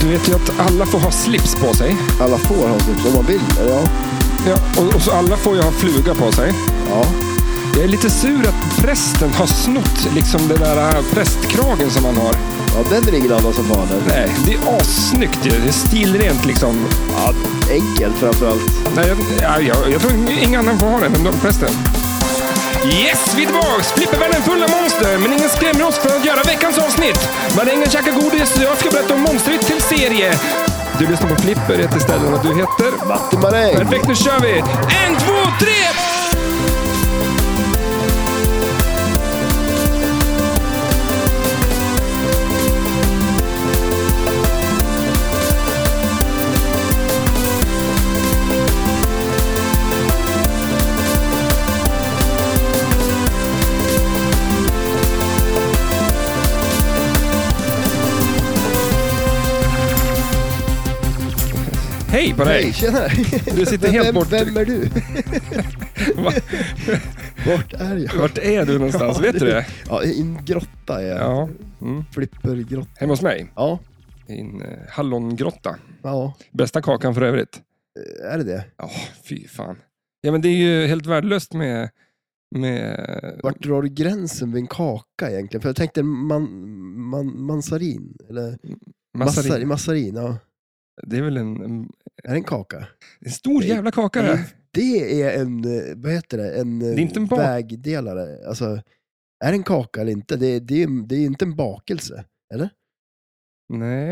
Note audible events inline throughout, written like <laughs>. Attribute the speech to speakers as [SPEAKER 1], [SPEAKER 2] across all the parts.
[SPEAKER 1] Du vet ju att alla får ha slips på sig.
[SPEAKER 2] Alla får ha slips om man vill. eller Ja.
[SPEAKER 1] Ja, och, och så alla får ju ha fluga på sig.
[SPEAKER 2] ja.
[SPEAKER 1] Jag är lite sur att prästen har snott liksom den där äh, prästkragen som han har.
[SPEAKER 2] Ja, den är ingen annan som har den.
[SPEAKER 1] Nej, det är assnyggt ju. Det är stilrent liksom.
[SPEAKER 2] Ja, enkel framförallt.
[SPEAKER 1] Nej, jag, ja, jag, jag tror ingen annan får ha den än de prästen. Yes, vi är tillbaks! Flippervärlden full av monster, men ingen skrämmer oss för att göra veckans avsnitt. Marängen käkar godis och jag ska berätta om monstret till serie. Du lyssnar på Flipper, heter ställen och du heter?
[SPEAKER 2] Matte Maräng!
[SPEAKER 1] Perfekt, nu kör vi! En, två, tre! Hej på dig!
[SPEAKER 2] Hej, tjena!
[SPEAKER 1] Du sitter helt
[SPEAKER 2] vem,
[SPEAKER 1] bort.
[SPEAKER 2] Vem är du?
[SPEAKER 1] Va- <laughs>
[SPEAKER 2] Vart är jag?
[SPEAKER 1] Vart är du någonstans?
[SPEAKER 2] Ja,
[SPEAKER 1] Vet du det?
[SPEAKER 2] <laughs> Ja, i en grotta är jag.
[SPEAKER 1] Ja. Mm.
[SPEAKER 2] Flippergrotta.
[SPEAKER 1] Hemma hos mig,
[SPEAKER 2] Ja.
[SPEAKER 1] i en eh, hallongrotta.
[SPEAKER 2] ja,
[SPEAKER 1] Bästa kakan för övrigt.
[SPEAKER 2] är det det?
[SPEAKER 1] Ja, fy fan. Ja, men det är ju helt värdelöst med... med... eh,
[SPEAKER 2] Vart drar du gränsen vid en kaka egentligen? För jag tänkte man, man, mansarin, eller
[SPEAKER 1] massarin.
[SPEAKER 2] massarin, massarin ja.
[SPEAKER 1] Det är väl en, en,
[SPEAKER 2] Är det en kaka?
[SPEAKER 1] en stor
[SPEAKER 2] Det-
[SPEAKER 1] jävla kaka det. här.
[SPEAKER 2] Det är en, eh, vad heter det, en, eh,
[SPEAKER 1] är inte en bak-
[SPEAKER 2] vägdelare. Alltså, är det en kaka eller inte? Det, det, är- det är inte en bakelse.
[SPEAKER 1] Nej.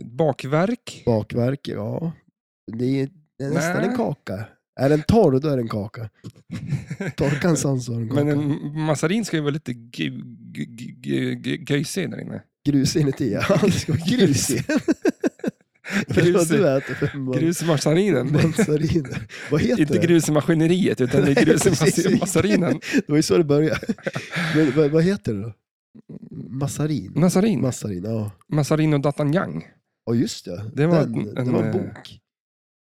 [SPEAKER 1] Ett bakverk.
[SPEAKER 2] Bakverk, ja. Det är, det är nästan
[SPEAKER 1] Nej.
[SPEAKER 2] en kaka. Är den torr, då är det
[SPEAKER 1] <laughs>
[SPEAKER 2] en kaka. Torkar en sån så är det en kaka.
[SPEAKER 1] Men en massarin ska ju vara lite gu- gu- gu- gu- gu- göjsig där inne.
[SPEAKER 2] Grus inuti, ja. Det ska vara grus i. Grus.
[SPEAKER 1] <laughs>
[SPEAKER 2] Vad
[SPEAKER 1] Grus,
[SPEAKER 2] du äter för man-
[SPEAKER 1] grus i massarinen.
[SPEAKER 2] mansariner. Vad heter
[SPEAKER 1] Inte
[SPEAKER 2] det?
[SPEAKER 1] grus i maskineriet, utan
[SPEAKER 2] <laughs>
[SPEAKER 1] det är
[SPEAKER 2] Nej,
[SPEAKER 1] grus i
[SPEAKER 2] precis.
[SPEAKER 1] mass- massarinen.
[SPEAKER 2] Det var ju så
[SPEAKER 1] <laughs>
[SPEAKER 2] det började. Men, vad, vad heter det då? Massarin?
[SPEAKER 1] Massarin.
[SPEAKER 2] Massarin, ja.
[SPEAKER 1] Massarin och D'Artagnan.
[SPEAKER 2] Ja, just det.
[SPEAKER 1] Det var
[SPEAKER 2] den,
[SPEAKER 1] en-
[SPEAKER 2] det var en
[SPEAKER 1] en, eh,
[SPEAKER 2] bok.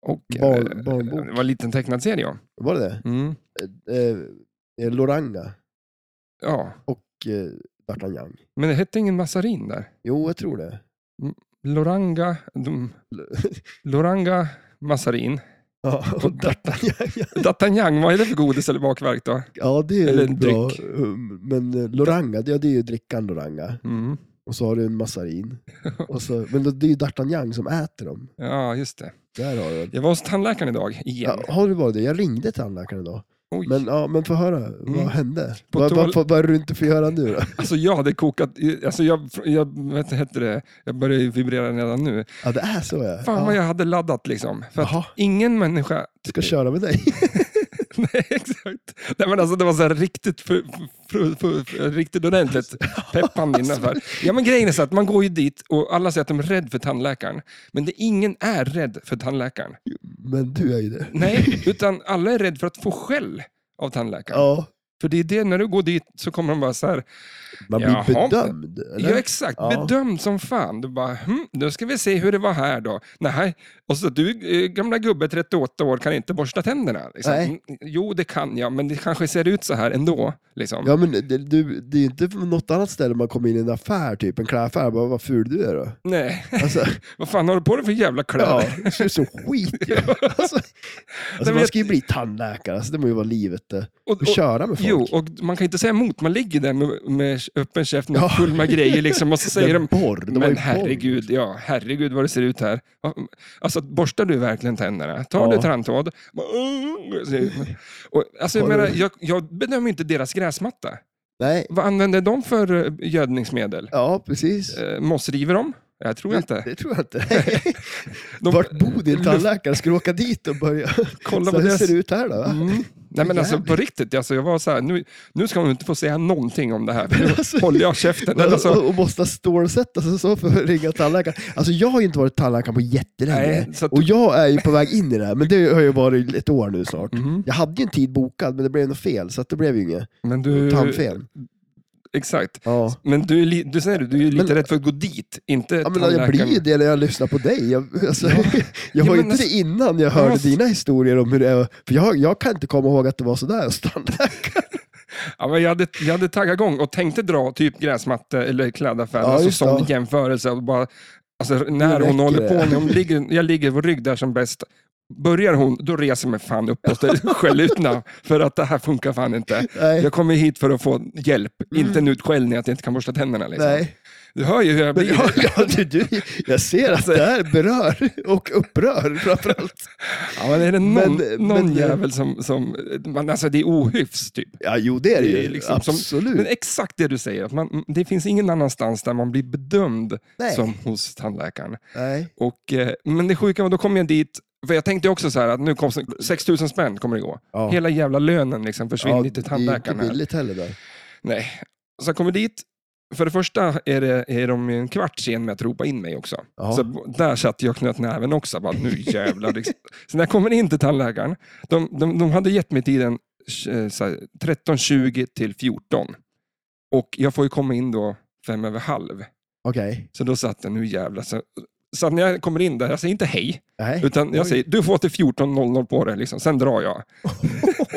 [SPEAKER 1] Och,
[SPEAKER 2] Barn-
[SPEAKER 1] eh,
[SPEAKER 2] barnbok.
[SPEAKER 1] Det var en liten tecknad serie, ja.
[SPEAKER 2] Var det det?
[SPEAKER 1] Mm.
[SPEAKER 2] Eh, eh, Loranga
[SPEAKER 1] ja.
[SPEAKER 2] och eh, D'Artagnan.
[SPEAKER 1] Men det hette ingen massarin där?
[SPEAKER 2] Jo, jag tror det.
[SPEAKER 1] Loranga, de, Loranga massarin. <laughs>
[SPEAKER 2] Ja, och D'Artagnan.
[SPEAKER 1] D'Artagnan, vad är det för godis eller bakverk då?
[SPEAKER 2] Ja, det är
[SPEAKER 1] Eller
[SPEAKER 2] Eller
[SPEAKER 1] en
[SPEAKER 2] bra.
[SPEAKER 1] dryck.
[SPEAKER 2] Um, Men eh, Loranga, det, ja, det är ju drickan Loranga.
[SPEAKER 1] Mm.
[SPEAKER 2] Och så har du
[SPEAKER 1] <laughs>
[SPEAKER 2] en massarin. Och så, men då- det är ju D'Artagnan som äter dem.
[SPEAKER 1] Ja, just det.
[SPEAKER 2] Där har du den.
[SPEAKER 1] Jag var hos tandläkaren idag, igen.
[SPEAKER 2] Ja, har du varit det? Jag ringde tandläkaren idag.
[SPEAKER 1] Oj.
[SPEAKER 2] Men, ja, men få höra,
[SPEAKER 1] Mm.
[SPEAKER 2] vad hände?
[SPEAKER 1] På
[SPEAKER 2] Vad,
[SPEAKER 1] toal-
[SPEAKER 2] vad, vad, vad är det du inte får göra nu då?
[SPEAKER 1] Alltså jag hade kokat, alltså jag, jag vet, heter det, jag börjar ju vibrera redan nu.
[SPEAKER 2] Ja, det är så ja.
[SPEAKER 1] Fan
[SPEAKER 2] ja.
[SPEAKER 1] vad jag hade laddat liksom. För att
[SPEAKER 2] Jaha.
[SPEAKER 1] ingen människa...
[SPEAKER 2] Ska köra
[SPEAKER 1] <laughs>
[SPEAKER 2] med dig.
[SPEAKER 1] Nej, exakt. Nej, men alltså det var så här riktigt, för, för, för, för, riktigt
[SPEAKER 2] <laughs>
[SPEAKER 1] ordentligt peppande
[SPEAKER 2] alltså.
[SPEAKER 1] innanför. Ja, men grejen är så att man går ju dit och alla säger att de är rädda för tandläkaren. Men det, ingen är rädd för tandläkaren.
[SPEAKER 2] Men du är ju det. <laughs>
[SPEAKER 1] Nej, utan alla är rädda för att få skäll av tandläkaren.
[SPEAKER 2] Ja,
[SPEAKER 1] För det är det, när du går dit så kommer de bara så här,
[SPEAKER 2] man blir
[SPEAKER 1] Jaha.
[SPEAKER 2] bedömd. Eller?
[SPEAKER 1] ja exakt,
[SPEAKER 2] Ja.
[SPEAKER 1] bedömd som fan. Du bara, hm, nu ska vi se hur det var här då. Nej, och så du eh, gamla gubbe 38 år kan inte borsta tänderna. Liksom.
[SPEAKER 2] Nej.
[SPEAKER 1] Mm, Jo, det kan jag, men det kanske ser ut så här ändå. Liksom.
[SPEAKER 2] Ja men det, du, det är ju inte från något annat ställe man kommer in i en affär, typ en klädaffär, bara vad ful du är då.
[SPEAKER 1] Nej, <laughs>
[SPEAKER 2] Alltså,
[SPEAKER 1] vad fan har du på dig för jävla
[SPEAKER 2] ja,
[SPEAKER 1] kläder?
[SPEAKER 2] det ser ut som skit
[SPEAKER 1] <laughs>
[SPEAKER 2] ju. Alltså, alltså
[SPEAKER 1] men
[SPEAKER 2] man
[SPEAKER 1] jag-
[SPEAKER 2] ska ju bli tandläkare, alltså, det må ju vara livet det.
[SPEAKER 1] Och,
[SPEAKER 2] Och
[SPEAKER 1] och,
[SPEAKER 2] köra med folk.
[SPEAKER 1] jo, och man kan inte säga emot, man ligger där med, med öppen käft med
[SPEAKER 2] Ja.
[SPEAKER 1] full med grejer liksom,
[SPEAKER 2] <laughs>
[SPEAKER 1] och så säger de,
[SPEAKER 2] porr, de har ju
[SPEAKER 1] men
[SPEAKER 2] porr.
[SPEAKER 1] herregud, ja, herregud vad det ser ut här. Ja, Alltså, borstar du verkligen tänderna? Tar
[SPEAKER 2] Ja.
[SPEAKER 1] du tandtråd? Bara, "Åh!" Och, Alltså, jag,
[SPEAKER 2] Har du-
[SPEAKER 1] menar, jag, jag bedömer inte deras gräsmatta.
[SPEAKER 2] Nej,
[SPEAKER 1] Vad använder de för eh, gödningsmedel?
[SPEAKER 2] ja precis.
[SPEAKER 1] Eh, mossriver de? Jag tror inte.
[SPEAKER 2] Det tror jag inte.
[SPEAKER 1] <laughs> De,
[SPEAKER 2] Vart bor din tandläkare? Ska du åka dit och börja?
[SPEAKER 1] kolla
[SPEAKER 2] så
[SPEAKER 1] vad
[SPEAKER 2] hur
[SPEAKER 1] deras...
[SPEAKER 2] ser det ut här då?
[SPEAKER 1] Mm. Nej men alltså på riktigt, alltså, jag var så här, nu, nu ska man inte få säga någonting om det här. för Nu
[SPEAKER 2] <laughs> Alltså-
[SPEAKER 1] Mm. <laughs> håller jag käften. Alltså,
[SPEAKER 2] <laughs> Och, och måste stålsätta sig så för att ringa tandläkaren. Alltså jag har ju inte varit tandläkare på jättelänge.
[SPEAKER 1] Nej, så att-
[SPEAKER 2] Och jag är ju på väg in i det här, men det har ju varit ett år nu snart.
[SPEAKER 1] Mhm.
[SPEAKER 2] Jag hade ju en tid bokad, men det blev något fel, så att det blev ju inget.
[SPEAKER 1] men du,
[SPEAKER 2] Tandfel.
[SPEAKER 1] exakt.
[SPEAKER 2] Ja.
[SPEAKER 1] Men du, är li- du säger det, du är lite
[SPEAKER 2] Men-
[SPEAKER 1] rädd för att gå dit, inte
[SPEAKER 2] Ja, men jag blir ju det när jag lyssnar på dig. Jag, alltså, <laughs>
[SPEAKER 1] men
[SPEAKER 2] jag var ju inte
[SPEAKER 1] alltså-
[SPEAKER 2] det innan jag hörde
[SPEAKER 1] alltså-
[SPEAKER 2] dina historier om hur det är. För jag, jag kan inte komma ihåg att det var sådär <laughs> hos tandläkaren.
[SPEAKER 1] Ja, men jag, hade, jag hade taggat igång och tänkte dra typ gräsmatte eller klädaffär
[SPEAKER 2] Ja,
[SPEAKER 1] alltså,
[SPEAKER 2] just
[SPEAKER 1] som
[SPEAKER 2] det.
[SPEAKER 1] jämförelse. Och bara, Alltså när hon
[SPEAKER 2] räcker
[SPEAKER 1] håller på,
[SPEAKER 2] det.
[SPEAKER 1] när hon ligger, jag ligger på rygg där som bäst. Börjar hon, då reser jag mig fan uppåt. Jag
[SPEAKER 2] <laughs>
[SPEAKER 1] är Självutna, för att det här funkar fan inte.
[SPEAKER 2] Nej. Mm.
[SPEAKER 1] Jag kommer hit för att få hjälp, inte en utskällning att jag inte kan borsta tänderna. Liksom.
[SPEAKER 2] Nej.
[SPEAKER 1] Du hör ju hur jag
[SPEAKER 2] Men
[SPEAKER 1] blir.
[SPEAKER 2] jag, jag, du, du, jag ser
[SPEAKER 1] Alltså-
[SPEAKER 2] att det här berör och upprör framförallt.
[SPEAKER 1] Ja, men är det någon,
[SPEAKER 2] Men-
[SPEAKER 1] någon
[SPEAKER 2] men-
[SPEAKER 1] jävel som... som man, alltså det är ohyfs typ.
[SPEAKER 2] Ja, jo det är det
[SPEAKER 1] Det
[SPEAKER 2] ju.
[SPEAKER 1] är liksom som-
[SPEAKER 2] Absolut.
[SPEAKER 1] Men exakt det du säger, att man, det finns ingen annanstans där man blir bedömd
[SPEAKER 2] Nej.
[SPEAKER 1] som hos tandläkaren.
[SPEAKER 2] Nej.
[SPEAKER 1] Och, eh, men det sjuka var, då kom jag dit, för jag tänkte också så här att nu kom 6 000 spänn kommer det gå.
[SPEAKER 2] Ja.
[SPEAKER 1] Hela jävla lönen liksom försvinner till tandläkaren.
[SPEAKER 2] Det är inte
[SPEAKER 1] här.
[SPEAKER 2] billigt heller där.
[SPEAKER 1] Nej. Så jag kommer dit, för det första är, det, är de ju en kvart sen med att ropa in mig också.
[SPEAKER 2] Ja.
[SPEAKER 1] Så där satt jag och knöt näven också. Bara, nu jävlar.
[SPEAKER 2] <laughs>
[SPEAKER 1] liksom. så när jag kommer in till tandläkaren, de, de, de hade gett mig tiden eh, så här, 13.20 till 14. Och jag får ju komma in då fem över halv.
[SPEAKER 2] Okej.
[SPEAKER 1] Så då satt jag, nu jävlar. Så, så att när jag kommer in där, jag säger inte hej,
[SPEAKER 2] Nej.
[SPEAKER 1] utan jag
[SPEAKER 2] Oj.
[SPEAKER 1] säger du får till 14.00 på dig, liksom. sen drar jag.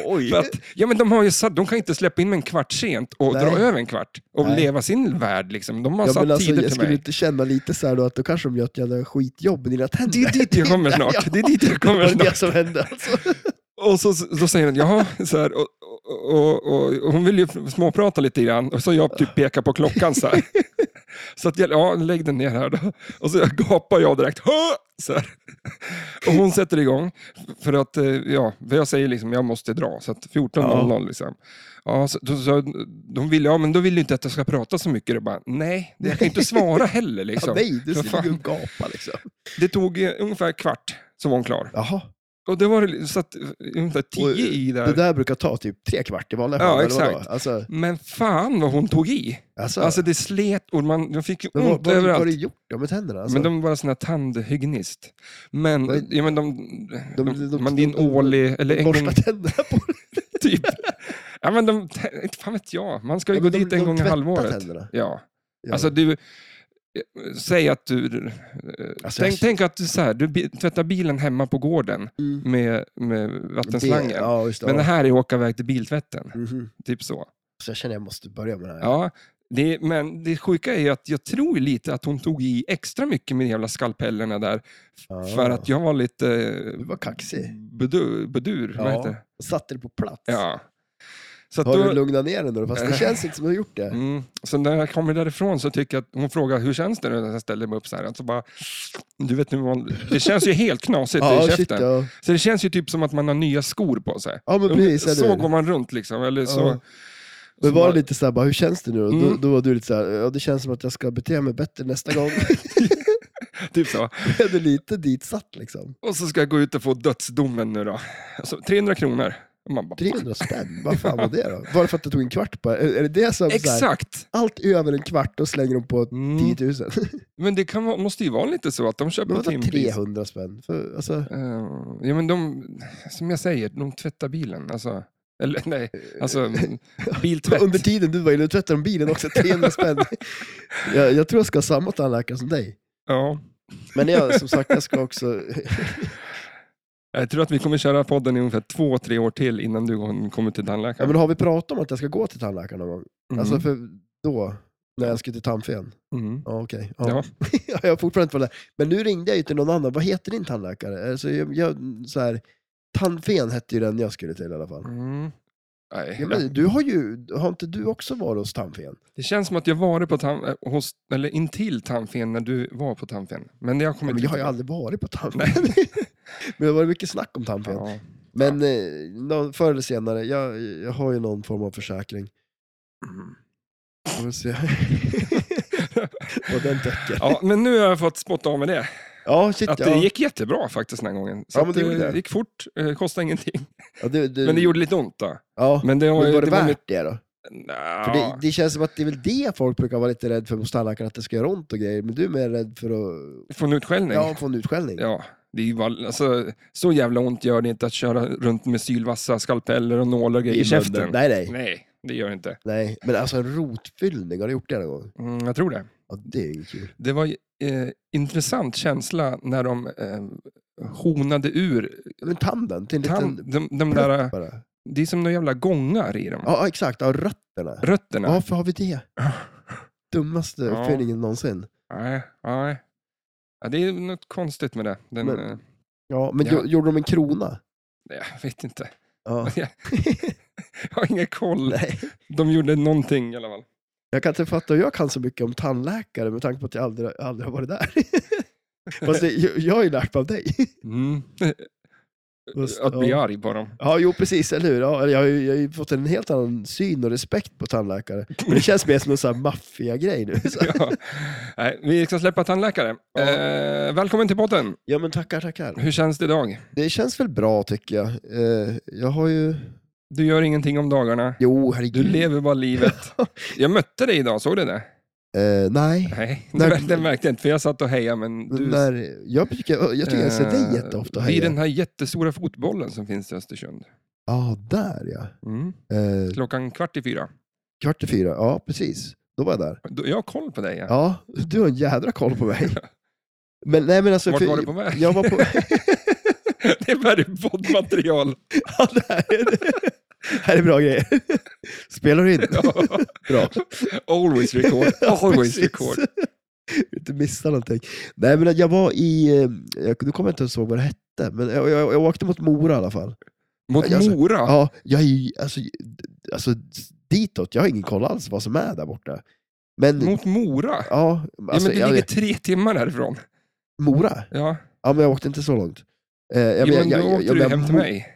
[SPEAKER 2] Oj.
[SPEAKER 1] För att, ja, men de, har ju satt, de kan inte släppa in mig en kvart sent och
[SPEAKER 2] Nej.
[SPEAKER 1] dra över en kvart och
[SPEAKER 2] Nej.
[SPEAKER 1] leva sin värld. Liksom. De har
[SPEAKER 2] Ja,
[SPEAKER 1] satt
[SPEAKER 2] men alltså,
[SPEAKER 1] tider
[SPEAKER 2] jag
[SPEAKER 1] till
[SPEAKER 2] skulle
[SPEAKER 1] mig.
[SPEAKER 2] inte känna lite så här då att då kanske de gör ett jävla skitjobb med dina tänder.
[SPEAKER 1] Det är dit jag kommer
[SPEAKER 2] <laughs> Ja.
[SPEAKER 1] snart. Det är dit jag kommer
[SPEAKER 2] Det var det
[SPEAKER 1] snart.
[SPEAKER 2] som hände alltså.
[SPEAKER 1] Och så, så säger hon, jaha, så här, och, och, och, och, och hon vill ju småprata lite grann. Och så jag typ pekar på klockan så
[SPEAKER 2] <laughs>
[SPEAKER 1] här. Så att jag, ja, lägg den ner här då. Och så gapar jag direkt, Hå! så här. Och hon sätter igång. För att, eh, ja, för jag säger liksom, jag måste dra. Så att 14.00 liksom. Ja, så, då, så, de vill, ja, men då vill du inte att jag ska prata så mycket. Jag bara, nej, jag kan ju inte svara heller liksom.
[SPEAKER 2] <laughs> Ja, nej, du
[SPEAKER 1] För
[SPEAKER 2] ligger
[SPEAKER 1] fan.
[SPEAKER 2] ju och gapar liksom.
[SPEAKER 1] Det tog eh, ungefär kvart så var hon klar.
[SPEAKER 2] Jaha.
[SPEAKER 1] Och det var det- så att, eh, ungefär
[SPEAKER 2] Och,
[SPEAKER 1] tio i där.
[SPEAKER 2] Det där brukar ta typ tre kvart i vanliga
[SPEAKER 1] Ja,
[SPEAKER 2] fall. eller vadå?
[SPEAKER 1] exakt.
[SPEAKER 2] Alltså,
[SPEAKER 1] Men fan vad hon tog i.
[SPEAKER 2] alltså,
[SPEAKER 1] Alltså det slet och man, de fick ju
[SPEAKER 2] men vad,
[SPEAKER 1] ont
[SPEAKER 2] vad, vad har
[SPEAKER 1] överallt.
[SPEAKER 2] du gjort då med tänderna? Alltså,
[SPEAKER 1] Men de var såna här tandhygienist. Men,
[SPEAKER 2] Vad-
[SPEAKER 1] ja, men de, de,
[SPEAKER 2] de- de-
[SPEAKER 1] man, det är en
[SPEAKER 2] de- de-
[SPEAKER 1] årlig, eller en gång
[SPEAKER 2] Borsta tänderna på dig?
[SPEAKER 1] <laughs> typ. ja, men de, inte fan vet jag, man ska ju
[SPEAKER 2] Ja,
[SPEAKER 1] gå
[SPEAKER 2] men de-
[SPEAKER 1] dit en
[SPEAKER 2] de
[SPEAKER 1] gång i
[SPEAKER 2] tvättar
[SPEAKER 1] halvåret.
[SPEAKER 2] tänderna.
[SPEAKER 1] Ja.
[SPEAKER 2] Ja.
[SPEAKER 1] Alltså du, eh, säg att du, eh,
[SPEAKER 2] Alltså,
[SPEAKER 1] tänk,
[SPEAKER 2] jag-
[SPEAKER 1] tänk att du så här, du bi- tvättar bilen hemma på gården
[SPEAKER 2] Mm.
[SPEAKER 1] med, med vattenslangen.
[SPEAKER 2] Det- Ja, just det.
[SPEAKER 1] Men det
[SPEAKER 2] ja.
[SPEAKER 1] här är åka väg till biltvätten,
[SPEAKER 2] Mhm.
[SPEAKER 1] typ så.
[SPEAKER 2] Så jag känner jag måste börja med det här.
[SPEAKER 1] Ja, det, men det sjuka är ju att jag tror lite att hon tog i extra mycket med de jävla skalpellerna där. f-
[SPEAKER 2] Ah.
[SPEAKER 1] För att jag var lite...
[SPEAKER 2] Du var kaxig.
[SPEAKER 1] Bedur, bedur vad heter det?
[SPEAKER 2] och satte det på plats.
[SPEAKER 1] Ja. Så, att
[SPEAKER 2] Har du
[SPEAKER 1] då,
[SPEAKER 2] lugnat ner den då?
[SPEAKER 1] <laughs>
[SPEAKER 2] Fast det känns inte som att du har gjort det.
[SPEAKER 1] mm, så när jag kommer därifrån så tycker jag att hon frågar hur känns det nu när jag ställer mig upp så här. Och Så bara, du vet, nu man, det känns ju helt knasigt i
[SPEAKER 2] Ja, shit,
[SPEAKER 1] käften.
[SPEAKER 2] ja.
[SPEAKER 1] Så det känns ju typ som att man har nya skor på sig.
[SPEAKER 2] ja, men precis. eller
[SPEAKER 1] så
[SPEAKER 2] hur?
[SPEAKER 1] går man runt liksom. Eller så,
[SPEAKER 2] Ja. Men
[SPEAKER 1] så
[SPEAKER 2] var
[SPEAKER 1] bara-
[SPEAKER 2] det lite såhär, bara, hur känns det nu? Och Då,
[SPEAKER 1] Mm.
[SPEAKER 2] då var du lite såhär, ja det känns som att jag ska bete mig bättre nästa
[SPEAKER 1] <laughs>
[SPEAKER 2] gång.
[SPEAKER 1] typ så.
[SPEAKER 2] är du lite ditsatt liksom?
[SPEAKER 1] Och så ska jag gå ut och få dödsdomen nu då. Alltså, 300 kronor. Och man bara,
[SPEAKER 2] 300 spänn, vad fan var det då? Var det för att det tog en kvart bara? Är är det det som såhär,
[SPEAKER 1] Exakt!
[SPEAKER 2] allt över en kvart, då slänger de på
[SPEAKER 1] Mm.
[SPEAKER 2] 10 <laughs> 000?
[SPEAKER 1] Men det kan, vara- måste ju vara lite så att de köper
[SPEAKER 2] Men vadå
[SPEAKER 1] timpris.
[SPEAKER 2] 300 spänn? För, alltså,
[SPEAKER 1] Eh, ja, men de, som jag säger, de tvättar bilen. Alltså, eller nej, alltså
[SPEAKER 2] <laughs>
[SPEAKER 1] biltvätt.
[SPEAKER 2] under tiden du var inne och tvättade om bilen också, <laughs> 300 spänn. jag, jag tror jag ska ha samma tandläkare som dig.
[SPEAKER 1] Ja.
[SPEAKER 2] Men jag, som sagt, jag ska också...
[SPEAKER 1] Jag tror att vi kommer köra podden i ungefär två, tre år till innan du kommer till
[SPEAKER 2] ja,
[SPEAKER 1] tandläkaren.
[SPEAKER 2] men har vi pratat om att jag ska gå till tandläkaren någon gång?
[SPEAKER 1] Mm.
[SPEAKER 2] Alltså för då, när jag skulle till tandfen.
[SPEAKER 1] mm.
[SPEAKER 2] Ja, okej.
[SPEAKER 1] Ja.
[SPEAKER 2] <laughs> Ja. jag har fortfarande inte varit där. Men nu ringde jag ju till någon annan. Vad heter din tandläkare? Alltså, jag, jag, så här, tandfen hette ju den jag skulle till i alla fall.
[SPEAKER 1] Mm. Nej.
[SPEAKER 2] Ja, men, du har ju, har inte du också varit hos tandfen?
[SPEAKER 1] Det känns som att jag varit på tan- eh, hos, eller intill tandfen när du var på tandfen. Men jag kommer
[SPEAKER 2] Men
[SPEAKER 1] inte
[SPEAKER 2] jag har ju
[SPEAKER 1] ihåg.
[SPEAKER 2] aldrig varit på tandfen. <laughs> men det var mycket snack om tandfen.
[SPEAKER 1] Ja.
[SPEAKER 2] Men eh, någon, förr eller senare, jag, jag har ju någon form av försäkring.
[SPEAKER 1] Mm.
[SPEAKER 2] Vi
[SPEAKER 1] <laughs>
[SPEAKER 2] får se vad den täcker.
[SPEAKER 1] ja, men nu har jag fått spotta av med det.
[SPEAKER 2] Ja, shit,
[SPEAKER 1] Att
[SPEAKER 2] ja.
[SPEAKER 1] det gick jättebra faktiskt den här gången. Så
[SPEAKER 2] Ja,
[SPEAKER 1] att
[SPEAKER 2] men det gjorde det.
[SPEAKER 1] gick fort, eh, kostade ingenting.
[SPEAKER 2] ja, du, du,
[SPEAKER 1] Men det gjorde lite ont då.
[SPEAKER 2] ja. Men,
[SPEAKER 1] Men det var,
[SPEAKER 2] var det, värt
[SPEAKER 1] mitt-
[SPEAKER 2] det då?
[SPEAKER 1] Nja.
[SPEAKER 2] För det, det känns som att det är väl det folk brukar vara lite rädd för hos tandläkaren, att det ska göra ont och grejer. Men du är mer rädd för att
[SPEAKER 1] Få en utskällning.
[SPEAKER 2] ja,
[SPEAKER 1] Ja.
[SPEAKER 2] få en utskällning.
[SPEAKER 1] Det är ju bara, alltså, så jävla ont gör det inte att köra runt med sylvassa skalpeller och nålar och grejer i,
[SPEAKER 2] munnen.
[SPEAKER 1] käften. Nej.
[SPEAKER 2] Nej, nej,
[SPEAKER 1] det gör det inte.
[SPEAKER 2] nej. Men alltså en rotfyllning, har du gjort det någon gång?
[SPEAKER 1] Mm, jag tror det.
[SPEAKER 2] Ja, det är ju kul.
[SPEAKER 1] Det var eh, intressant känsla när de eh, honade ur
[SPEAKER 2] Men tanden, till en
[SPEAKER 1] tand,
[SPEAKER 2] liten
[SPEAKER 1] de, de
[SPEAKER 2] plupp
[SPEAKER 1] där,
[SPEAKER 2] bara.
[SPEAKER 1] Det är som några jävla gångar i dem.
[SPEAKER 2] Ja, exakt. Ja, rötterna.
[SPEAKER 1] Rötterna. <laughs>
[SPEAKER 2] Varför har vi det? Dummaste
[SPEAKER 1] Ja.
[SPEAKER 2] uppfinningen någonsin.
[SPEAKER 1] Nej, nej. Ja, det är något konstigt med det. Den,
[SPEAKER 2] Men-
[SPEAKER 1] eh,
[SPEAKER 2] Ja, men
[SPEAKER 1] Ja.
[SPEAKER 2] gjo- gjorde de en krona?
[SPEAKER 1] jag vet inte. <laughs>
[SPEAKER 2] Ja. <laughs>
[SPEAKER 1] Jag har ingen koll.
[SPEAKER 2] Nej.
[SPEAKER 1] De gjorde någonting i alla fall.
[SPEAKER 2] Jag kan inte fatta hur jag kan så mycket om tandläkare med tanke på att jag aldrig, aldrig har varit där. <laughs> Fast det, jag, jag har ju lärt mig av dig.
[SPEAKER 1] Mm.
[SPEAKER 2] Fast,
[SPEAKER 1] <laughs> Att bli
[SPEAKER 2] ja.
[SPEAKER 1] arg på
[SPEAKER 2] <laughs>
[SPEAKER 1] dem.
[SPEAKER 2] ja, jo precis, eller hur? Ja, jag, har ju, jag har ju fått en helt annan syn och respekt på tandläkare. Men det känns mer som en sån här maffia-grej nu. Så.
[SPEAKER 1] Ja. Nej, vi ska släppa tandläkare.
[SPEAKER 2] Ja.
[SPEAKER 1] Eh, välkommen till podden.
[SPEAKER 2] Ja, men tackar, tackar.
[SPEAKER 1] Hur känns det idag?
[SPEAKER 2] Det känns väl bra tycker jag. Eh, jag har ju...
[SPEAKER 1] Du gör ingenting om dagarna.
[SPEAKER 2] Jo,
[SPEAKER 1] Du
[SPEAKER 2] herregud.
[SPEAKER 1] lever bara
[SPEAKER 2] <laughs>
[SPEAKER 1] livet. Jag mötte dig idag, såg du det?
[SPEAKER 2] Eh, nej.
[SPEAKER 1] Nej,
[SPEAKER 2] Nej.
[SPEAKER 1] det, det märkte jag inte, för jag satt och hejade. Men du,
[SPEAKER 2] När, jag, tycker, jag tycker jag ser dig jätteofta.
[SPEAKER 1] här. Vid
[SPEAKER 2] Heja.
[SPEAKER 1] den här jättestora fotbollen som finns i Östersund.
[SPEAKER 2] Ja, där ja.
[SPEAKER 1] Mm.
[SPEAKER 2] Eh,
[SPEAKER 1] Klockan kvart i fyra.
[SPEAKER 2] kvart i fyra, ja precis. Då var jag där.
[SPEAKER 1] Då- Jag har koll på dig. Ja.
[SPEAKER 2] Ja, du har en jädra koll
[SPEAKER 1] <laughs>
[SPEAKER 2] på mig. Men, nej, men alltså,
[SPEAKER 1] Vart
[SPEAKER 2] för-
[SPEAKER 1] var du på väg?
[SPEAKER 2] Jag var på...
[SPEAKER 1] <laughs> Det är värre poddmaterial.
[SPEAKER 2] ja, det här är, det här är bra grejer. Spelar du in? <laughs>
[SPEAKER 1] Ja.
[SPEAKER 2] <laughs> Bra.
[SPEAKER 1] Always
[SPEAKER 2] <laughs>
[SPEAKER 1] record. Always
[SPEAKER 2] Precis.
[SPEAKER 1] record.
[SPEAKER 2] <laughs> inte missa någonting. Nej, men jag var i... eh, Jag, nu kommer jag inte ens ihåg vad det hette, men jag, jag, jag åkte mot Mora i alla fall.
[SPEAKER 1] Mot
[SPEAKER 2] Jag-
[SPEAKER 1] Mora?
[SPEAKER 2] Ja, jag är ju... Alltså, alltså, ditåt, jag har ingen koll alls vad som är där borta. Men...
[SPEAKER 1] Mot Mora?
[SPEAKER 2] Ja, alltså,
[SPEAKER 1] ja, men du
[SPEAKER 2] jag,
[SPEAKER 1] ligger tre timmar härifrån.
[SPEAKER 2] Mora?
[SPEAKER 1] Ja.
[SPEAKER 2] Ja, men jag åkte inte så långt. Eh, jag,
[SPEAKER 1] jo,
[SPEAKER 2] jag-
[SPEAKER 1] men
[SPEAKER 2] jag-
[SPEAKER 1] då
[SPEAKER 2] jag-
[SPEAKER 1] åkte
[SPEAKER 2] jag-
[SPEAKER 1] du
[SPEAKER 2] jag-
[SPEAKER 1] hem till mig.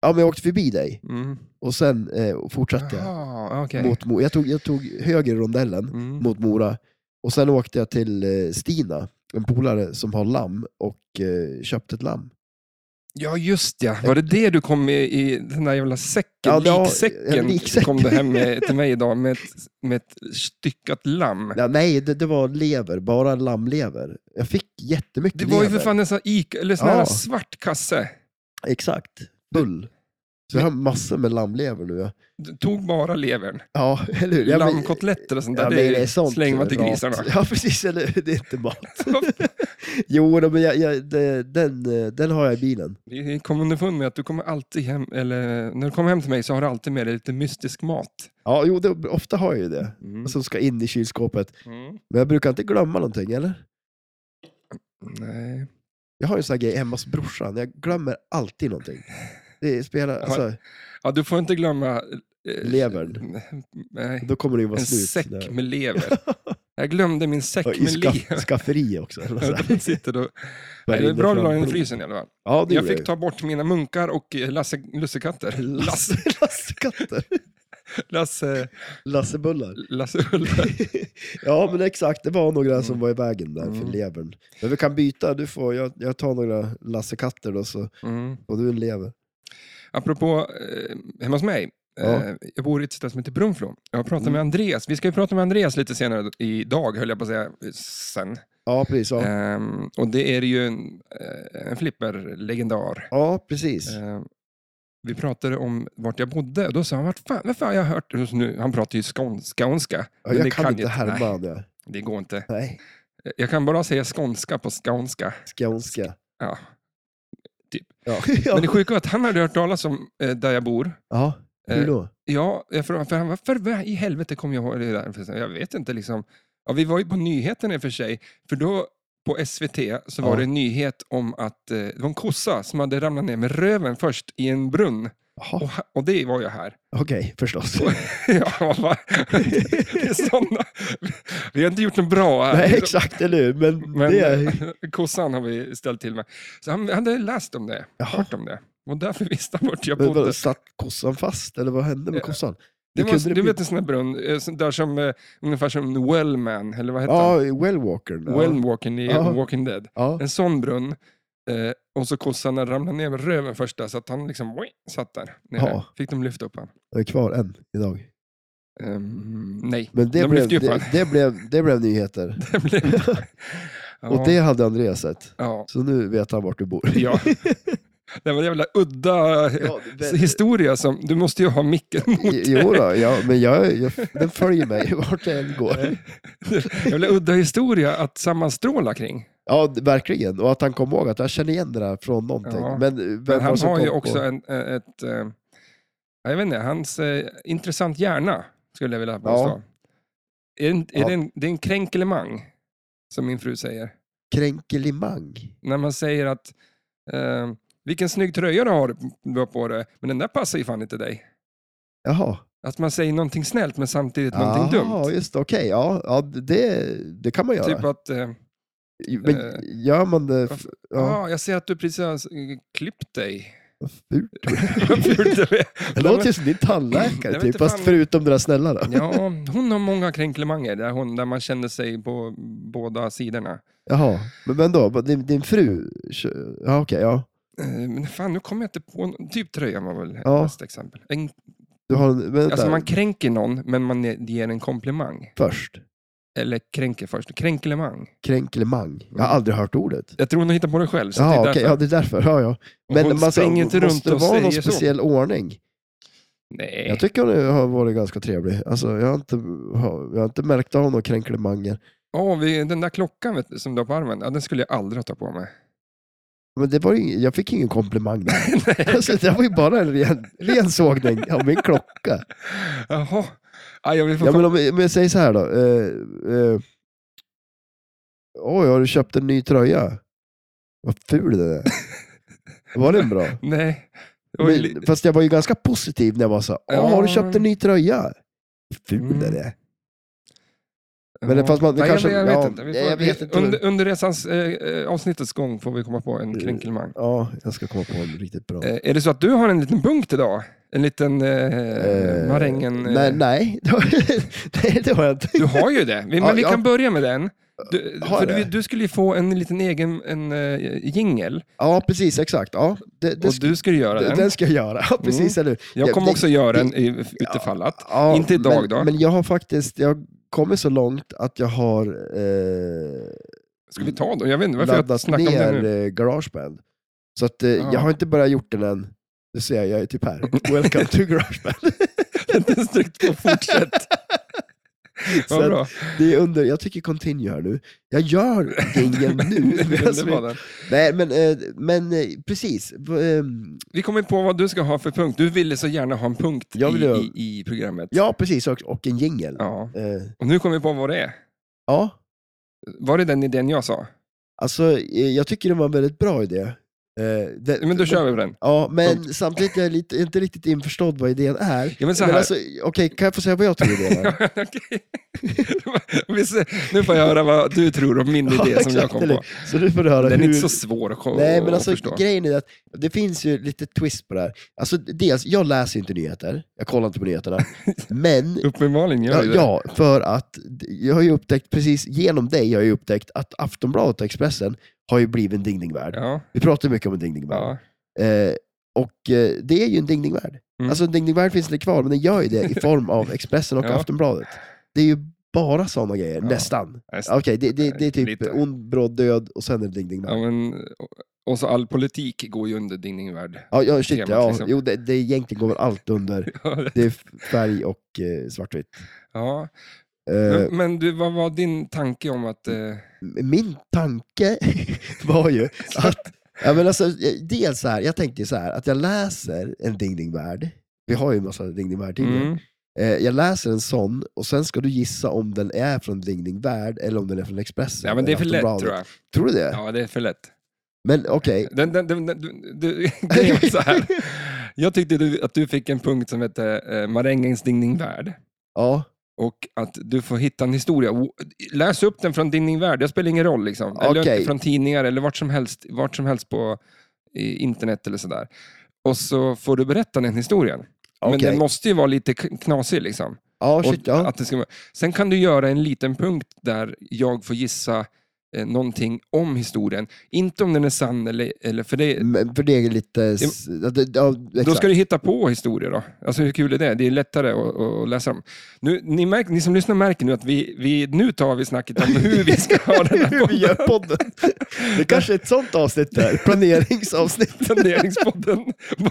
[SPEAKER 2] Ja, men jag åkte förbi dig
[SPEAKER 1] Mm.
[SPEAKER 2] och sen eh, fortsatte jag.
[SPEAKER 1] Jaha, okej.
[SPEAKER 2] Mot, Mo- jag, tog, jag tog höger i rondellen
[SPEAKER 1] Mm.
[SPEAKER 2] mot Mora och sen åkte jag till eh, Stina, en polare som har lamm och eh, köpte ett lamm.
[SPEAKER 1] Ja, just ja. Var det det du kom med i den där jävla säcken?
[SPEAKER 2] Ja, det var-
[SPEAKER 1] liksäcken
[SPEAKER 2] en liksäck.
[SPEAKER 1] kom du hem med, till mig idag med ett, med ett styckat lamm.
[SPEAKER 2] Ja, nej, det, det var lever, bara lammlever. Jag fick jättemycket
[SPEAKER 1] Det var ju
[SPEAKER 2] lever.
[SPEAKER 1] för fan en sån, Ica, eller sån här
[SPEAKER 2] Ja.
[SPEAKER 1] svart kasse.
[SPEAKER 2] Exakt, full. Så jag har massor med lammlever nu. Ja,
[SPEAKER 1] Du tog bara levern.
[SPEAKER 2] ja eller hur? Ja, men-
[SPEAKER 1] Lammkotletter och sånt där,
[SPEAKER 2] Ja,
[SPEAKER 1] det,
[SPEAKER 2] men det är sånt
[SPEAKER 1] slänger man
[SPEAKER 2] som
[SPEAKER 1] till
[SPEAKER 2] är mat.
[SPEAKER 1] grisarna. <laughs>
[SPEAKER 2] Ja, precis. Eller hur? Det är inte mat. jo, då, men jag, jag, det, den, eh, den har jag i bilen.
[SPEAKER 1] Vi kom underfund med att du kommer alltid hem, eller när du kommer hem till mig så har du alltid med dig lite mystisk mat.
[SPEAKER 2] Ja, jo, det, ofta har jag ju det.
[SPEAKER 1] Mm.
[SPEAKER 2] Som ska in i kylskåpet.
[SPEAKER 1] Mm.
[SPEAKER 2] Men jag brukar inte glömma någonting, eller?
[SPEAKER 1] Nej.
[SPEAKER 2] Jag har ju en sån här grej hemma hos brorsan. Jag glömmer alltid någonting. Det spelar, alltså,
[SPEAKER 1] Ja, du får inte glömma... eh,
[SPEAKER 2] Levern.
[SPEAKER 1] Nej.
[SPEAKER 2] då kommer det ju vara
[SPEAKER 1] En
[SPEAKER 2] slut.
[SPEAKER 1] säck
[SPEAKER 2] när-
[SPEAKER 1] med
[SPEAKER 2] <laughs>
[SPEAKER 1] lever. Jag glömde min säck
[SPEAKER 2] Ja,
[SPEAKER 1] med
[SPEAKER 2] I <laughs> Alltså, ska,
[SPEAKER 1] lever.
[SPEAKER 2] skafferi också. Eller
[SPEAKER 1] <laughs>
[SPEAKER 2] så
[SPEAKER 1] Ja,
[SPEAKER 2] här.
[SPEAKER 1] den sitter då. Nej, det är
[SPEAKER 2] Rinner
[SPEAKER 1] bra att du la
[SPEAKER 2] fram
[SPEAKER 1] den i
[SPEAKER 2] blod.
[SPEAKER 1] frysen i alla fall.
[SPEAKER 2] Ja, det
[SPEAKER 1] Jag
[SPEAKER 2] gjorde
[SPEAKER 1] fick ta bort mina munkar och eh, Lasse, lussekatter.
[SPEAKER 2] <laughs> Lasse,
[SPEAKER 1] Lasse,
[SPEAKER 2] Lassekatter.
[SPEAKER 1] Lasse,
[SPEAKER 2] Lassebullar.
[SPEAKER 1] Lasse Ulla.
[SPEAKER 2] <laughs> Ja, men exakt. Det var några som
[SPEAKER 1] Mm.
[SPEAKER 2] var i vägen där för
[SPEAKER 1] Mm.
[SPEAKER 2] levern. Men vi kan byta. Du får, jag, jag tar några Lassekatter då, så
[SPEAKER 1] Mm.
[SPEAKER 2] får du en lever.
[SPEAKER 1] Apropå eh, hemma hos mig.
[SPEAKER 2] Ja.
[SPEAKER 1] Eh, jag bor i ett ställe som heter Brunflo. Jag har pratat
[SPEAKER 2] Mm.
[SPEAKER 1] med Andreas. Vi ska ju prata med Andreas lite senare idag, höll jag på att säga. Sen.
[SPEAKER 2] Ja, precis. Ja,
[SPEAKER 1] Ehm, och det är ju en, eh, en flipperlegendar.
[SPEAKER 2] ja precis.
[SPEAKER 1] Ehm, vi pratade om vart jag bodde och då sa han, vart fan, vad fan har jag hört just nu? Han pratar ju skåns- skånska.
[SPEAKER 2] Ja,
[SPEAKER 1] Men
[SPEAKER 2] jag
[SPEAKER 1] det
[SPEAKER 2] kan, inte
[SPEAKER 1] nej,
[SPEAKER 2] härma det.
[SPEAKER 1] det går inte.
[SPEAKER 2] Nej,
[SPEAKER 1] Jag kan bara säga skånska på skånska.
[SPEAKER 2] skånska.
[SPEAKER 1] Ja.
[SPEAKER 2] Ja.
[SPEAKER 1] <laughs> Men det
[SPEAKER 2] ja.
[SPEAKER 1] sjuka var att han hade hört talas om eh, där jag bor.
[SPEAKER 2] ja,
[SPEAKER 1] Eh,
[SPEAKER 2] hur då?
[SPEAKER 1] Ja, jag frågade, för han, varför vad i helvete kom jag ihåg det där? För Jag vet inte. liksom. Ja, vi var ju på nyheterna i och för sig, för då på SVT så var
[SPEAKER 2] Ja.
[SPEAKER 1] det en nyhet om att eh, det var en kossa som hade ramlat ner med röven först i en brunn.
[SPEAKER 2] Jaha,
[SPEAKER 1] Och, ha- och det var jag här. <laughs>
[SPEAKER 2] Okej, förstås.
[SPEAKER 1] ja, vad va? det är såna. <laughs> Vi har inte gjort något bra här.
[SPEAKER 2] Nej, exakt, eller hur? Men,
[SPEAKER 1] Men
[SPEAKER 2] det
[SPEAKER 1] <laughs>
[SPEAKER 2] är...
[SPEAKER 1] kossan har vi ställt till med. Så han hade läst om det,
[SPEAKER 2] Jaha.
[SPEAKER 1] hört om det. Och därför <laughs> visste han vart jag
[SPEAKER 2] Men
[SPEAKER 1] bodde.
[SPEAKER 2] vadå, satt kossan fast, eller vad hände med
[SPEAKER 1] Ja.
[SPEAKER 2] kossan?
[SPEAKER 1] Eh, Det
[SPEAKER 2] Hur
[SPEAKER 1] var,
[SPEAKER 2] kunde det
[SPEAKER 1] du
[SPEAKER 2] bli-
[SPEAKER 1] vet en sån där brunn, eh, sån där som, eh, ungefär som Wellman, eller vad heter
[SPEAKER 2] Ja, Wellwalker.
[SPEAKER 1] han?
[SPEAKER 2] Ja.
[SPEAKER 1] Wellwalken i
[SPEAKER 2] Ja.
[SPEAKER 1] Walking Dead.
[SPEAKER 2] ja.
[SPEAKER 1] En sån brunn. Eh, och så kossan ramlade ner med röven först där, så att han liksom oj, satt där nere.
[SPEAKER 2] Ja.
[SPEAKER 1] Fick de lyfta upp han?
[SPEAKER 2] Jag är kvar än idag.
[SPEAKER 1] Ehm, nej,
[SPEAKER 2] Men det,
[SPEAKER 1] de
[SPEAKER 2] blev,
[SPEAKER 1] lyfte ju upp han.
[SPEAKER 2] det, det, blev, det blev nyheter.
[SPEAKER 1] Det blev... <laughs> ja,
[SPEAKER 2] Och det hade Andreas sett.
[SPEAKER 1] ja,
[SPEAKER 2] Så nu vet han vart du bor.
[SPEAKER 1] ja. Det var en jävla udda eh,
[SPEAKER 2] <laughs> Ja,
[SPEAKER 1] <laughs>
[SPEAKER 2] det-
[SPEAKER 1] historia som... Du måste ju ha micken
[SPEAKER 2] <laughs>
[SPEAKER 1] mot dig.
[SPEAKER 2] Jo då, ja, men jag, jag, den följer mig <laughs> vart jag än går.
[SPEAKER 1] Jävla udda historia att sammanstråla kring.
[SPEAKER 2] Ja, d- verkligen. Och att han kom ihåg att jag känner igen det där från någonting.
[SPEAKER 1] Ja.
[SPEAKER 2] Men, eh, vem var
[SPEAKER 1] Men
[SPEAKER 2] det
[SPEAKER 1] han
[SPEAKER 2] som
[SPEAKER 1] har ju
[SPEAKER 2] kom på-
[SPEAKER 1] också en, eh, ett, eh, jag vet inte, hans eh, intressant hjärna skulle jag vilja påstå. Är, det en- är
[SPEAKER 2] Ja.
[SPEAKER 1] det, en, det är en kränkelemang, som min fru säger.
[SPEAKER 2] kränkelimang.
[SPEAKER 1] när man säger att eh, vilken snygg tröja du har du har på dig, men den där passar ju fan inte dig.
[SPEAKER 2] Jaha.
[SPEAKER 1] Att man säger någonting snällt men samtidigt
[SPEAKER 2] Jaha,
[SPEAKER 1] någonting dumt.
[SPEAKER 2] just det. Okej, ja, ja det, det kan man göra.
[SPEAKER 1] Typ att, eh,
[SPEAKER 2] Men
[SPEAKER 1] eh,
[SPEAKER 2] gör man det... f- Ja,
[SPEAKER 1] ah, jag ser att du precis har eh, klippt dig. <laughs>
[SPEAKER 2] vad fult.
[SPEAKER 1] Vad <laughs> fult det är.
[SPEAKER 2] Det låter ju som din tandläkare,
[SPEAKER 1] Jag vet
[SPEAKER 2] typ,
[SPEAKER 1] inte
[SPEAKER 2] fast
[SPEAKER 1] fan.
[SPEAKER 2] förutom det där snälla då.
[SPEAKER 1] Ja, hon har många kränklimanger där, hon, där man känner sig på båda sidorna.
[SPEAKER 2] Jaha, men, men då, vad- din, din fru... kö- Ja, okej, ja.
[SPEAKER 1] Eh, Men fan, nu kommer jag inte på... någon- Typ tröjan var väl
[SPEAKER 2] Ja.
[SPEAKER 1] bästa exempel. En,
[SPEAKER 2] Du har en... Vänta,
[SPEAKER 1] alltså man kränker någon, men man ger en komplimang.
[SPEAKER 2] först.
[SPEAKER 1] Eller kränker först. Kränklemang.
[SPEAKER 2] Kränkelimang. Jag har aldrig hört ordet.
[SPEAKER 1] Jag tror hon har hittat på det själv. Så
[SPEAKER 2] Ja,
[SPEAKER 1] det är
[SPEAKER 2] okej,
[SPEAKER 1] därför.
[SPEAKER 2] ja, det är därför. Ja, ja.
[SPEAKER 1] Och hon
[SPEAKER 2] man-
[SPEAKER 1] springer inte runt
[SPEAKER 2] måste det
[SPEAKER 1] och
[SPEAKER 2] vara någon
[SPEAKER 1] säger så.
[SPEAKER 2] speciell ordning?
[SPEAKER 1] Nej.
[SPEAKER 2] Jag tycker hon har varit ganska trevlig. Alltså, jag, har inte, har- jag har inte märkt av några kränklimanger.
[SPEAKER 1] Åh, vi, den där klockan vet du, som du har på armen, ja, den skulle jag aldrig ha tagit på mig.
[SPEAKER 2] Men det var ju, ing- jag fick ingen
[SPEAKER 1] <laughs>
[SPEAKER 2] komplimang där. <laughs> alltså, det var ju bara en ren, ren sågning av min
[SPEAKER 1] <laughs>
[SPEAKER 2] klocka.
[SPEAKER 1] Jaha. Ja, jag vill få
[SPEAKER 2] Ja,
[SPEAKER 1] kom-
[SPEAKER 2] men om, om jag säger så här då. Eh, eh, Oj, har du köpt en ny tröja? Vad ful
[SPEAKER 1] <laughs>
[SPEAKER 2] den är. Var den bra?
[SPEAKER 1] Nej. Det var ju li-
[SPEAKER 2] Men, fast jag var ju ganska positiv när jag var så här, Åh, har du köpt en ny tröja? Vad
[SPEAKER 1] Mm.
[SPEAKER 2] Ful den är. men det-
[SPEAKER 1] Ja.
[SPEAKER 2] fast man- det
[SPEAKER 1] Nej,
[SPEAKER 2] kanske-
[SPEAKER 1] jag, jag vet
[SPEAKER 2] ja,
[SPEAKER 1] inte. Vi
[SPEAKER 2] nej,
[SPEAKER 1] får,
[SPEAKER 2] jag vet inte.
[SPEAKER 1] Under, under resans eh, eh, avsnittets gång får vi komma på
[SPEAKER 2] Mm.
[SPEAKER 1] en kränkelmang.
[SPEAKER 2] Ja, jag ska komma på en riktigt bra.
[SPEAKER 1] Eh, är det så att du har en liten punkt idag? En liten eh,
[SPEAKER 2] Eh,
[SPEAKER 1] marängen... eh,
[SPEAKER 2] Nej, nej. Det har- <laughs> nej, det har jag inte.
[SPEAKER 1] Du har ju det, Vi- men
[SPEAKER 2] Ja,
[SPEAKER 1] vi
[SPEAKER 2] jag-
[SPEAKER 1] kan börja med den. Du,
[SPEAKER 2] Har
[SPEAKER 1] för
[SPEAKER 2] jag
[SPEAKER 1] du,
[SPEAKER 2] det?
[SPEAKER 1] du skulle ju få en liten egen en, eh, jingel,
[SPEAKER 2] Ja, precis, exakt. Ja, det, det
[SPEAKER 1] och
[SPEAKER 2] ska,
[SPEAKER 1] du Mm. skulle göra
[SPEAKER 2] den.
[SPEAKER 1] den.
[SPEAKER 2] ska jag göra. Ja, precis, eller hur?
[SPEAKER 1] Jag
[SPEAKER 2] Ja,
[SPEAKER 1] kommer
[SPEAKER 2] det-
[SPEAKER 1] också göra en i
[SPEAKER 2] Ja.
[SPEAKER 1] ytterfall att.
[SPEAKER 2] Ja,
[SPEAKER 1] Inte idag
[SPEAKER 2] men,
[SPEAKER 1] då?
[SPEAKER 2] Men jag har faktiskt, jag har kommit så långt att jag har eh,
[SPEAKER 1] Ska vi ta då? Jag vet inte varför jag
[SPEAKER 2] laddat
[SPEAKER 1] snackar om det
[SPEAKER 2] ner <laughs>
[SPEAKER 1] nu.
[SPEAKER 2] eh, Garageband. Så att eh,
[SPEAKER 1] Ja.
[SPEAKER 2] jag har inte börjat gjort den än. Du ser, jag är typ
[SPEAKER 1] <laughs>
[SPEAKER 2] här. Welcome to Garageband.
[SPEAKER 1] Det är strikt på fortsätt. <laughs>
[SPEAKER 2] Så
[SPEAKER 1] Vad
[SPEAKER 2] att
[SPEAKER 1] bra.
[SPEAKER 2] det är under, jag tycker continue här nu. Jag gör ingen
[SPEAKER 1] <laughs>
[SPEAKER 2] nu. Alltså,
[SPEAKER 1] Det är
[SPEAKER 2] <laughs>
[SPEAKER 1] underbart.
[SPEAKER 2] Nej, men, eh, men eh, precis. Ehm,
[SPEAKER 1] Vi kommer på vad du ska ha för punkt. Du ville så gärna ha en punkt
[SPEAKER 2] Jag vill
[SPEAKER 1] i,
[SPEAKER 2] ha-
[SPEAKER 1] i, i programmet.
[SPEAKER 2] Ja, precis. Och, och en jingel. Ja.
[SPEAKER 1] Ja. Och nu kommer vi på vad det är.
[SPEAKER 2] ja,
[SPEAKER 1] Var det den idén jag sa?
[SPEAKER 2] alltså eh, jag tycker det var en väldigt bra idé. Eh, det,
[SPEAKER 1] Men då kör vi på den.
[SPEAKER 2] Ja, men samtidigt är jag lite, inte riktigt införstådd vad idén är.
[SPEAKER 1] Ja, men så
[SPEAKER 2] Men
[SPEAKER 1] här.
[SPEAKER 2] alltså, okej, kan jag få säga vad jag tror idén är?
[SPEAKER 1] <laughs> Okej. <laughs> Vi ser- nu får jag höra vad du tror
[SPEAKER 2] <laughs>
[SPEAKER 1] om min idé som jag
[SPEAKER 2] exakt,
[SPEAKER 1] kom
[SPEAKER 2] eller-
[SPEAKER 1] på.
[SPEAKER 2] Så nu får du höra
[SPEAKER 1] Den är
[SPEAKER 2] hur...
[SPEAKER 1] inte så svår att, ko-
[SPEAKER 2] Nej, men
[SPEAKER 1] att
[SPEAKER 2] alltså
[SPEAKER 1] förstå.
[SPEAKER 2] grejen är att det finns ju lite twist på det här. Alltså dels, jag läser ju inte nyheter. Jag kollar inte
[SPEAKER 1] <laughs>
[SPEAKER 2] på nyheterna. Men
[SPEAKER 1] Uppenbarligen gör
[SPEAKER 2] Ja,
[SPEAKER 1] du det.
[SPEAKER 2] ja, för att jag har ju upptäckt, precis genom dig har jag ju upptäckt att Aftonbladet och Expressen har ju blivit en dingdingvärld.
[SPEAKER 1] Ja,
[SPEAKER 2] Vi pratar ju mycket om en dingdingvärld.
[SPEAKER 1] ja.
[SPEAKER 2] Eh, och eh, det är ju en dingdingvärld.
[SPEAKER 1] Mm.
[SPEAKER 2] Alltså en dingdingvärld finns inte kvar, men den gör ju det
[SPEAKER 1] <laughs>
[SPEAKER 2] i form av Expressen och
[SPEAKER 1] Ja.
[SPEAKER 2] Aftonbladet. Det är ju bara sådana grejer,
[SPEAKER 1] Ja.
[SPEAKER 2] nästan.
[SPEAKER 1] Nej,
[SPEAKER 2] Okej, det, det, det är typ
[SPEAKER 1] Lite.
[SPEAKER 2] ond, bråd, död och sen är det dingdingvärld.
[SPEAKER 1] Ja, men, eh, och så all politik går ju under din värld.
[SPEAKER 2] Ja, ja, shit,
[SPEAKER 1] temat,
[SPEAKER 2] ja.
[SPEAKER 1] liksom.
[SPEAKER 2] Jo, det, det egentligen går väl allt under. Det är färg och eh, svartvitt.
[SPEAKER 1] Ja.
[SPEAKER 2] Eh,
[SPEAKER 1] Men, men du, vad var din tanke om att...
[SPEAKER 2] <laughs>
[SPEAKER 1] Eh,
[SPEAKER 2] min tanke <laughs> var ju att, ja, men alltså, dels så här, jag tänkte ju så här, att jag läser en Ding Ding Värld, vi har ju en massa Ding Ding Värld-tidningar,
[SPEAKER 1] mm,
[SPEAKER 2] eh, jag läser en sån och sen ska du gissa om den är från Ding Ding Värld eller om den är från Expressen.
[SPEAKER 1] ja, men det är
[SPEAKER 2] eller
[SPEAKER 1] för lätt
[SPEAKER 2] Aftonbladet.
[SPEAKER 1] tror jag.
[SPEAKER 2] Tror du det?
[SPEAKER 1] Ja, det är för lätt.
[SPEAKER 2] Men okej,
[SPEAKER 1] Den, den, den, den, du, du, <laughs> grejen var så här. Jag tyckte du, att du fick en punkt som hette eh, Marängens Dingningvärld.
[SPEAKER 2] ja,
[SPEAKER 1] Och att du får hitta en historia. O- Läs upp den från Dingningvärld, det spelar ingen roll. Liksom. Eller
[SPEAKER 2] Okej.
[SPEAKER 1] från tidningar eller vart som helst, vart som helst på i internet eller sådär. Och så får du berätta den historien. Men
[SPEAKER 2] okej.
[SPEAKER 1] den måste ju vara lite k- knasig. Liksom.
[SPEAKER 2] Ja,
[SPEAKER 1] Och
[SPEAKER 2] shit, ja.
[SPEAKER 1] att det ska vara... Sen kan du göra en liten punkt där jag får gissa eh, någonting om historien. Inte om den är sann, eller, eller för det,
[SPEAKER 2] Men för det är lite... s- Ja, det- ja,
[SPEAKER 1] då
[SPEAKER 2] Mm, exakt.
[SPEAKER 1] ska du hitta på historier. Då. Alltså hur kul är det? Det är lättare att, att läsa dem. Nu, ni, märk, ni som lyssnar märker nu att vi, vi, nu tar vi snacket om hur vi ska ha den här
[SPEAKER 2] <laughs> Hur vi gör
[SPEAKER 1] podden.
[SPEAKER 2] podden. Det kanske är ett sånt avsnitt där,
[SPEAKER 1] <laughs>
[SPEAKER 2] planeringsavsnitt.
[SPEAKER 1] Planeringspodden.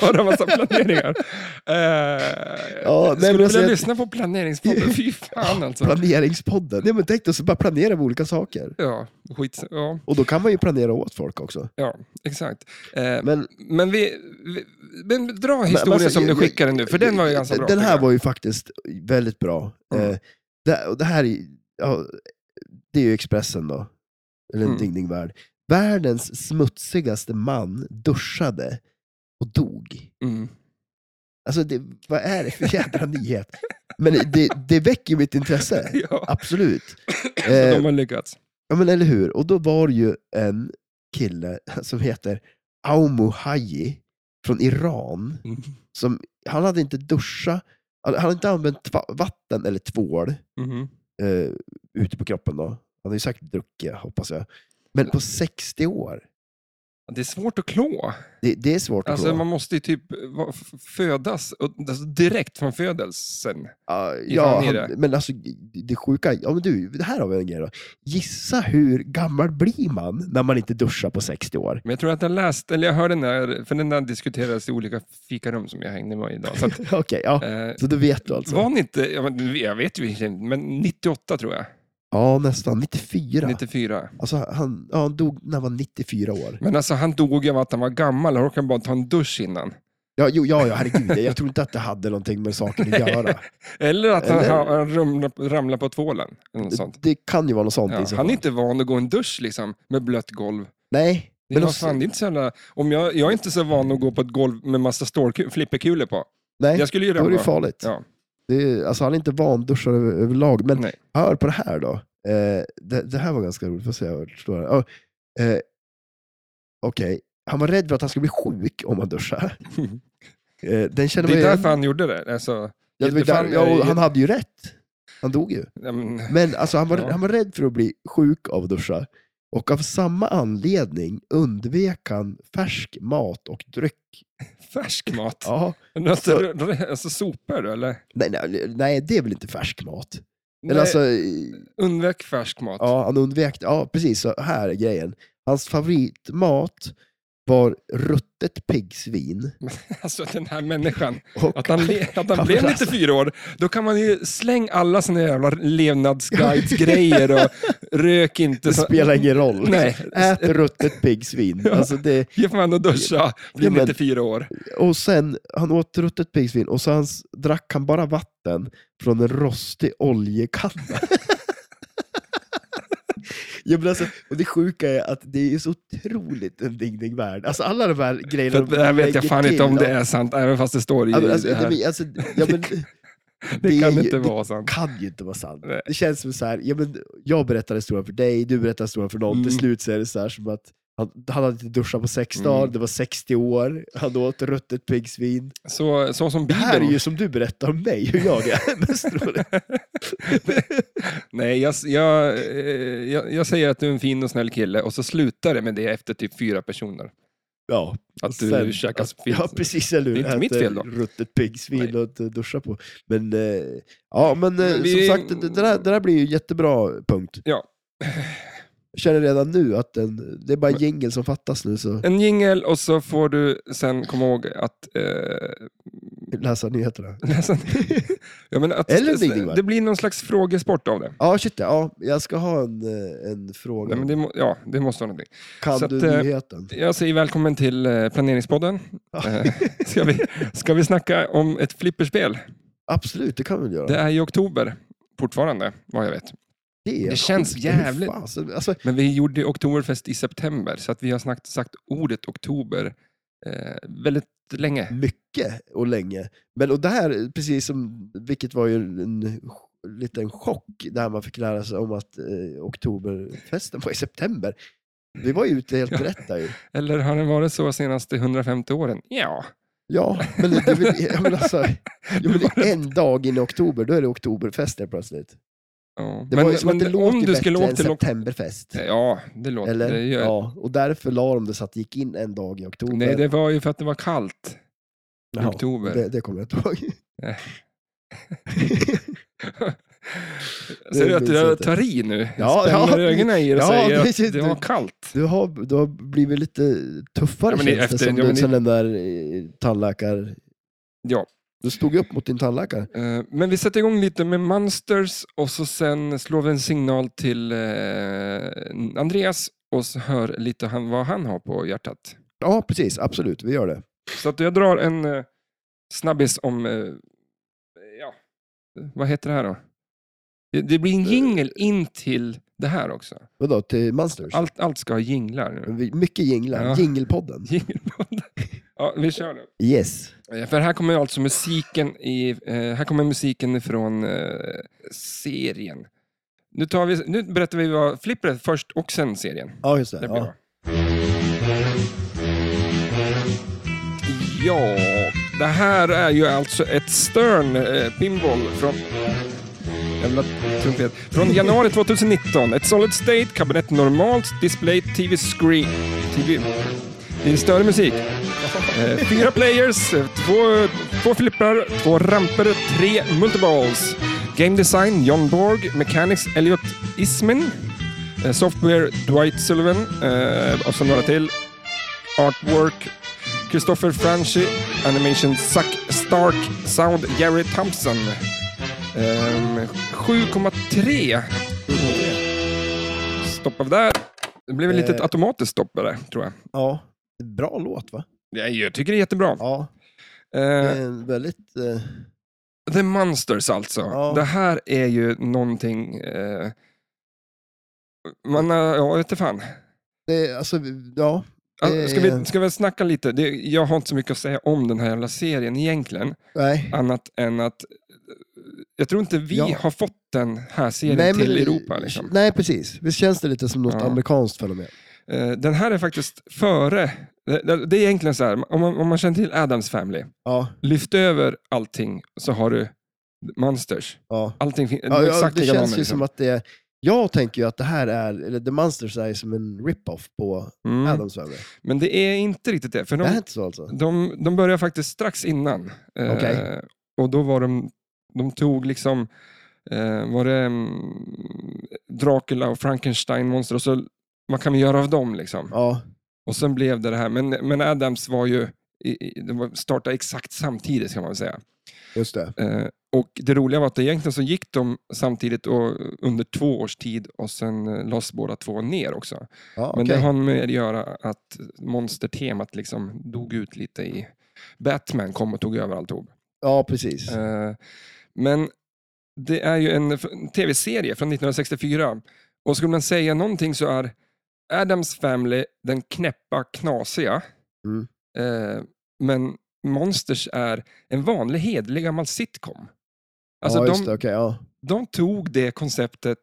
[SPEAKER 1] Bara massa planeringar. Eh,
[SPEAKER 2] Ja, nej, men
[SPEAKER 1] skulle du
[SPEAKER 2] alltså
[SPEAKER 1] vilja
[SPEAKER 2] jag-
[SPEAKER 1] lyssna på
[SPEAKER 2] <laughs>
[SPEAKER 1] planeringspodden? Fy fan alltså.
[SPEAKER 2] Planeringspodden. Nej, men tänk dig så bara planera med olika saker.
[SPEAKER 1] Ja, skit. Ja,
[SPEAKER 2] Och då kan man ju planera åt folk också.
[SPEAKER 1] ja exakt. Eh,
[SPEAKER 2] Men,
[SPEAKER 1] Men vi, vi men dra
[SPEAKER 2] men
[SPEAKER 1] historien
[SPEAKER 2] alltså,
[SPEAKER 1] som du
[SPEAKER 2] jag-
[SPEAKER 1] skickade nu, för den var ju ganska bra.
[SPEAKER 2] Den
[SPEAKER 1] tycker
[SPEAKER 2] här
[SPEAKER 1] jag.
[SPEAKER 2] var ju faktiskt väldigt bra.
[SPEAKER 1] Mm.
[SPEAKER 2] Eh, Det, och det här är, ja, det är ju Expressen då. eller en
[SPEAKER 1] Mm.
[SPEAKER 2] dygningvärd, världens smutsigaste man duschade och dog.
[SPEAKER 1] Mm. <laughs>
[SPEAKER 2] Alltså, det, vad är det för jävla nyhet? Men det, det väcker ju mitt intresse,
[SPEAKER 1] Ja,
[SPEAKER 2] absolut.
[SPEAKER 1] <laughs> så
[SPEAKER 2] Eh,
[SPEAKER 1] de har lyckats.
[SPEAKER 2] Ja men eller hur, och då var det ju en kille som heter Aumo Haji från Iran.
[SPEAKER 1] Mm.
[SPEAKER 2] Som, han hade inte duschat, han han hade inte använt tva- vatten eller tvål
[SPEAKER 1] Mhm.
[SPEAKER 2] eh, ute på kroppen då. Han hade ju sagt druckit hoppas jag. Men på 60 år,
[SPEAKER 1] Det är svårt att klå.
[SPEAKER 2] det, det är svårt att
[SPEAKER 1] Alltså,
[SPEAKER 2] alltså,
[SPEAKER 1] man måste ju typ va- f- födas och- alltså, direkt från födelsen.
[SPEAKER 2] ja,
[SPEAKER 1] fan i
[SPEAKER 2] han, men alltså det det sjuka, ja men du, det här har vi en grej då. Gissa hur gammal blir man när man inte duschar på
[SPEAKER 1] <laughs>
[SPEAKER 2] 60 år?
[SPEAKER 1] Men jag tror att jag läste, eller jag hörde den där, för den där diskuterades i olika fikarum som jag hängde med i idag. Så
[SPEAKER 2] <laughs>
[SPEAKER 1] att,
[SPEAKER 2] Okej, ja.
[SPEAKER 1] eh,
[SPEAKER 2] Så då vet du alltså?
[SPEAKER 1] Var ni inte, ja, men jag vet ju inte, men 98 tror jag,
[SPEAKER 2] Ja, nästan. 94.
[SPEAKER 1] 94.
[SPEAKER 2] Alltså, han, ja, han dog när han var 94 år.
[SPEAKER 1] Men alltså han dog ju av att han var gammal, han orkade bara ta en dusch innan.
[SPEAKER 2] Ja, jo, ja, ja herregud. Jag- Jag tror inte att det hade någonting med
[SPEAKER 1] <laughs>
[SPEAKER 2] saken att göra.
[SPEAKER 1] Eller att han,
[SPEAKER 2] Eller-
[SPEAKER 1] han ramlade, ramlade på tvålen. Eller något sånt.
[SPEAKER 2] Det kan ju vara något sånt. i
[SPEAKER 1] Ja,
[SPEAKER 2] så
[SPEAKER 1] han är
[SPEAKER 2] fall.
[SPEAKER 1] inte van att gå en dusch liksom, med blött golv.
[SPEAKER 2] Nej.
[SPEAKER 1] Det är, vad
[SPEAKER 2] Men alltså- också-
[SPEAKER 1] fan, det är inte så jävla, om jag, jag är inte så van att gå på ett golv med massa stålku- flipperkulor på.
[SPEAKER 2] nej,
[SPEAKER 1] Jag skulle ju
[SPEAKER 2] då är det ju
[SPEAKER 1] ramla.
[SPEAKER 2] farligt.
[SPEAKER 1] Ja.
[SPEAKER 2] Det är, alltså, han är inte vanduschad över, överlag. Men
[SPEAKER 1] Nej.
[SPEAKER 2] hör på det här då. Eh, det, det här var ganska roligt. Får se om jag förstår det. Ja, eh, Okej. Han var rädd för att han skulle bli sjuk om han duschade.
[SPEAKER 1] <laughs>
[SPEAKER 2] Eh, den känner
[SPEAKER 1] Det är
[SPEAKER 2] man ju-
[SPEAKER 1] därför han gjorde det. Alltså,
[SPEAKER 2] ja, det var ju
[SPEAKER 1] Fan,
[SPEAKER 2] där, ja, och han hade ju rätt. Han dog ju.
[SPEAKER 1] ja, men- <laughs>
[SPEAKER 2] Men alltså, han, var,
[SPEAKER 1] Ja.
[SPEAKER 2] han var rädd för att bli sjuk av att duscha. Och av samma anledning undvek han färsk mat och dryck.
[SPEAKER 1] färsk mat.
[SPEAKER 2] Ja.
[SPEAKER 1] Alltså, alltså sopor då, eller?
[SPEAKER 2] Nej, nej, nej, det är väl inte färsk mat?
[SPEAKER 1] Nej,
[SPEAKER 2] Eller alltså,
[SPEAKER 1] Undvik färsk mat.
[SPEAKER 2] ja, han undvek, ja precis, så här är grejen. Hans favoritmat var ruttet piggsvin.
[SPEAKER 1] <laughs> Alltså den här människan.
[SPEAKER 2] Och,
[SPEAKER 1] Att han, le- att
[SPEAKER 2] men
[SPEAKER 1] han blev
[SPEAKER 2] alltså.
[SPEAKER 1] 94 år, då kan man ju slänga alla sina
[SPEAKER 2] <laughs>
[SPEAKER 1] jävla levnadsguidesgrejer och rök inte.
[SPEAKER 2] <laughs> det
[SPEAKER 1] Så,
[SPEAKER 2] spelar ingen
[SPEAKER 1] <laughs>
[SPEAKER 2] roll.
[SPEAKER 1] nej,
[SPEAKER 2] Ät ruttet piggsvin.
[SPEAKER 1] <laughs> Ja.
[SPEAKER 2] Alltså det,
[SPEAKER 1] ge fan och duscha, bli
[SPEAKER 2] Ja, men-
[SPEAKER 1] 94 år.
[SPEAKER 2] Och sen, han åt ruttet piggsvin och så han, s- drack han bara vatten från en rostig oljekanna. <laughs> Jag menar alltså, och det sjuka är att det är så otroligt en digning värld. Alltså alla de här
[SPEAKER 1] För
[SPEAKER 2] grejerna
[SPEAKER 1] att, det här vet jag
[SPEAKER 2] lägger
[SPEAKER 1] fan inte om
[SPEAKER 2] till,
[SPEAKER 1] det är sant, även fast det står i
[SPEAKER 2] ja, men Alltså,
[SPEAKER 1] det här.
[SPEAKER 2] det, men, alltså, ja, men,
[SPEAKER 1] <laughs> Det,
[SPEAKER 2] det är
[SPEAKER 1] kan
[SPEAKER 2] ju-
[SPEAKER 1] inte
[SPEAKER 2] det-
[SPEAKER 1] vara sant.
[SPEAKER 2] kan ju inte vara sant.
[SPEAKER 1] Nej.
[SPEAKER 2] Det känns som så här, ja, men, jag berättar historien för dig, du berättar historien för någon. Till
[SPEAKER 1] Mm.
[SPEAKER 2] slut så är det så här som att han, han hade inte duschat på sex
[SPEAKER 1] Mm.
[SPEAKER 2] dagar, det var 60 år, han åt ruttet piggsvin.
[SPEAKER 1] Så, så som
[SPEAKER 2] Det här är
[SPEAKER 1] Bibeln.
[SPEAKER 2] ju som du berättar om mig, hur jag är. Mest
[SPEAKER 1] <laughs>
[SPEAKER 2] roligt.
[SPEAKER 1] Nej, jag, jag, eh, jag, jag säger att du är en fin och snäll kille och så slutar det med det efter typ fyra personer.
[SPEAKER 2] <laughs> ja,
[SPEAKER 1] Att du
[SPEAKER 2] sen-
[SPEAKER 1] käkar
[SPEAKER 2] att-
[SPEAKER 1] fint.
[SPEAKER 2] Ja, precis. Eller hur?
[SPEAKER 1] Det är inte mitt
[SPEAKER 2] Äter
[SPEAKER 1] fel då.
[SPEAKER 2] Ruttet piggsvin
[SPEAKER 1] Nej.
[SPEAKER 2] och inte duscha på. Men, eh, ja, men, eh,
[SPEAKER 1] Men vi-
[SPEAKER 2] som sagt, det, det, där, det där blir ju jättebra punkt.
[SPEAKER 1] Ja.
[SPEAKER 2] Jag känner redan nu att den, det är bara jingel som fattas nu, så
[SPEAKER 1] En jingel och så får du sen komma ihåg att eh, <laughs>
[SPEAKER 2] läsa nyheterna. <laughs>
[SPEAKER 1] läsa. ja, men att
[SPEAKER 2] Eller en Mm. dingding, va?
[SPEAKER 1] det blir någon slags frågesport av det.
[SPEAKER 2] Ja, shit ja. Jag ska ha en, eh, en fråga.
[SPEAKER 1] Nej, men det, må- ja, det måste vara någonting.
[SPEAKER 2] kan
[SPEAKER 1] så att,
[SPEAKER 2] du
[SPEAKER 1] eh,
[SPEAKER 2] nyheten?
[SPEAKER 1] Jag säger välkommen till eh, planeringspodden.
[SPEAKER 2] Ja.
[SPEAKER 1] Eh, ska, vi, ska vi snacka om ett flipperspel?
[SPEAKER 2] <laughs> Absolut, det kan vi göra.
[SPEAKER 1] Det
[SPEAKER 2] Det,
[SPEAKER 1] är i oktober fortfarande, vad jag vet.
[SPEAKER 2] är
[SPEAKER 1] det känns
[SPEAKER 2] sjukt.
[SPEAKER 1] jävligt-
[SPEAKER 2] Hur fan, så- alltså,
[SPEAKER 1] Men vi gjorde Oktoberfest i september, så att vi har snackt, sagt ordet oktober eh, väldigt länge.
[SPEAKER 2] mycket och länge. Men och det här, precis som, vilket var ju en liten chock, där man fick lära sig om att eh, oktoberfesten var i september. Vi var ju ute helt
[SPEAKER 1] Ja.
[SPEAKER 2] rätt där ju.
[SPEAKER 1] Eller har den varit så senaste 150 åren? Ja.
[SPEAKER 2] Ja, men det är väl, jag menar
[SPEAKER 1] <laughs>
[SPEAKER 2] alltså, jo, men det är en dag in i oktober, då är det oktoberfest helt plötsligt.
[SPEAKER 1] ja.
[SPEAKER 2] Det var ju som att det låter bättre än
[SPEAKER 1] ok-
[SPEAKER 2] septemberfest.
[SPEAKER 1] Ja, det låter...
[SPEAKER 2] Eller?
[SPEAKER 1] Det gör,
[SPEAKER 2] Ja, och därför la de det så att det gick in en dag i oktober.
[SPEAKER 1] Nej, det var ju för att det var kallt i
[SPEAKER 2] Jaha,
[SPEAKER 1] oktober.
[SPEAKER 2] det, det kommer jag inte ihåg. <laughs>
[SPEAKER 1] Ser du att
[SPEAKER 2] minns jag
[SPEAKER 1] jag
[SPEAKER 2] inte.
[SPEAKER 1] tar i nu?
[SPEAKER 2] Ja,
[SPEAKER 1] Jag spänner
[SPEAKER 2] ja,
[SPEAKER 1] ögonen i er och
[SPEAKER 2] ja,
[SPEAKER 1] säger
[SPEAKER 2] det-
[SPEAKER 1] att det var kallt.
[SPEAKER 2] Du har, du har blivit lite tuffare
[SPEAKER 1] Ja, men det-
[SPEAKER 2] känns det
[SPEAKER 1] efter-
[SPEAKER 2] som,
[SPEAKER 1] ja,
[SPEAKER 2] du-
[SPEAKER 1] men det-
[SPEAKER 2] sen den där eh, tandläkar...
[SPEAKER 1] Ja.
[SPEAKER 2] Du stod upp mot din tandläkare.
[SPEAKER 1] Eh, Men vi sätter igång lite med Monsters och så sen slår vi en signal till eh, Andreas och så hör lite han, vad han har på hjärtat.
[SPEAKER 2] Ja, precis. Absolut. Vi gör det.
[SPEAKER 1] Så att jag drar en eh, snabbis om, eh, ja, vad heter det här då? Det, det blir en jingel in till Det här också.
[SPEAKER 2] Vadå, till Monsters?
[SPEAKER 1] Allt, allt ska ha jinglar nu. <laughs>
[SPEAKER 2] Vi- Mycket jinglar.
[SPEAKER 1] Ja.
[SPEAKER 2] Jingelpodden.
[SPEAKER 1] Jingelpodd. ja, vi kör nu.
[SPEAKER 2] Yes.
[SPEAKER 1] Eh, För här kommer ju alltså musiken i, eh, här kommer musiken ifrån eh, serien. Nu, tar vi, nu berättar vi vad Flipper är först och sen serien.
[SPEAKER 2] Ja, just det.
[SPEAKER 1] Det blir
[SPEAKER 2] ja.
[SPEAKER 1] bra. Ja, det här är ju alltså ett Stern eh, Pinball från... Jävla trumpet. Från januari 2019. Ett Solid State, kabinett normalt, display, TV screen... TV... Det är större musik. Eh, Fyra players, eh, två, två flipprar, två ramper, tre multiballs. Game design, John Borg. Mechanics, Elliot Ismin. Eh, Software Dwight Sullivan eh, och så några till. Artwork Christopher Franchi, Animation Zack Stark, Sound Gary Thompson. Ehm, 7,3. Stopp av där. Det blev ett
[SPEAKER 2] Eh.
[SPEAKER 1] litet automatiskt stopp där, tror jag.
[SPEAKER 2] ja. Bra låt, va?
[SPEAKER 1] Ja, Jag tycker det är jättebra.
[SPEAKER 2] Ja.
[SPEAKER 1] Eh,
[SPEAKER 2] det är en väldigt... Eh,
[SPEAKER 1] The Monsters alltså.
[SPEAKER 2] Ja.
[SPEAKER 1] Det här är ju någonting... Eh, man, har- ja, jag vet inte fan.
[SPEAKER 2] det, är- alltså, ja.
[SPEAKER 1] Ja, Ska
[SPEAKER 2] Eh.
[SPEAKER 1] vi, ska vi snacka lite? Det, jag har inte så mycket att säga om den här jävla serien egentligen.
[SPEAKER 2] Nej.
[SPEAKER 1] Annat än att eh, jag tror inte vi
[SPEAKER 2] Ja.
[SPEAKER 1] har fått den här serien
[SPEAKER 2] men-
[SPEAKER 1] till Europa. Liksom.
[SPEAKER 2] Nej, precis. Visst känns det lite som något
[SPEAKER 1] Ja.
[SPEAKER 2] amerikanskt fenomen?
[SPEAKER 1] Eh, Den här är faktiskt före. Det- Det det är egentligen så här, om man, om man känner till Adams Family,
[SPEAKER 2] Ja.
[SPEAKER 1] lyft över allting så har du Monsters.
[SPEAKER 2] ja.
[SPEAKER 1] Allting fin-
[SPEAKER 2] Ja, ja,
[SPEAKER 1] exakt liksom.
[SPEAKER 2] det
[SPEAKER 1] likadana,
[SPEAKER 2] känns ju som att det Jag tänker ju att det här är, eller The Monsters är ju som en rip-off på
[SPEAKER 1] Mm.
[SPEAKER 2] Adams Family.
[SPEAKER 1] Men det är inte riktigt det. För
[SPEAKER 2] Det är
[SPEAKER 1] de,
[SPEAKER 2] inte så alltså?
[SPEAKER 1] de, de började faktiskt strax innan. Eh,
[SPEAKER 2] Okej.
[SPEAKER 1] och då var de, de tog liksom, eh, var det mm, Dracula och Frankenstein-monster och så, vad kan vi göra av dem liksom?
[SPEAKER 2] Ja,
[SPEAKER 1] Och sen blev det det här, men, men Adams var ju, i, i- de var- startade exakt samtidigt kan man väl säga.
[SPEAKER 2] just det.
[SPEAKER 1] Eh, och det roliga var att egentligen så gick de samtidigt och, under två års tid och sen eh, lades båda två ner också.
[SPEAKER 2] Ja,
[SPEAKER 1] Men det
[SPEAKER 2] okej.
[SPEAKER 1] har med att göra att monstertemat liksom dog ut lite i... Batman kom och tog över alltihop.
[SPEAKER 2] ja precis.
[SPEAKER 1] Eh, Men det är ju en f- en tv-serie från 1964 och skulle man säga någonting så är Adams Family den knäppa, knasiga.
[SPEAKER 2] Mm.
[SPEAKER 1] Eh, Men Monsters är en vanlig, hederlig gammal sitcom. Alltså
[SPEAKER 2] ja, just
[SPEAKER 1] de,
[SPEAKER 2] det. Okej, ja.
[SPEAKER 1] de tog det konceptet.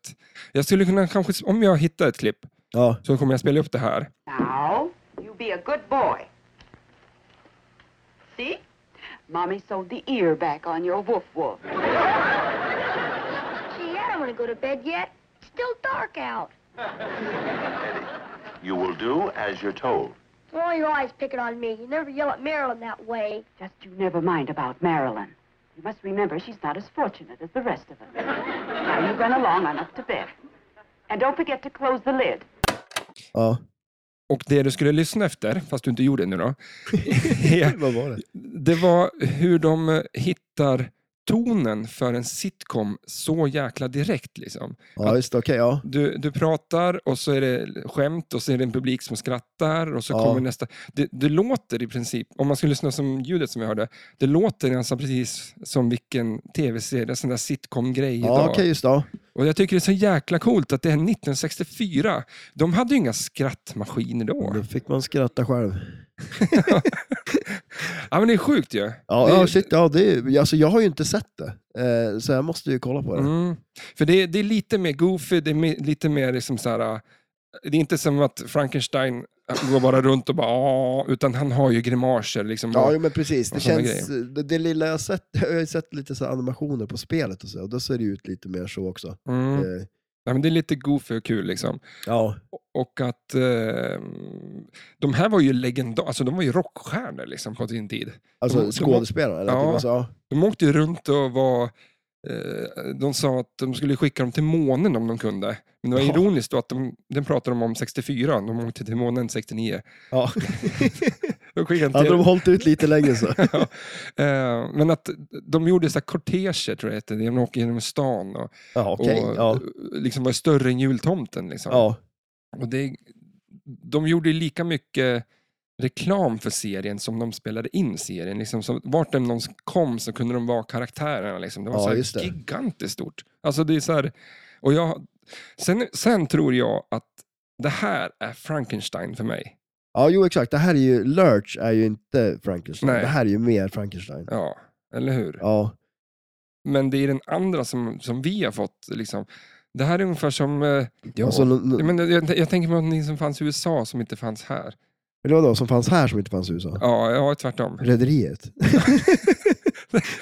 [SPEAKER 1] Jag skulle kunna kanske, om jag hittar ett klipp
[SPEAKER 2] Ja,
[SPEAKER 1] så kommer jag spela upp det här.
[SPEAKER 3] Now, you be a good boy. See? Mommy sewed the ear back on your woof woof.
[SPEAKER 4] Gee, I don't want to go to bed yet. It's still dark out.
[SPEAKER 5] You will do as you're told.
[SPEAKER 4] Why are you always picking on me? You never yell at Marilyn that way.
[SPEAKER 3] Just you never mind about Marilyn. You must remember she's not as fortunate as the rest of us. now you run along on up to bed. And don't forget to close the lid.
[SPEAKER 1] <laughs>
[SPEAKER 2] ja.
[SPEAKER 1] Och det du skulle lyssna efter, fast du inte gjorde det nu då, <laughs> är-
[SPEAKER 2] Vad var det?
[SPEAKER 1] det var hur de eh, hittar tonen för en sitcom så jäkla direkt. Liksom.
[SPEAKER 2] Ja, just det. Okej, ja.
[SPEAKER 1] Du, du pratar och så är det skämt och så är det en publik som skrattar och så
[SPEAKER 2] Ja.
[SPEAKER 1] kommer nästa. Det, det låter i princip, om man skulle lyssna som ljudet som jag hörde, det låter nästan precis som vilken tv-serie, en sån där sitcom-grej
[SPEAKER 2] Ja,
[SPEAKER 1] idag.
[SPEAKER 2] okej, just det. Ja.
[SPEAKER 1] Och jag tycker det är så jäkla coolt att det är 1964. De hade ju inga skrattmaskiner då.
[SPEAKER 2] Då fick man skratta själv.
[SPEAKER 1] Ja, men det är sjukt ju.
[SPEAKER 2] Ja,
[SPEAKER 1] Det är-
[SPEAKER 2] ja shit. Ja, det är, alltså, jag har ju inte sett det, eh, så jag måste ju kolla på det.
[SPEAKER 1] Mm. För det är, det är lite mer goofy, det är me- lite mer liksom så här... äh, Det är inte som att Frankenstein äh, går bara runt och bara "Åh", utan han har ju grimaser. Liksom.
[SPEAKER 2] Ja, jo, men precis.
[SPEAKER 1] och
[SPEAKER 2] Det,
[SPEAKER 1] såna
[SPEAKER 2] känns, det, det lilla jag har sett, <laughs> jag har ju sett lite så här animationer på spelet och så, och då ser det ju ut lite mer så också.
[SPEAKER 1] Mm.
[SPEAKER 2] Eh,
[SPEAKER 1] Ja, men det är lite goofy och kul liksom.
[SPEAKER 2] ja,
[SPEAKER 1] Och att eh, de här var ju legendar, alltså de var ju rockstjärnor liksom, på sin tid.
[SPEAKER 2] alltså
[SPEAKER 1] De- de-
[SPEAKER 2] skådespelarna. eller?
[SPEAKER 1] Mm. Ja.
[SPEAKER 2] Typ, alltså, ja.
[SPEAKER 1] De åkte ju runt och var... eh, De sa att de skulle skicka dem till månen om de kunde. Men det var
[SPEAKER 2] Jaha.
[SPEAKER 1] ironiskt då att de, den pratade de om 64, de åkte till månen 69.
[SPEAKER 2] Ja.
[SPEAKER 1] De skickade dem
[SPEAKER 2] <laughs> Hade
[SPEAKER 1] till,
[SPEAKER 2] de hållit ut lite
[SPEAKER 1] <laughs>
[SPEAKER 2] längre så.
[SPEAKER 1] Ja. Eh, Men att de gjorde så här korteger, tror jag det heter. De åker genom stan och,
[SPEAKER 2] Ja, okej.
[SPEAKER 1] och
[SPEAKER 2] Ja.
[SPEAKER 1] liksom var större än jultomten. Liksom.
[SPEAKER 2] Ja.
[SPEAKER 1] Och det, de gjorde ju lika mycket reklam för serien som de spelade in serien. Liksom, så vart de någon kom så kunde de vara karaktärerna. Liksom. Det var
[SPEAKER 2] Ja,
[SPEAKER 1] så
[SPEAKER 2] just det.
[SPEAKER 1] här gigantiskt stort. Alltså, det är så här, och jag Sen, sen tror jag att det här är Frankenstein för mig.
[SPEAKER 2] Ja, jo exakt. Det här är ju, Lurch är ju inte Frankenstein.
[SPEAKER 1] Nej.
[SPEAKER 2] Det här är ju mer Frankenstein.
[SPEAKER 1] Ja, eller hur?
[SPEAKER 2] Ja,
[SPEAKER 1] Men det är den andra som, som vi har fått. Liksom. Det här är ungefär som... eh, Ja,
[SPEAKER 2] Alltså, no- no-
[SPEAKER 1] Ja, men jag, jag tänker på någonting som fanns i USA som inte fanns här.
[SPEAKER 2] eller vadå, som fanns här som inte fanns i USA?
[SPEAKER 1] Ja, ja tvärtom. <laughs>
[SPEAKER 2] Rederiet.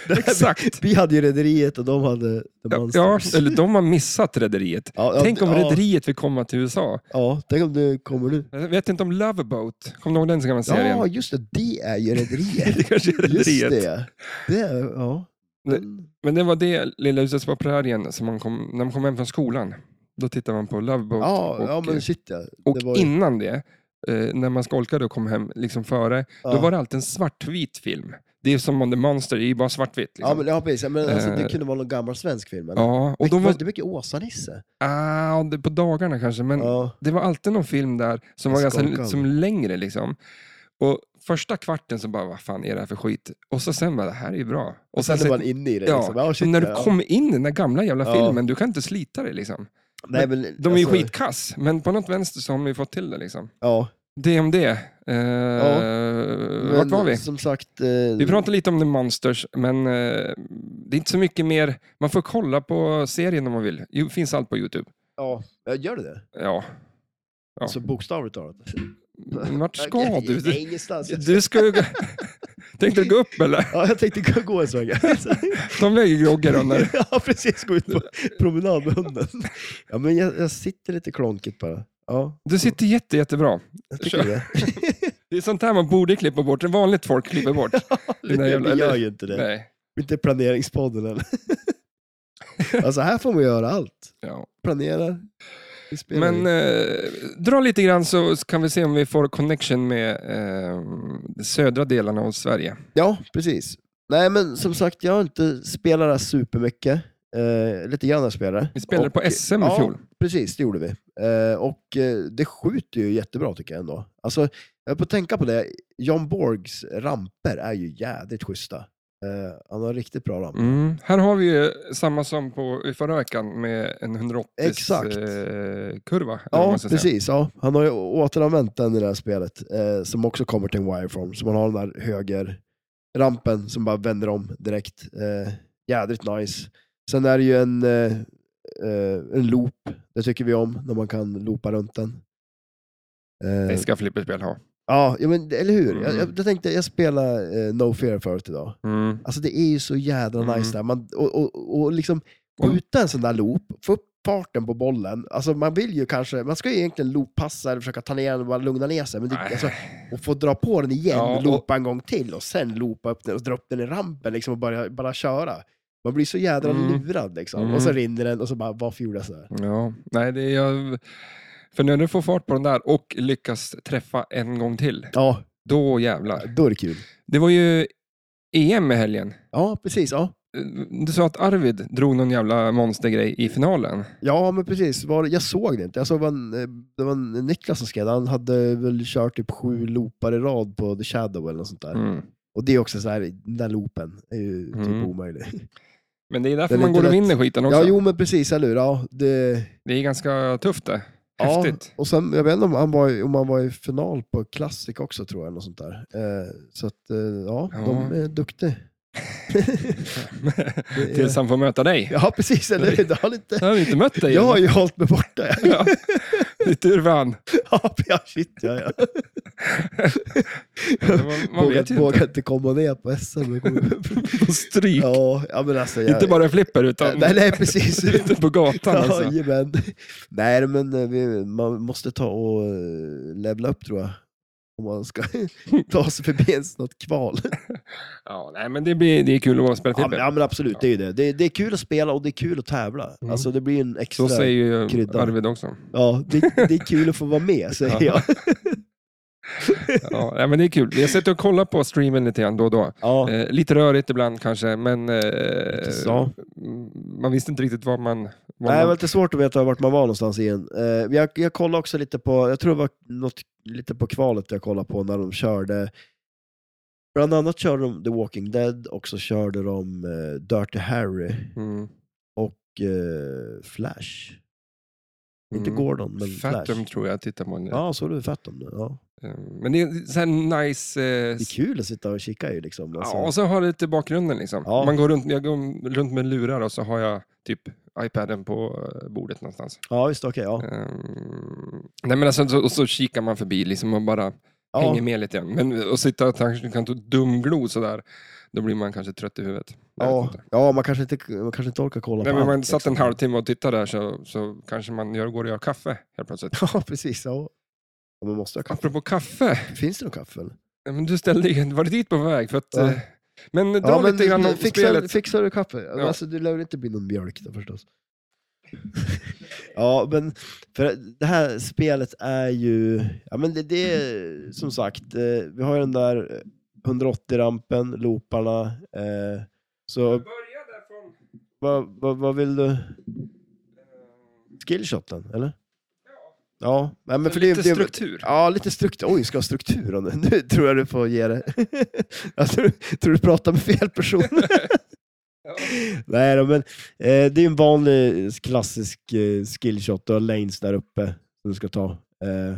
[SPEAKER 1] Exakt.
[SPEAKER 2] <laughs> Vi hade ju Rederiet och de hade The
[SPEAKER 1] Ja,
[SPEAKER 2] Monsters.
[SPEAKER 1] ja, eller de har missat Rederiet.
[SPEAKER 2] Ja, ja,
[SPEAKER 1] Tänk om
[SPEAKER 2] ja.
[SPEAKER 1] Rederiet fick komma till USA.
[SPEAKER 2] Ja, tänk om du kommer nu.
[SPEAKER 1] Jag vet inte om Loveboat, kommer du ihåg den gamla serien?
[SPEAKER 2] Ja, just det. Det är
[SPEAKER 1] <laughs>
[SPEAKER 2] ju
[SPEAKER 1] det
[SPEAKER 2] Rederiet.
[SPEAKER 1] kanske är <laughs>
[SPEAKER 2] just
[SPEAKER 1] Rederiet.
[SPEAKER 2] det. det är, ja. Den-
[SPEAKER 1] Men det var det lilla huset på prärien som man kom, när man kom hem från skolan. Då tittade man på Loveboat.
[SPEAKER 2] Ja,
[SPEAKER 1] och
[SPEAKER 2] ja, men
[SPEAKER 1] eh,
[SPEAKER 2] shit ja.
[SPEAKER 1] och
[SPEAKER 2] det var ju-
[SPEAKER 1] innan det, eh, när man skolkade och kom hem liksom före,
[SPEAKER 2] ja.
[SPEAKER 1] då var det alltid en svartvit film. Det är som om The Monster, det är ju bara svartvitt. Liksom.
[SPEAKER 2] Ja, men, ja, precis. Ja, Men, alltså, det
[SPEAKER 1] Eh,
[SPEAKER 2] kunde vara någon gammal svensk film. Eller?
[SPEAKER 1] Ja, och
[SPEAKER 2] Mycket-
[SPEAKER 1] då var,
[SPEAKER 2] var det mycket Åsa-Nisse?
[SPEAKER 1] ah, det- på dagarna kanske, men
[SPEAKER 2] Ja.
[SPEAKER 1] det var alltid någon film där som var
[SPEAKER 2] Jag
[SPEAKER 1] ganska
[SPEAKER 2] skakade.
[SPEAKER 1] som längre. Liksom. Och första kvarten så bara, vad fan är det här för skit? Och så sen bara, det här är ju bra. Och
[SPEAKER 2] Sen
[SPEAKER 1] sen, så,
[SPEAKER 2] är man inne i det.
[SPEAKER 1] ja,
[SPEAKER 2] liksom. ja,
[SPEAKER 1] och
[SPEAKER 2] shit,
[SPEAKER 1] när du
[SPEAKER 2] ja.
[SPEAKER 1] kommer in i den där gamla jävla
[SPEAKER 2] Ja.
[SPEAKER 1] filmen, du kan inte slita dig. Liksom.
[SPEAKER 2] Nej, men,
[SPEAKER 1] De är ju
[SPEAKER 2] alltså,
[SPEAKER 1] skitkass, men på något vänster så har man ju fått till det. Liksom.
[SPEAKER 2] Ja,
[SPEAKER 1] Det om det. Eh, vart
[SPEAKER 2] men
[SPEAKER 1] var vi?
[SPEAKER 2] Som sagt, eh,
[SPEAKER 1] Vi pratade lite om The Monsters, men eh, det är inte så mycket mer. Man får kolla på serien om man vill. Det finns allt på Youtube.
[SPEAKER 2] ja, ja, gör du det?
[SPEAKER 1] Ja, Ja.
[SPEAKER 2] Så bokstavligt talat?
[SPEAKER 1] men vart ska
[SPEAKER 2] <laughs> Nej,
[SPEAKER 1] du?
[SPEAKER 2] nej,
[SPEAKER 1] Du-
[SPEAKER 2] Ingenstans.
[SPEAKER 1] Du ska ju... gå- <laughs> Tänkte du gå upp eller?
[SPEAKER 2] Ja, jag tänkte gå- gå
[SPEAKER 1] <laughs>
[SPEAKER 2] en sväng.
[SPEAKER 1] Ta med groggen då. när-
[SPEAKER 2] <laughs> ja, precis. Gå ut på promenad med hunden. Ja, men jag, jag sitter lite klonkigt bara. Ja,
[SPEAKER 1] Du sitter jätte, jättebra.
[SPEAKER 2] jag
[SPEAKER 1] <laughs>
[SPEAKER 2] tycker det.
[SPEAKER 1] Det är sånt här man borde klippa bort. Vanligt folk klipper
[SPEAKER 2] <laughs>
[SPEAKER 1] bort.
[SPEAKER 2] Vi
[SPEAKER 1] Nej, jävlar,
[SPEAKER 2] gör
[SPEAKER 1] eller-
[SPEAKER 2] ju inte det.
[SPEAKER 1] Nej.
[SPEAKER 2] Inte planeringspodden eller? <laughs> alltså här får man göra allt.
[SPEAKER 1] Ja.
[SPEAKER 2] Planerar, vi spelar
[SPEAKER 1] Men
[SPEAKER 2] in.
[SPEAKER 1] eh, dra lite grann så kan vi se om vi får connection med eh, de södra delarna av Sverige.
[SPEAKER 2] Ja, precis. Nej men som sagt, jag har inte spelat det här supermycket. Eh, lite grann har jag spelat.
[SPEAKER 1] Vi spelade
[SPEAKER 2] Och- eh,
[SPEAKER 1] på SM i
[SPEAKER 2] ja,
[SPEAKER 1] fjol.
[SPEAKER 2] precis, det gjorde vi. Eh, och eh, det skjuter ju jättebra tycker jag ändå. Alltså, jag får tänka på det, John Borgs ramper är ju jädrigt schyssta. Eh, han har riktigt bra ramper.
[SPEAKER 1] Mm. Här har vi ju samma som på, i förra veckan med en 180 Eh,
[SPEAKER 2] Exakt.
[SPEAKER 1] kurva. eller vad
[SPEAKER 2] Ja,
[SPEAKER 1] man ska säga.
[SPEAKER 2] precis. Ja. Han har ju återanvänt den i det här spelet, eh, som också kommer till en wireform. Så man har den här höger rampen som bara vänder om direkt. Eh, jädrigt nice. Sen är det ju en, eh, eh, en loop, det tycker vi om, när man kan loopa runt den. Eh,
[SPEAKER 1] Det ska flipperspel ha.
[SPEAKER 2] ja, ja, men, eller hur? Jag,
[SPEAKER 1] Mm.
[SPEAKER 2] jag, jag tänkte, jag spelade eh, No Fear förut idag.
[SPEAKER 1] Mm.
[SPEAKER 2] Alltså det är ju så jädra
[SPEAKER 1] Mm.
[SPEAKER 2] nice där. Man, och, och, och liksom skjuta en sån där loop, få upp farten på bollen. Alltså man vill ju kanske, man ska ju egentligen looppassa eller försöka ta ner den och bara lugna ner sig. Men det,
[SPEAKER 1] Nej.
[SPEAKER 2] alltså, och få dra på den igen,
[SPEAKER 1] Ja, och-
[SPEAKER 2] loopa en gång till och sen loopa upp den och dra upp den i rampen liksom, och börja, bara köra. Man blir så jädra
[SPEAKER 1] Mm.
[SPEAKER 2] lurad liksom.
[SPEAKER 1] Mm.
[SPEAKER 2] Och så rinner den och så bara, varför gjorde jag sådär?
[SPEAKER 1] Ja, nej, det är jag... För när du får fart på den där och lyckas träffa en gång till,
[SPEAKER 2] Ja,
[SPEAKER 1] då jävlar.
[SPEAKER 2] då är det kul.
[SPEAKER 1] Det var ju EM i helgen.
[SPEAKER 2] Ja, precis. Ja,
[SPEAKER 1] Du sa att Arvid drog någon jävla monstergrej i finalen.
[SPEAKER 2] ja men precis. Var, jag såg det inte. Jag såg det var en, eh, det var en Niklas som skrev, han hade väl kört typ sju loopar i rad på The Shadow eller något sånt där.
[SPEAKER 1] Mm.
[SPEAKER 2] Och det är också så här, den där loopen är ju typ
[SPEAKER 1] Mm.
[SPEAKER 2] omöjlig.
[SPEAKER 1] Men det är därför
[SPEAKER 2] Den är
[SPEAKER 1] man
[SPEAKER 2] inte
[SPEAKER 1] går och
[SPEAKER 2] lätt.
[SPEAKER 1] vinner skiten också.
[SPEAKER 2] Ja, jo men precis, eller hur? Ja, det,
[SPEAKER 1] Det är ganska tufft det.
[SPEAKER 2] ja.
[SPEAKER 1] Häftigt.
[SPEAKER 2] Och sen, jag vet inte om han var, i- om han var i final på Classic också tror jag, eller något sånt där. Eh, så att, eh, ja,
[SPEAKER 1] Ja.
[SPEAKER 2] de är duktiga. är-
[SPEAKER 1] <laughs> Tills han får möta dig.
[SPEAKER 2] Ja, precis, eller hur? Det har
[SPEAKER 1] <laughs>
[SPEAKER 2] han inte...
[SPEAKER 1] Jag har inte mött dig.
[SPEAKER 2] Jag har ju hållit mig borta. <laughs> ja.
[SPEAKER 1] Ja. Det är tur för han.
[SPEAKER 2] Ja, ja shit ja. ja.
[SPEAKER 1] Man, man vet ju
[SPEAKER 2] Vågar vågar
[SPEAKER 1] inte.
[SPEAKER 2] inte komma ner på SM.
[SPEAKER 1] På stryk.
[SPEAKER 2] ja, ja, men alltså. Jag,
[SPEAKER 1] Inte bara en flipper utan
[SPEAKER 2] Eh, Nej,
[SPEAKER 1] <laughs>
[SPEAKER 2] nej, precis.
[SPEAKER 1] ute på gatan. Alltså.
[SPEAKER 2] Jajamän. Nej, men eh, vi, man måste ta och eh, levla upp tror jag. Om
[SPEAKER 1] <laughs>
[SPEAKER 2] man ska ta sig förbi ens något kval.
[SPEAKER 1] Ja, nej, men det, blir, typ det är kul att vara och spela
[SPEAKER 2] Ja,
[SPEAKER 1] flipper.
[SPEAKER 2] men, ja, men absolut, det är ju det. det. Det är kul att spela och det är kul att tävla.
[SPEAKER 1] Mm.
[SPEAKER 2] Alltså det blir en
[SPEAKER 1] Så
[SPEAKER 2] extra...
[SPEAKER 1] säger ju
[SPEAKER 2] krydda.
[SPEAKER 1] Arvid också.
[SPEAKER 2] Ja, det, det är kul att få vara
[SPEAKER 1] <laughs>
[SPEAKER 2] med, säger jag.
[SPEAKER 1] Ja, nej, men det är kul. Jag sitter och kollar på streamen lite grann då och då.
[SPEAKER 2] Ja,
[SPEAKER 1] Eh, lite rörigt ibland kanske, men eh,
[SPEAKER 2] så.
[SPEAKER 1] mm, man visste inte riktigt vad man... Vad
[SPEAKER 2] Nej, det var
[SPEAKER 1] man
[SPEAKER 2] lite svårt att veta vart man var någonstans igen. Eh, jag, jag kollade också lite på, jag tror det var något, lite på kvalet jag kollade på när de körde, bland annat körde de The Walking Dead och så körde de eh, Dirty Harry
[SPEAKER 1] mm.
[SPEAKER 2] och eh, Flash. Inte
[SPEAKER 1] Mm.
[SPEAKER 2] Gordon, men
[SPEAKER 1] Fathom
[SPEAKER 2] Flash.
[SPEAKER 1] tror jag tittar på nu.
[SPEAKER 2] Ja, så du Fathom nu. Ja.
[SPEAKER 1] Eh, Men det är en sån här nice... eh,
[SPEAKER 2] Det är kul att sitta och kika ju liksom. Alltså,
[SPEAKER 1] Ja, och så har det lite bakgrunden liksom.
[SPEAKER 2] Ja.
[SPEAKER 1] Man går runt, jag går runt med lurar och så har jag typ iPaden på eh, bordet någonstans.
[SPEAKER 2] ja, just det, okej. ja.
[SPEAKER 1] Ehm, nej men alltså, så, och så kikar man förbi liksom och bara
[SPEAKER 2] Ja.
[SPEAKER 1] hänger med lite grann. Men att sitta och kanske kan ta dumglo sådär, då blir man kanske trött i huvudet. Jag vet
[SPEAKER 2] Ja,
[SPEAKER 1] inte.
[SPEAKER 2] ja, man kanske inte, man kanske inte orkar kolla
[SPEAKER 1] Nej,
[SPEAKER 2] på
[SPEAKER 1] men man
[SPEAKER 2] allt,
[SPEAKER 1] satt en
[SPEAKER 2] liksom.
[SPEAKER 1] halvtimme och tittade där så, så kanske man gör, går och gör kaffe helt plötsligt.
[SPEAKER 2] <laughs> Ja, precis. Ja. Ja, man måste ha kaffe.
[SPEAKER 1] Apropå kaffe,
[SPEAKER 2] Finns det någon kaffe? eller?
[SPEAKER 1] ja, men du ställde ju, var det dit på väg? För att,
[SPEAKER 2] Ja.
[SPEAKER 1] eh, Men dra
[SPEAKER 2] men
[SPEAKER 1] lite grann om
[SPEAKER 2] fixar,
[SPEAKER 1] spelet.
[SPEAKER 2] fixar du kaffe?
[SPEAKER 1] Ja.
[SPEAKER 2] Alltså, det lär väl inte bli någon mjölk då förstås. <laughs> ja, men för det här spelet är ju... Ja, men det, det är som sagt, eh, vi har ju den där 180-rampen, looparna. Eh, så vad, vad, vad vill du? Skillshoten, eller? Ja, nej, men för det, är-
[SPEAKER 1] Lite
[SPEAKER 2] det, är-
[SPEAKER 1] struktur.
[SPEAKER 2] Ja, lite struktur. Oj, ska ha struktur om det. Nu tror jag du får ge det. <laughs> Jag tror, tror du pratar med fel person.
[SPEAKER 1] <laughs> Ja.
[SPEAKER 2] Nej då, men eh, det är en vanlig eh, klassisk eh, skillshot. Du har lanes där uppe som du ska ta. Eh,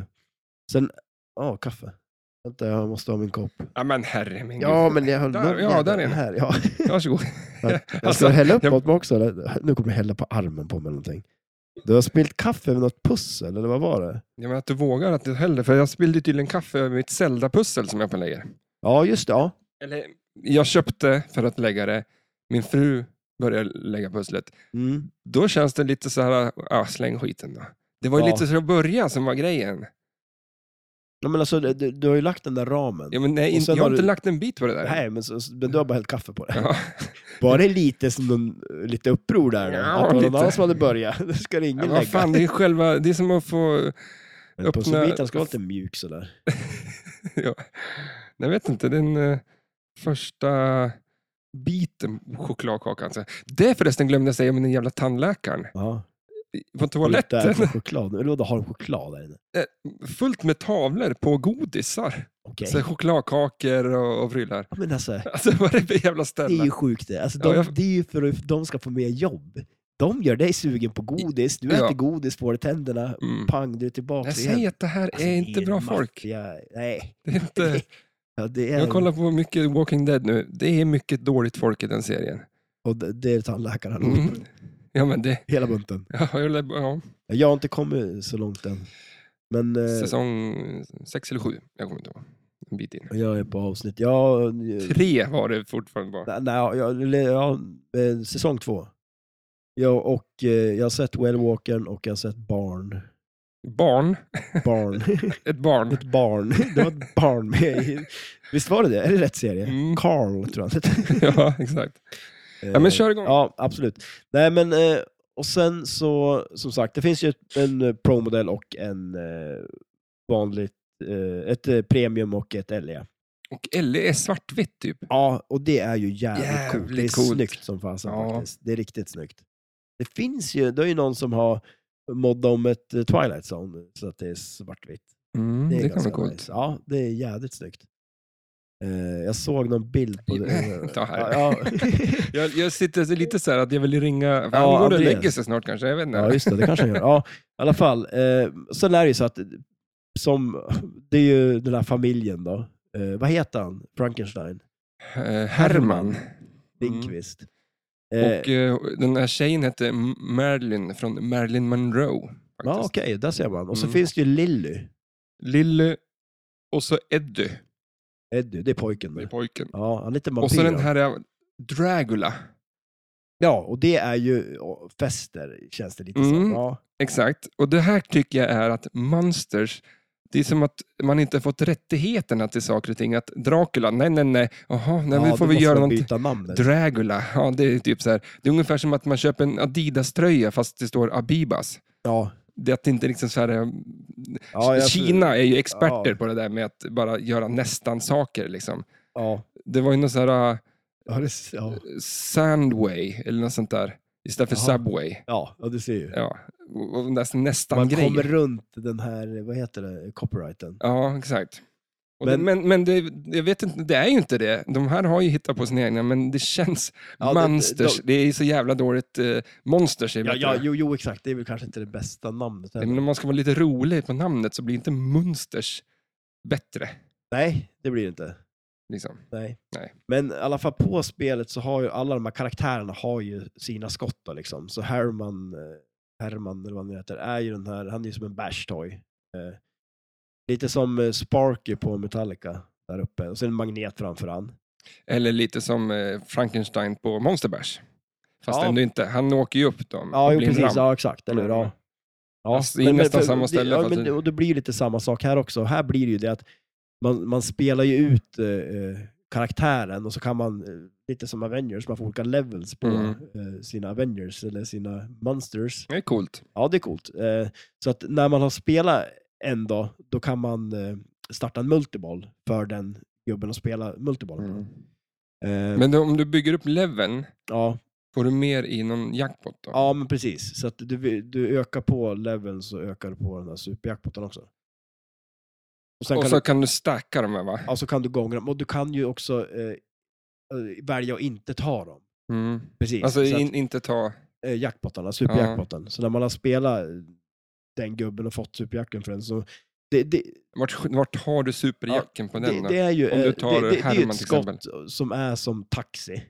[SPEAKER 2] sen, ja, kaffe. Vänta, jag måste ha min kopp.
[SPEAKER 1] Ja men herre min
[SPEAKER 2] Ja,
[SPEAKER 1] gud.
[SPEAKER 2] men jag höll
[SPEAKER 1] Där,
[SPEAKER 2] nog
[SPEAKER 1] ja,
[SPEAKER 2] med
[SPEAKER 1] där är
[SPEAKER 2] den
[SPEAKER 1] den.
[SPEAKER 2] här. Ja. <laughs>
[SPEAKER 1] Varsågod. <laughs>
[SPEAKER 2] Jag ska
[SPEAKER 1] Alltså,
[SPEAKER 2] hälla upp
[SPEAKER 1] jag-
[SPEAKER 2] åt mig också. Eller? Nu kommer jag hälla på armen på mig någonting. Du har spilt kaffe med något pussel, eller vad var det?
[SPEAKER 1] Ja, men att du vågar att du häller, för jag spillde tydligen kaffe över mitt Zelda-pussel som jag på lägger.
[SPEAKER 2] Ja, just det. Ja.
[SPEAKER 1] Eller, jag köpte för att lägga det, min fru började lägga pusslet.
[SPEAKER 2] Mm.
[SPEAKER 1] Då känns det lite så här, ah, släng skiten då. Det var ju
[SPEAKER 2] Ja.
[SPEAKER 1] lite så att börja som var grejen.
[SPEAKER 2] Ja, men alltså, du, du har ju lagt den där ramen.
[SPEAKER 1] Ja, men nej,
[SPEAKER 2] Och
[SPEAKER 1] in,
[SPEAKER 2] sen
[SPEAKER 1] jag har
[SPEAKER 2] har
[SPEAKER 1] inte
[SPEAKER 2] du-
[SPEAKER 1] lagt en bit på det där.
[SPEAKER 2] Nej, men, så, men du har bara hällt kaffe på det.
[SPEAKER 1] Ja.
[SPEAKER 2] Var det lite som någon, lite uppror där? Då?
[SPEAKER 1] Ja,
[SPEAKER 2] att det var någon
[SPEAKER 1] lite.
[SPEAKER 2] annan som hade börjat? <laughs> Det ska det
[SPEAKER 1] Ja,
[SPEAKER 2] ingen
[SPEAKER 1] vad
[SPEAKER 2] lägga.
[SPEAKER 1] fan, det är, själva, det är som att få...
[SPEAKER 2] Men
[SPEAKER 1] öppna-
[SPEAKER 2] Pusselbiten ska vara lite mjuk sådär.
[SPEAKER 1] <laughs> Ja, jag vet inte, den eh, första biten chokladkakan. så- Det förresten glömde jag säga om den jävla tandläkaren.
[SPEAKER 2] Ja.
[SPEAKER 1] På
[SPEAKER 2] Lite
[SPEAKER 1] toaletten.
[SPEAKER 2] äta choklad. Eller vadå, har de choklad där inne?
[SPEAKER 1] <laughs> fullt med tavlor på godisar.
[SPEAKER 2] Okej.
[SPEAKER 1] Så här chokladkakor och, och prylar.
[SPEAKER 2] Ja, men alltså,
[SPEAKER 1] <laughs> Alltså vad är det för jävla
[SPEAKER 2] det är
[SPEAKER 1] ställe?
[SPEAKER 2] ju sjukt det. Alltså,
[SPEAKER 1] Ja,
[SPEAKER 2] de,
[SPEAKER 1] jag-
[SPEAKER 2] Det är ju för att de ska få mer jobb. De gör dig sugen på godis, du
[SPEAKER 1] Ja.
[SPEAKER 2] äter godis, får i tänderna,
[SPEAKER 1] Mm.
[SPEAKER 2] pang, du är tillbaka
[SPEAKER 1] Jag säger att det här
[SPEAKER 2] Alltså,
[SPEAKER 1] är
[SPEAKER 2] det
[SPEAKER 1] inte
[SPEAKER 2] ju
[SPEAKER 1] bra
[SPEAKER 2] maffia-
[SPEAKER 1] folk.
[SPEAKER 2] Nej.
[SPEAKER 1] Det är inte,
[SPEAKER 2] <laughs> Ja, det är...
[SPEAKER 1] jag kollar på mycket Walking Dead nu. Det är mycket dåligt folk i den serien.
[SPEAKER 2] Och det det är tandläkaren.
[SPEAKER 1] Mm. Ja, men det... <laughs>
[SPEAKER 2] Hela bunten.
[SPEAKER 1] Ja, jag lär- ja,
[SPEAKER 2] Jag har inte kommit så långt än. Men... eh,
[SPEAKER 1] säsong sex eller sju. Jag kommer inte ihåg. En bit in.
[SPEAKER 2] Jag är på avsnitt. Ja, eh,
[SPEAKER 1] Tre var det fortfarande bara.
[SPEAKER 2] nej, nej, jag, eller, ja, eh, säsong två. Jag, och, eh, jag har sett Wellwalkern och jag har sett Barn.
[SPEAKER 1] Barn.
[SPEAKER 2] Barn. <laughs>
[SPEAKER 1] Ett barn. <laughs>
[SPEAKER 2] ett barn. Det var ett barn med i... Visst var det det? Är det rätt serie?
[SPEAKER 1] Mm.
[SPEAKER 2] Carl, tror jag han hette.
[SPEAKER 1] Ja, exakt. <laughs> Ja, men kör igång.
[SPEAKER 2] Eh, Ja, absolut. Nej, men, eh, och sen så, som sagt, det finns ju ett- en eh, Pro-modell och en eh, vanligt, eh, ett eh, Premium och ett E. LE.
[SPEAKER 1] Och Ellie är svartvitt typ.
[SPEAKER 2] Ja, och det är ju jävligt, coolt. Det är
[SPEAKER 1] Jävligt coolt.
[SPEAKER 2] snyggt som fasen
[SPEAKER 1] Ja.
[SPEAKER 2] faktiskt. Det är riktigt snyggt. Det finns ju, det är ju någon som har moddat om ett eh, Twilight Zone så att det är svartvitt.
[SPEAKER 1] Mm,
[SPEAKER 2] Det är
[SPEAKER 1] det kan
[SPEAKER 2] ganska
[SPEAKER 1] vara coolt.
[SPEAKER 2] nice. Ja, det är jävligt snyggt. Eh, jag såg någon bild på det.
[SPEAKER 1] Ta här.
[SPEAKER 2] Ja,
[SPEAKER 1] <laughs>
[SPEAKER 2] ja.
[SPEAKER 1] Jag, jag sitter så lite så här att jag vill ringa. Han
[SPEAKER 2] Ja,
[SPEAKER 1] går och
[SPEAKER 2] Andreas.
[SPEAKER 1] lägger sig snart kanske. Jag vet inte.
[SPEAKER 2] Ja, just det. Det kanske han gör. Ja, i alla fall. Eh, sen är det ju så att, som, det är ju den här familjen då. Eh, vad heter han? Frankenstein?
[SPEAKER 1] Eh, Herman.
[SPEAKER 2] Lindqvist? Eh,
[SPEAKER 1] Och eh, den här tjejen hette M- Marilyn från Marilyn Monroe.
[SPEAKER 2] ja,
[SPEAKER 1] faktiskt.
[SPEAKER 2] okej. där ser man. Och så
[SPEAKER 1] Mm.
[SPEAKER 2] finns det ju Lilly.
[SPEAKER 1] Lille och så Eddie,
[SPEAKER 2] Eddie, det är pojken
[SPEAKER 1] det är
[SPEAKER 2] där.
[SPEAKER 1] pojken.
[SPEAKER 2] Ja, han är lite
[SPEAKER 1] Och så
[SPEAKER 2] vampyr.
[SPEAKER 1] den
[SPEAKER 2] Här...
[SPEAKER 1] här eh, Dragula.
[SPEAKER 2] Ja, och det är ju åh, fester, känns det lite
[SPEAKER 1] Mm.
[SPEAKER 2] som. Ja.
[SPEAKER 1] Exakt. Och det här tycker jag är att Monsters, det är som att man inte fått rättigheterna till saker och ting. Att Dracula, nej, nej, nej. Jaha, nej,
[SPEAKER 2] ja,
[SPEAKER 1] vi får
[SPEAKER 2] då
[SPEAKER 1] vi
[SPEAKER 2] måste
[SPEAKER 1] göra
[SPEAKER 2] de
[SPEAKER 1] någonting.
[SPEAKER 2] byta namnet.
[SPEAKER 1] Dragula, ja det är typ så här. Det är ungefär som att man köper en Adidas-tröja fast det står Abibas.
[SPEAKER 2] Ja.
[SPEAKER 1] Det är att det inte liksom så här, eh,
[SPEAKER 2] Ja, jag-
[SPEAKER 1] Kina är ju experter
[SPEAKER 2] Ja.
[SPEAKER 1] på det där med att bara göra nästan-saker. Liksom.
[SPEAKER 2] Ja.
[SPEAKER 1] Det var ju någon sån här
[SPEAKER 2] Ja, det, ja.
[SPEAKER 1] uh, Sandway eller något sånt där istället för
[SPEAKER 2] Jaha.
[SPEAKER 1] Subway.
[SPEAKER 2] ja, ja, du ser ju.
[SPEAKER 1] Ja. Och- och nästan-
[SPEAKER 2] Man
[SPEAKER 1] Nästan-grejer.
[SPEAKER 2] kommer runt den här, vad heter det, copyrighten.
[SPEAKER 1] Ja, exakt. Och det,
[SPEAKER 6] Men-
[SPEAKER 1] men men det, jag vet inte, det är ju inte det. De här har ju hittat på sina egna, men det känns
[SPEAKER 6] Ja, det-
[SPEAKER 1] monsters. Det,
[SPEAKER 6] de-
[SPEAKER 1] är så jävla dåligt. Eh, monsters är
[SPEAKER 2] Ja,
[SPEAKER 1] bättre.
[SPEAKER 2] ja, jo, jo, exakt. Det är väl kanske inte det bästa namnet.
[SPEAKER 1] Nej,
[SPEAKER 2] heller.
[SPEAKER 1] Men om man ska vara lite rolig på namnet så blir inte Munsters bättre.
[SPEAKER 2] Nej,
[SPEAKER 6] Det blir det inte.
[SPEAKER 1] Liksom.
[SPEAKER 2] nej.
[SPEAKER 1] Nej.
[SPEAKER 2] Men i alla fall på spelet så har ju alla de här karaktärerna har ju sina skott då, liksom. Så Herman, eh, Herman eller vad han heter, är ju den här, han är ju som en bash toy. Eh, lite som eh, Sparky på Metallica där uppe. Och sen en magnet framför han.
[SPEAKER 1] Eller lite som eh, Frankenstein på Monsterbärs. Fast
[SPEAKER 2] Ja.
[SPEAKER 1] ändå inte. Han åker ju upp dem.
[SPEAKER 2] Ja,
[SPEAKER 1] och
[SPEAKER 2] jo,
[SPEAKER 1] blir en
[SPEAKER 2] precis.
[SPEAKER 1] ram.
[SPEAKER 2] Ja, exakt. Eller hur? Ja. Ja,
[SPEAKER 1] Alltså, det är nästan samma ställe,
[SPEAKER 2] Ja,
[SPEAKER 1] fast
[SPEAKER 2] men,
[SPEAKER 1] det-
[SPEAKER 2] och det blir ju lite samma sak här också. Här blir det ju det att man, man spelar ju ut eh, eh, karaktären och så kan man, eh, lite som Avengers, man får olika levels på
[SPEAKER 1] Mm.
[SPEAKER 2] eh, sina Avengers eller sina Monsters.
[SPEAKER 1] Det är coolt.
[SPEAKER 2] Ja, det är coolt. Eh, så att när man har spelat en dag, då kan man eh, starta en multiboll för den gubben och spela multibollen.
[SPEAKER 1] Mm.
[SPEAKER 2] Eh,
[SPEAKER 1] Men då, om du bygger upp leveln,
[SPEAKER 2] ja,
[SPEAKER 1] får du mer i någon jackpot då?
[SPEAKER 2] ja, men precis. Så att du, du ökar på leveln så ökar du på den här superjackpoten också. Och sen
[SPEAKER 1] och
[SPEAKER 2] kan
[SPEAKER 1] så
[SPEAKER 2] du,
[SPEAKER 1] kan du stacka de här va?
[SPEAKER 2] ja, så kan du gånga dem och du kan ju också eh, eh, välja att inte ta dem.
[SPEAKER 1] Mm.
[SPEAKER 2] Precis.
[SPEAKER 1] Alltså
[SPEAKER 2] så att,
[SPEAKER 1] in, inte ta...
[SPEAKER 2] eh, jackpotarna, superjackpotten. Så när man har spelat den gubben och fått superjacken för den så det, det,
[SPEAKER 1] Vart, vart har du superjacken på den
[SPEAKER 2] det,
[SPEAKER 1] då?
[SPEAKER 2] det är ju
[SPEAKER 1] Om du
[SPEAKER 2] eh,
[SPEAKER 1] tar
[SPEAKER 2] det, det, det är
[SPEAKER 1] Herman
[SPEAKER 2] ju ett
[SPEAKER 1] till exempel.
[SPEAKER 2] skott som är som taxi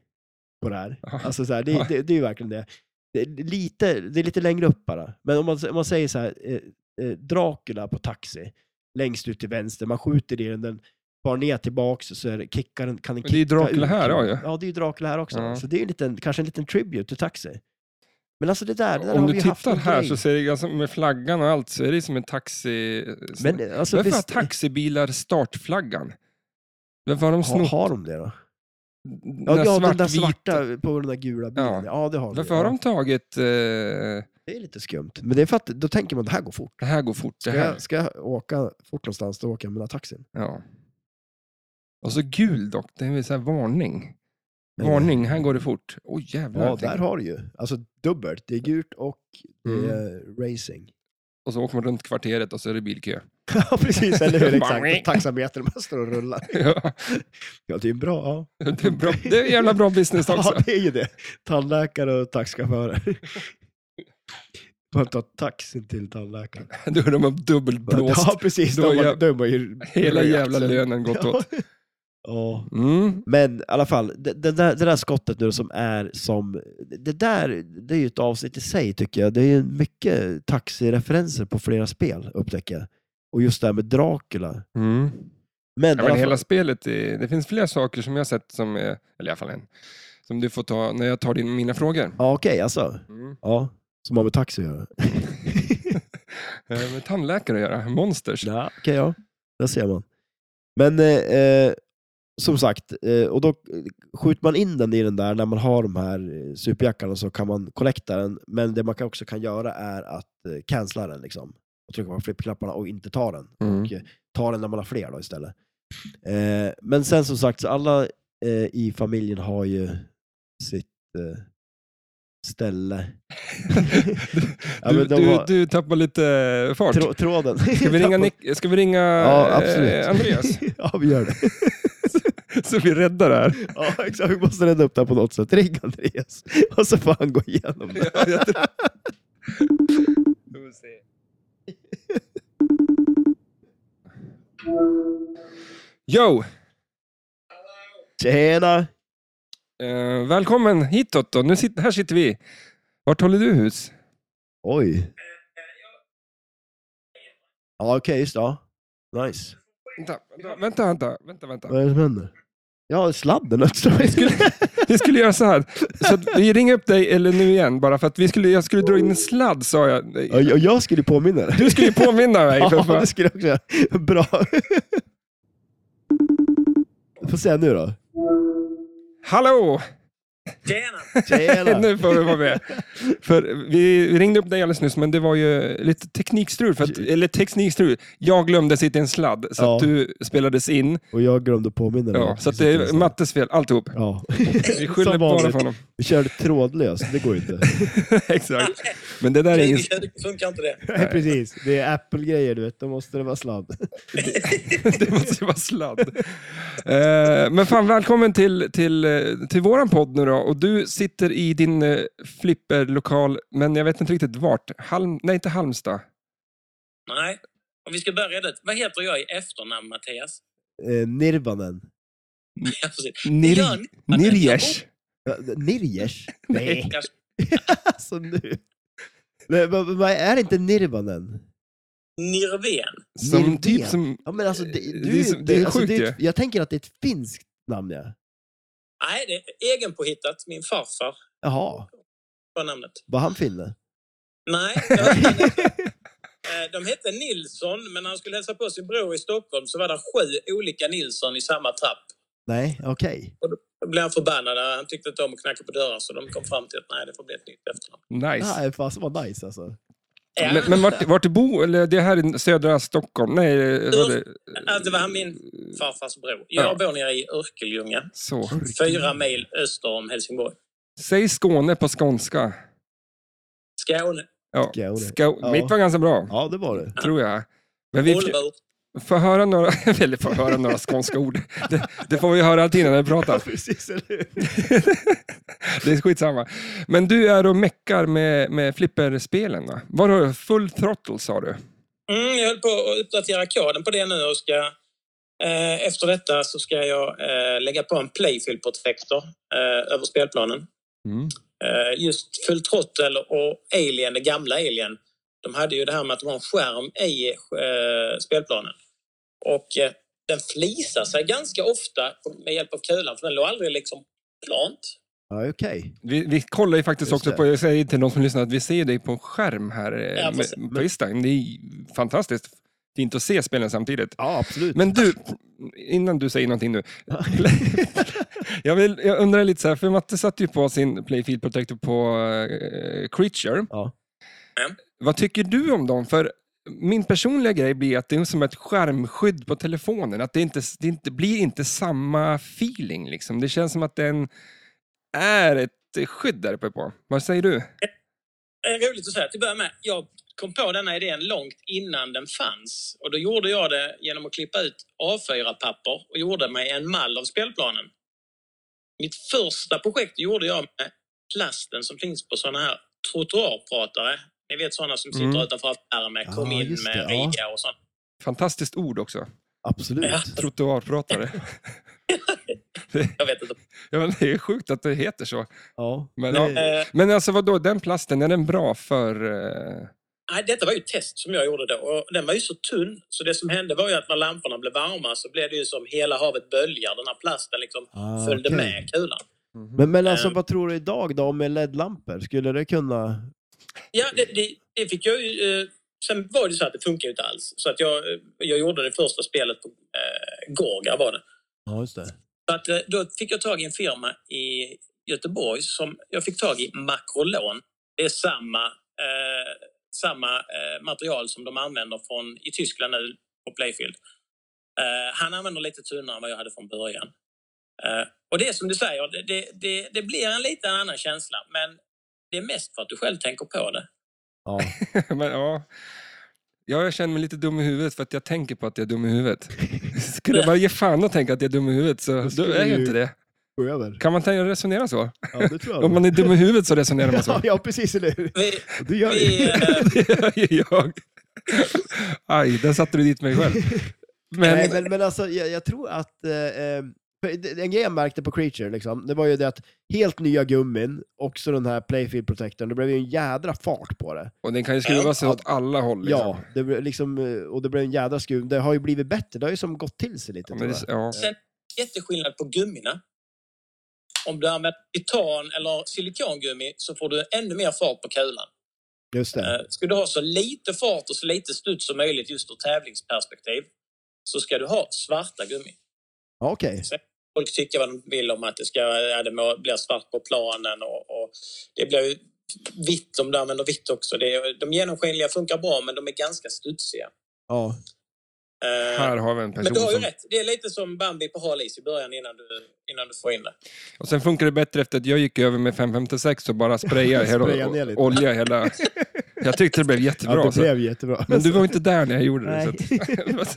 [SPEAKER 2] på det här.
[SPEAKER 1] Ja.
[SPEAKER 2] Alltså så här,
[SPEAKER 1] Ja.
[SPEAKER 2] det, det, det är ju verkligen det. Det är, lite, det är lite längre upp bara. Men om man, om man säger så här, eh, eh, Dracula på taxi, längst ut till vänster, man skjuter i den, den far ner tillbaks och så är det, kickar den, kan den
[SPEAKER 1] Men det är ju
[SPEAKER 2] kicka
[SPEAKER 1] Dracula
[SPEAKER 2] ut.
[SPEAKER 1] här, ja, ju.
[SPEAKER 2] Ja, det är ju Dracula här också.
[SPEAKER 1] Ja.
[SPEAKER 2] Så det är ju en liten, kanske en liten tribute till taxi. Men alltså det där, det där
[SPEAKER 1] Om
[SPEAKER 2] har
[SPEAKER 1] du
[SPEAKER 2] vi ju haft
[SPEAKER 1] tittar
[SPEAKER 2] en
[SPEAKER 1] här
[SPEAKER 2] grej.
[SPEAKER 1] så ser det ganska, med flaggan och allt så är det som en taxi...
[SPEAKER 2] Men eh, alltså,
[SPEAKER 1] Varför har
[SPEAKER 2] visst,
[SPEAKER 1] taxibilar startflaggan? Varför har de
[SPEAKER 2] har,
[SPEAKER 1] snott
[SPEAKER 2] har de det då?
[SPEAKER 1] den
[SPEAKER 2] Ja,
[SPEAKER 1] här
[SPEAKER 2] ja den där
[SPEAKER 1] svartvita-
[SPEAKER 2] svarta på den där gula bilen. Ja, det har de.
[SPEAKER 1] Varför
[SPEAKER 2] ja.
[SPEAKER 1] har de tagit... Eh,
[SPEAKER 2] Det är lite skumt. Men det är för att då tänker man det här går fort.
[SPEAKER 1] det här går fort, det
[SPEAKER 2] Ska
[SPEAKER 1] här.
[SPEAKER 2] jag, ska jag åka fort någonstans, då åker jag med den här taxin.
[SPEAKER 1] Ja. Och så gul dock, det är väl så här varning. Varning, här går det fort. Oj jävlar.
[SPEAKER 2] Ja,
[SPEAKER 1] tänker
[SPEAKER 2] där
[SPEAKER 1] jag.
[SPEAKER 2] har du ju. Alltså dubbelt. Det är gult och det
[SPEAKER 1] Mm.
[SPEAKER 2] är racing.
[SPEAKER 1] Och så åker man runt kvarteret och så är det bilkö. <laughs>
[SPEAKER 2] Ja, precis. Eller hur?
[SPEAKER 1] Bara-
[SPEAKER 2] Exakt. <laughs> Taxametern bara står och rullar.
[SPEAKER 1] Ja,
[SPEAKER 2] Ja, det är en bra. Ja.
[SPEAKER 1] det, är bra, det är jävla bra business alltså. också.
[SPEAKER 2] <laughs> ja, det är ju det. Tandläkare och taxichaufförer. <laughs> Man tar taxin till tandläkaren.
[SPEAKER 1] Då är de dubbelt blåst.
[SPEAKER 2] Ja, precis. Då
[SPEAKER 1] Då är
[SPEAKER 2] har man-
[SPEAKER 1] jag-
[SPEAKER 2] då är man ju
[SPEAKER 1] Hela
[SPEAKER 2] rökt
[SPEAKER 1] jävla
[SPEAKER 2] sen.
[SPEAKER 1] lönen gått
[SPEAKER 2] Ja.
[SPEAKER 1] åt.
[SPEAKER 2] Ja.
[SPEAKER 1] Mm.
[SPEAKER 2] Men i alla fall, det, det, där, det där skottet nu som är som... Det där det är ju ett avsnitt i sig tycker jag. Det är ju mycket taxireferenser på flera spel upptäcker jag. Och just det här med Dracula.
[SPEAKER 1] Mm.
[SPEAKER 2] Men,
[SPEAKER 1] Ja,
[SPEAKER 2] i alla
[SPEAKER 1] men
[SPEAKER 2] fall-
[SPEAKER 1] hela spelet, är, det finns flera saker som jag har sett, som är, eller i alla fall en, som du får ta när jag tar din, mina frågor.
[SPEAKER 2] Ja, okej alltså.
[SPEAKER 1] Mm.
[SPEAKER 2] Ja, som har med taxi att göra.
[SPEAKER 1] Eh, Med tandläkare att göra, monsters.
[SPEAKER 2] ja, okej ja. Där ser man. Men eh, eh, som sagt, eh, och då eh, skjuter man in den i den där när man har de här eh, superjackarna så kan man kollekta den. Men det man kan också kan göra är att eh, cancella den liksom. Och trycka på flippknapparna och inte ta den.
[SPEAKER 1] Mm.
[SPEAKER 2] Ta den när man har fler då istället. Eh, men sen som sagt, så alla eh, i familjen har ju sitt eh, ställe. <laughs> Ja,
[SPEAKER 1] Du,
[SPEAKER 2] men de
[SPEAKER 1] du,
[SPEAKER 2] har-
[SPEAKER 1] du tappar lite fart.
[SPEAKER 2] Trå- tråden.
[SPEAKER 1] Ska vi
[SPEAKER 2] <laughs>
[SPEAKER 1] ringa, Nick, ska vi ringa
[SPEAKER 2] Ja,
[SPEAKER 1] eh,
[SPEAKER 2] absolut.
[SPEAKER 1] Andreas?
[SPEAKER 2] <laughs> ja, vi gör det.
[SPEAKER 1] <laughs> Så vi räddar det här.
[SPEAKER 2] Ja, exakt. Vi måste rädda upp det här på något sätt. Ring Andreas, och så får han gå igenom det.
[SPEAKER 1] Ja, jag tror- Yo!
[SPEAKER 2] Tjena!
[SPEAKER 1] Eh, välkommen hitåt då. Nu sit, här sitter vi. Vart håller du hus?
[SPEAKER 2] Oj. Ja, okej, just det. ja. Nice.
[SPEAKER 1] Vänta, vänta, vänta. vänta, vänta.
[SPEAKER 2] Vad är det som händer? Ja, sladden öppnade sig.
[SPEAKER 1] Vi skulle göra så här. Så att vi ringer upp dig, eller nu igen, bara för att vi skulle, jag skulle dra in en sladd sa jag.
[SPEAKER 2] Och och jag skulle påminna dig.
[SPEAKER 1] Du skulle ju påminna mig. För
[SPEAKER 2] Ja,
[SPEAKER 1] fan.
[SPEAKER 2] det skulle jag också göra. Bra. Får se nu då.
[SPEAKER 1] Hallå!
[SPEAKER 7] Tjena!
[SPEAKER 1] <laughs> nu får vi vara med. För vi ringde upp dig alldeles nyss, men det var ju lite teknikstrul. För att, eller teknikstrul. Jag glömde sitta i en sladd, så
[SPEAKER 2] Ja.
[SPEAKER 1] att du spelades in.
[SPEAKER 2] Och jag glömde påminna dig.
[SPEAKER 1] Ja,
[SPEAKER 2] att
[SPEAKER 1] så att
[SPEAKER 2] vi
[SPEAKER 1] det
[SPEAKER 2] sitter i
[SPEAKER 1] är
[SPEAKER 2] en
[SPEAKER 1] Mattes fel, alltihop.
[SPEAKER 2] stad.
[SPEAKER 1] <laughs>
[SPEAKER 2] Ja.
[SPEAKER 1] Vi skyller
[SPEAKER 2] Som
[SPEAKER 1] bara
[SPEAKER 2] vanligt.
[SPEAKER 1] på honom. <laughs>
[SPEAKER 2] Vi körde trådlöst, det går ju inte.
[SPEAKER 1] Exakt. Men det där är ingen...
[SPEAKER 8] Det funkar inte det.
[SPEAKER 2] Nej, <laughs> precis. Det är Apple-grejer, du vet. Då måste det vara sladd.
[SPEAKER 1] det <laughs> måste ju vara sladd. Eh, men fan, välkommen till, till, eh, till våran podd nu då. Och du sitter i din eh, flipperlokal, men jag vet inte riktigt vart. Halm... Nej, inte Halmstad.
[SPEAKER 8] Nej. Om vi ska börja det. Vad heter jag i efternamn, Mattias?
[SPEAKER 2] <laughs>
[SPEAKER 8] <laughs>
[SPEAKER 2] Eh, Nirvanen.
[SPEAKER 8] Ja, precis.
[SPEAKER 1] Nir...
[SPEAKER 8] gör ni.
[SPEAKER 1] Nirjesh.
[SPEAKER 2] Ja, Nirjers? <laughs> Nej.
[SPEAKER 8] Jag-
[SPEAKER 2] alltså nu. Nej, men, men är det inte Nirvanen?
[SPEAKER 8] Nirven.
[SPEAKER 1] Som
[SPEAKER 2] Nirven.
[SPEAKER 1] typ som...
[SPEAKER 2] Ja, men alltså, det, du,
[SPEAKER 1] Det är så- det är
[SPEAKER 2] alltså,
[SPEAKER 1] sjukt
[SPEAKER 2] ett, Jag tänker att det är ett finskt namn, ja.
[SPEAKER 8] Nej, det är egenpåhittat. Min farfar
[SPEAKER 2] Jaha,
[SPEAKER 8] var namnet.
[SPEAKER 2] var han finne?
[SPEAKER 1] <laughs>
[SPEAKER 8] Nej. jag- Eh, De hette Nilsson, men när han skulle hälsa på sin bror i Stockholm så var det sju olika Nilsson i samma trapp.
[SPEAKER 2] Nej, okej.
[SPEAKER 8] Då blev han förbannad. Han tyckte inte om att knacka på dörrar så de kom fram till att nej, det får bli ett nytt efternamn.
[SPEAKER 1] Nice.
[SPEAKER 2] Nej, fasen vad nice alltså.
[SPEAKER 8] Ja,
[SPEAKER 1] Men, men vart, vart du bor? Eller det här är södra Stockholm? Nej, vad är det?
[SPEAKER 8] alltså, det var han min farfars bror.
[SPEAKER 1] Ja.
[SPEAKER 8] Jag bor nere i Örkelljunga,
[SPEAKER 1] så.
[SPEAKER 8] fyra mil öster om Helsingborg.
[SPEAKER 1] Säg Skåne på skånska.
[SPEAKER 8] Skåne.
[SPEAKER 1] Ja.
[SPEAKER 2] Skåne.
[SPEAKER 1] Skå...
[SPEAKER 2] Ja.
[SPEAKER 1] Mitt var ganska bra,
[SPEAKER 2] Ja, det var det.
[SPEAKER 1] tror jag. Men vi...
[SPEAKER 8] Oliver.
[SPEAKER 1] Få höra några, <laughs> eller få höra några skånska ord. Det, det får vi höra alltid när vi pratar. <laughs>
[SPEAKER 2] precis, eller hur?
[SPEAKER 1] Det är skitsamma. Men du är och meckar med, med flipperspelen va? Var har du full throttle sa du?
[SPEAKER 8] Mm, jag höll på att uppdatera koden på det nu och ska... Eh, efter detta så ska jag eh, lägga på en playfield-protektor eh, över spelplanen.
[SPEAKER 1] Mm.
[SPEAKER 8] Eh, just Full Throttle och Alien, det gamla Alien, de hade ju det här med att de har en skärm i eh, spelplanen. Och eh, den flisar sig ganska ofta med hjälp av kulan, för den låg aldrig liksom plant.
[SPEAKER 2] Ja, okej.
[SPEAKER 1] Vi, vi kollar ju faktiskt
[SPEAKER 2] Just
[SPEAKER 1] också
[SPEAKER 2] det.
[SPEAKER 1] på, jag säger till de som lyssnar att vi ser ju dig på en skärm här eh,
[SPEAKER 8] Ja, precis.
[SPEAKER 1] med, på Instagram. Det är fantastiskt fint att se spelen samtidigt.
[SPEAKER 2] Ja, absolut.
[SPEAKER 1] Men du, innan du säger någonting nu. <laughs> jag, vill, jag undrar lite så här, för Matte satte ju på sin Playfield Protector på eh, Creature.
[SPEAKER 2] <laughs> Ja.
[SPEAKER 8] Mm.
[SPEAKER 1] Vad tycker du om dem? För min personliga grej blir att det är som ett skärmskydd på telefonen. Att det inte, det inte blir inte samma feeling. Liksom. Det känns som att den är ett skydd där uppe på. Vad säger du?
[SPEAKER 8] Det är Eh, roligt att säga till att börja med. Jag kom på denna idén långt innan den fanns. Och då gjorde jag det genom att klippa ut A4-papper och gjorde mig en mall av spelplanen. Mitt första projekt gjorde jag med plasten som finns på såna här trottoarpratare. Ni vet såna som sitter
[SPEAKER 1] Mm.
[SPEAKER 8] utanför affärer med kom
[SPEAKER 2] Ja,
[SPEAKER 8] in
[SPEAKER 2] just
[SPEAKER 8] med
[SPEAKER 2] det, ja.
[SPEAKER 8] rea och sånt.
[SPEAKER 1] Fantastiskt ord också.
[SPEAKER 2] Absolut.
[SPEAKER 8] Ja.
[SPEAKER 1] Trottoarpratare. <laughs>
[SPEAKER 8] Jag
[SPEAKER 2] <laughs>
[SPEAKER 8] vet inte.
[SPEAKER 1] ja, men det är sjukt att det heter så.
[SPEAKER 2] Ja.
[SPEAKER 1] Men,
[SPEAKER 2] Nej,
[SPEAKER 1] ja.
[SPEAKER 8] Eh,
[SPEAKER 1] Men alltså vadå, den plasten, är den bra för... eh,
[SPEAKER 8] nej, detta var ju ett test som jag gjorde då. Och den var ju så tunn så det som hände var ju att när lamporna blev varma så blev det ju som hela havet böljar. Den här plasten liksom
[SPEAKER 2] ah,
[SPEAKER 8] följde
[SPEAKER 2] okej.
[SPEAKER 8] med kulan.
[SPEAKER 2] Men, men alltså,
[SPEAKER 8] Ehm.
[SPEAKER 2] vad tror du idag då med LED-lampor? Skulle det kunna...
[SPEAKER 8] Ja, det, det, det fick jag ju... Eh, sen var det så att det funkar ju inte alls. Så att jag, eh, jag gjorde det första spelet på eh, Gorga var det.
[SPEAKER 2] Ja, just det.
[SPEAKER 8] Så att, eh, då fick jag tag i en firma i Göteborg som jag fick tag i Macrolon. Det är samma, eh, samma eh, material som de använder från, i Tyskland nu på Playfield. Eh, han använder lite tunnare än vad jag hade från början. Eh, och det är som du säger, det, det, det, det blir en lite annan känsla. Men det är mest för att du själv tänker på det.
[SPEAKER 2] Ja.
[SPEAKER 1] <laughs> men, ja. ja, jag känner mig lite dum i huvudet för att jag tänker på att jag är dum i huvudet. Skulle jag bara ge fan och tänka att jag är dum i huvudet så då
[SPEAKER 2] skulle
[SPEAKER 1] är jag ju
[SPEAKER 2] du-
[SPEAKER 1] inte det.
[SPEAKER 2] Gå över.
[SPEAKER 1] Kan man tänka resonera så?
[SPEAKER 2] Ja, det tror jag.
[SPEAKER 1] Om man är alltså. dum i huvudet så resonerar man
[SPEAKER 2] <laughs>
[SPEAKER 1] så.
[SPEAKER 2] ja, ja, precis, eller hur?
[SPEAKER 8] Vi,
[SPEAKER 2] Du gör
[SPEAKER 8] vi,
[SPEAKER 2] det.
[SPEAKER 8] eh,
[SPEAKER 1] Det gör ju jag. Aj, där satte du dit mig själv.
[SPEAKER 2] Nej,
[SPEAKER 9] <laughs>
[SPEAKER 1] Men,
[SPEAKER 2] men, men alltså, jag, jag tror att... Eh, eh, för det- en grej jag märkte på Creature, liksom, det var ju det att helt nya gummin, också den här Playfield Protectorn, det blev ju en jädra fart på det.
[SPEAKER 1] och den kan ju skruva sig åt alla håll. Liksom.
[SPEAKER 2] Ja, det blev liksom, eh, och det blev en jädra skruv. Det har ju blivit bättre, det har ju som gått till sig lite.
[SPEAKER 1] Ja,
[SPEAKER 2] tror
[SPEAKER 1] men
[SPEAKER 2] jag.
[SPEAKER 1] det, ja.
[SPEAKER 8] jätteskillnad på gummina. Om du använder titan eller silikongummi så får du ännu mer fart på kulan.
[SPEAKER 2] Just det.
[SPEAKER 8] Eh, Ska du ha så lite fart och så lite studs som möjligt just ur tävlingsperspektiv så ska du ha svarta gummi.
[SPEAKER 2] Ja, Okej.
[SPEAKER 8] folk tycka vad de vill om att det, ska, ja, det må- blir svart på planen och, och det blir ju vitt om du använder vitt också. Det, är- de genomskinliga funkar bra men de är ganska studsiga.
[SPEAKER 9] Ja.
[SPEAKER 8] Eh,
[SPEAKER 1] Här har vi en
[SPEAKER 8] men
[SPEAKER 1] person
[SPEAKER 8] du har ju
[SPEAKER 1] som...
[SPEAKER 8] rätt. Det är lite som Bambi på hal is i början innan du, innan du får in det.
[SPEAKER 1] Och sen funkar det bättre efter att jag gick över med 556 och bara sprayade
[SPEAKER 9] Spraya ner
[SPEAKER 1] hela,
[SPEAKER 9] lite.
[SPEAKER 1] olja hela... Jag tyckte det blev jättebra.
[SPEAKER 9] ja, det
[SPEAKER 1] så-
[SPEAKER 9] blev jättebra.
[SPEAKER 1] Men du var inte där när jag gjorde det.
[SPEAKER 9] Nej.
[SPEAKER 1] Så att...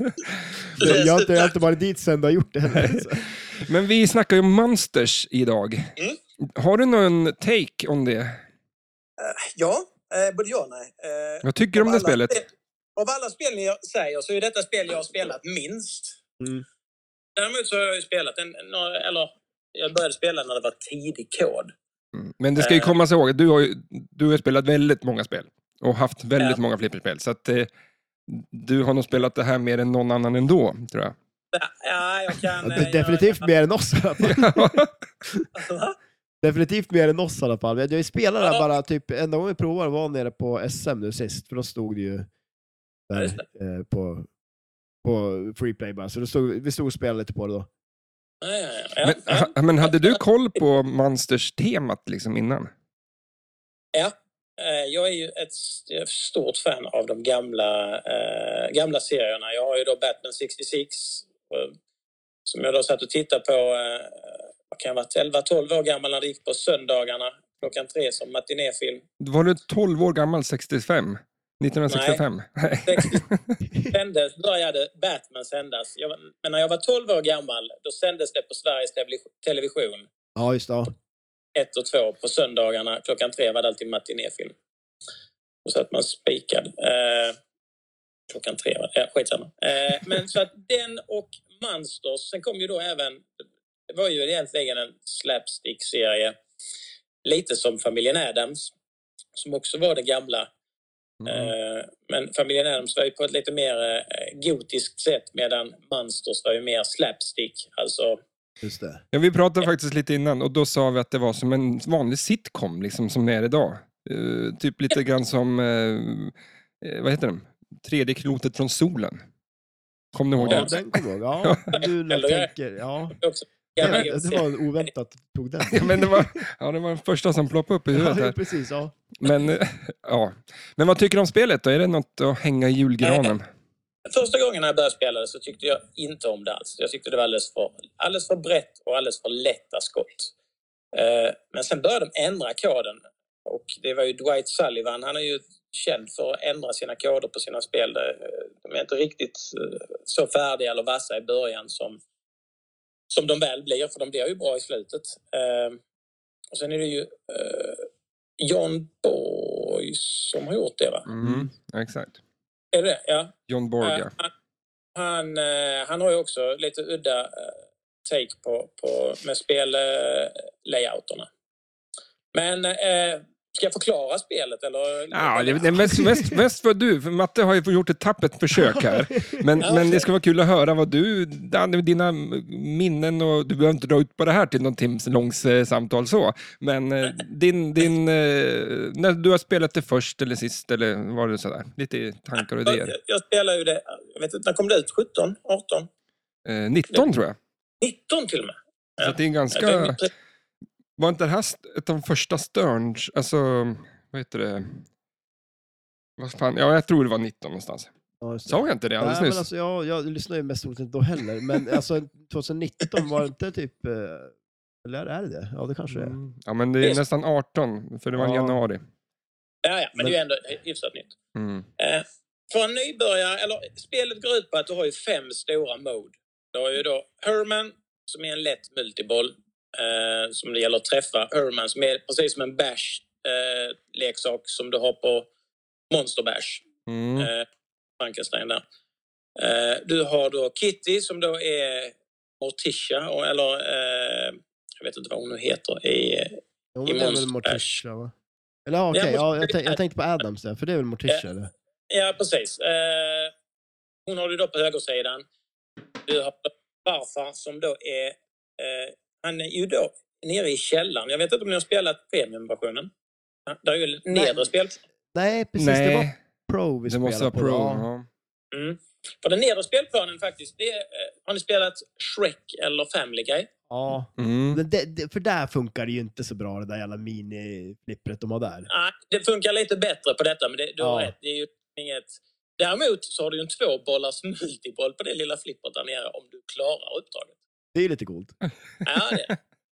[SPEAKER 9] <laughs> jag, har inte, jag har inte varit dit sen du har gjort det
[SPEAKER 2] <laughs>
[SPEAKER 9] heller. Så.
[SPEAKER 1] <laughs> Men vi snackar ju om monsters idag.
[SPEAKER 8] Mm.
[SPEAKER 1] Har du någon take om det?
[SPEAKER 8] Ja, eh, både ja och nej. Eh,
[SPEAKER 1] Vad tycker du om
[SPEAKER 8] av
[SPEAKER 1] det
[SPEAKER 8] alla
[SPEAKER 1] spelet?
[SPEAKER 8] spel- Av alla spel ni säger så är detta spel jag har spelat minst.
[SPEAKER 9] Mm.
[SPEAKER 8] Däremot så har jag ju spelat en, en- eller jag började spela när det var tidig kod.
[SPEAKER 1] Mm. Men det ska ju
[SPEAKER 8] Eh.
[SPEAKER 1] komma sig ihåg, att du har, ju, du har ju spelat väldigt många spel. Och haft väldigt
[SPEAKER 8] Ja.
[SPEAKER 1] många flipperspel. Så att, eh, du har nog spelat det här mer än någon annan ändå, tror jag. <laughs>
[SPEAKER 8] Ja, jag kan...
[SPEAKER 9] Ja,
[SPEAKER 8] eh, jag-
[SPEAKER 9] Definitivt
[SPEAKER 8] <laughs>
[SPEAKER 9] mer än oss i alla
[SPEAKER 1] <laughs>
[SPEAKER 9] fall.
[SPEAKER 8] Va?
[SPEAKER 9] Definitivt mer än oss i alla fall. Jag har ju spelat där
[SPEAKER 8] Ja.
[SPEAKER 9] bara typ, enda gången vi provade var nere på SM nu sist, för då stod det ju där
[SPEAKER 8] just
[SPEAKER 9] eh, på, på Freeplay bara, så då stod, vi stod och spelade lite på det då.
[SPEAKER 8] Ja, ja, ja.
[SPEAKER 1] Men,
[SPEAKER 8] Ja,
[SPEAKER 1] ha, men hade du koll på monsters-temat liksom innan?
[SPEAKER 8] ja. Eh, Jag är ju ett st- stort fan av de gamla, eh, gamla serierna. Jag har ju då Batman 66 eh, som jag då satt och tittade på. Eh, vad kan jag ha varit? 11-12 år gammal när det gick på söndagarna klockan tre som matinéfilm.
[SPEAKER 1] Var du 12 år gammal 65? 1965? <laughs> Nej.
[SPEAKER 8] 60 sändes, började Batman sändas. Jag, var- men när jag var 12 år gammal då sändes det på Sveriges Televis- Television
[SPEAKER 9] Ja, just det. Ja.
[SPEAKER 8] 1 och 2 på söndagarna. Klockan 3 var det alltid matinéfilm. Och så att man spikad. Eh, klockan 3 var det. Ja, skitsamma. Eh, men så att den och Monsters. Sen kom ju då även... Det var ju egentligen en slapstick-serie. Lite som Familjen Adams. Som också var det gamla
[SPEAKER 1] Mm.
[SPEAKER 8] Eh, Men Familjen Adams var ju på ett lite mer eh, gotiskt sätt medan Monsters var ju mer slapstick. Alltså,
[SPEAKER 9] Just det.
[SPEAKER 1] Ja, vi pratade faktiskt lite innan och då sa vi att det var som en vanlig sitcom, liksom som det är idag. Eh, typ lite grann som, eh, eh, vad heter den? Tredje klotet från solen. Kom ni ihåg
[SPEAKER 9] Ja,
[SPEAKER 1] den?
[SPEAKER 9] den kommer jag ihåg. Ja, nu när jag tänker, ja.
[SPEAKER 8] också
[SPEAKER 9] <laughs> Det,
[SPEAKER 8] gamla
[SPEAKER 9] det
[SPEAKER 8] gotiskt.
[SPEAKER 9] var oväntat att du tog den.
[SPEAKER 1] <laughs> <laughs> Ja, men det var, ja, det var den första som ploppade upp i huvudet
[SPEAKER 9] Ja,
[SPEAKER 1] här.
[SPEAKER 9] precis. Ja.
[SPEAKER 1] Men, eh, ja. men vad tycker du om spelet då? Är det något att hänga i julgranen?
[SPEAKER 8] Första gången när jag började spela det så tyckte jag inte om det alls. Jag tyckte det var alldeles för, alldeles för brett och alldeles för lätta skott. Eh, Men sen började de ändra koden. Och det var ju Dwight Sullivan, han är ju känd för att ändra sina koder på sina spel. Eh, De är inte riktigt eh, så färdiga eller vassa i början som, som de väl blir, för de blir ju bra i slutet. Eh, Och sen är det ju eh, John Boyce som har gjort det, va?
[SPEAKER 1] Mm, exakt.
[SPEAKER 8] Är det det? Ja.
[SPEAKER 1] John Borg,
[SPEAKER 8] Eh,
[SPEAKER 1] ja.
[SPEAKER 8] han, han, eh, han har ju också lite udda eh, take på, på med spellayouterna. Men eh, ska jag förklara spelet? Eller?
[SPEAKER 1] Ja, det, det, mest, mest, mest vad du, för Matte har ju gjort ett tappert försök här. Men,
[SPEAKER 8] Ja,
[SPEAKER 1] men det
[SPEAKER 8] okej.
[SPEAKER 1] ska vara kul att höra vad du, Dan, dina minnen och du behöver inte dra ut på det här till någon timmes långs eh, samtal så. Men eh, din, din, eh, när du har spelat det först eller sist eller vad det sådär, lite tankar och
[SPEAKER 8] jag,
[SPEAKER 1] idéer.
[SPEAKER 8] jag spelar ju det, jag vet inte, när kom det ut? 17? 18?
[SPEAKER 1] Eh, 19 tror jag.
[SPEAKER 8] 19 till och med?
[SPEAKER 1] Så att det är
[SPEAKER 8] Ja, det är
[SPEAKER 1] ganska,
[SPEAKER 8] precis-
[SPEAKER 1] var inte det här st- ett av de första Sterns, alltså vad heter det? Vad fan, ja jag tror det var 19 någonstans.
[SPEAKER 9] Ja, just det.
[SPEAKER 1] Sa jag inte det alldeles
[SPEAKER 9] Nej, men
[SPEAKER 1] nyss?
[SPEAKER 9] alltså, jag, jag lyssnar ju mest troligt inte då heller, men alltså 2019 var det inte typ... eh, Eller är det det? Ja, det kanske det är.
[SPEAKER 1] Mm. Ja, men det är
[SPEAKER 8] Visst.
[SPEAKER 1] nästan 18, för det var
[SPEAKER 9] Ja.
[SPEAKER 1] januari.
[SPEAKER 8] ja, ja, men det är ju ändå hyfsat nytt.
[SPEAKER 1] Mm.
[SPEAKER 8] Eh, För en nybörjare, eller spelet går ut på att du har ju fem stora mode. Du har ju då Herman, som är en lätt multiboll, eh, som det gäller att träffa. Herman som är precis som en bash-leksak som du har på Monster Bash.
[SPEAKER 1] Mm.
[SPEAKER 8] Eh, Frankenstein där. Eh, du har då Kitty som då är Morticia, och- eller eh, jag vet inte vad hon nu heter i
[SPEAKER 9] Jo, men
[SPEAKER 8] I
[SPEAKER 9] det är väl
[SPEAKER 8] Monster
[SPEAKER 9] Morticia, va? Eller ja, okej,
[SPEAKER 8] Ja,
[SPEAKER 9] ja,
[SPEAKER 8] Morticia-
[SPEAKER 9] jag, tänk, jag tänkte på Adams där, för det är väl Morticia? Eller?
[SPEAKER 8] Ja, precis. Eh, hon har du då på högersidan. Du har farfar som då är... Eh, han är ju då nere i källaren. Jag vet inte om ni har spelat premiumversionen? Ja, Det är ju nedre spel.
[SPEAKER 9] Nej, precis. Det var
[SPEAKER 1] Nej,
[SPEAKER 9] Pro vi
[SPEAKER 1] det måste
[SPEAKER 9] spelade
[SPEAKER 1] vara
[SPEAKER 9] på.
[SPEAKER 1] pro.
[SPEAKER 9] ja.
[SPEAKER 1] Ja.
[SPEAKER 8] Mm. För den nedre spelplanen faktiskt, det är, eh, har ni spelat Shrek eller Family Guy?
[SPEAKER 9] Ja.
[SPEAKER 1] Mm.
[SPEAKER 9] Men det, det, för där funkar det ju inte så bra, det där jävla miniflippret de har där.
[SPEAKER 8] Nej, det funkar lite bättre på detta, men det, du har
[SPEAKER 9] Ja.
[SPEAKER 8] rätt. Det är ju inget... Däremot så har du ju en tvåbollars multiboll på det lilla flippret där nere om du klarar uppdraget.
[SPEAKER 9] Det är ju lite coolt.
[SPEAKER 8] Ja, det,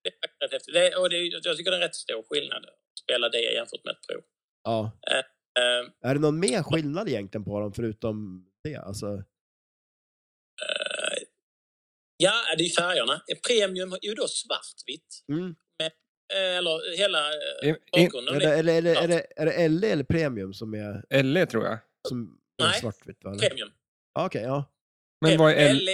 [SPEAKER 8] det är faktiskt rätt häftigt. Det, och det, är- jag tycker det är en rätt stor skillnad att spela det jämfört med ett prov.
[SPEAKER 9] Ja.
[SPEAKER 8] Eh,
[SPEAKER 9] Är det någon mer skillnad egentligen på dem, förutom det? Alltså,
[SPEAKER 8] eh, ja, det är ju färgerna. Premium är ju då svartvitt.
[SPEAKER 9] mm.
[SPEAKER 8] Eh, eller hela
[SPEAKER 1] I-
[SPEAKER 8] eh,
[SPEAKER 1] i-
[SPEAKER 8] bakgrunden.
[SPEAKER 9] är, det, är, det, är, det, är, det, är det LE eller Premium som är,
[SPEAKER 1] LE E, tror jag.
[SPEAKER 9] som är
[SPEAKER 8] Nej.
[SPEAKER 9] svartvitt? Va?
[SPEAKER 8] är premium.
[SPEAKER 9] Ja, Okej, ja.
[SPEAKER 1] Men vad är L? E?
[SPEAKER 8] Eller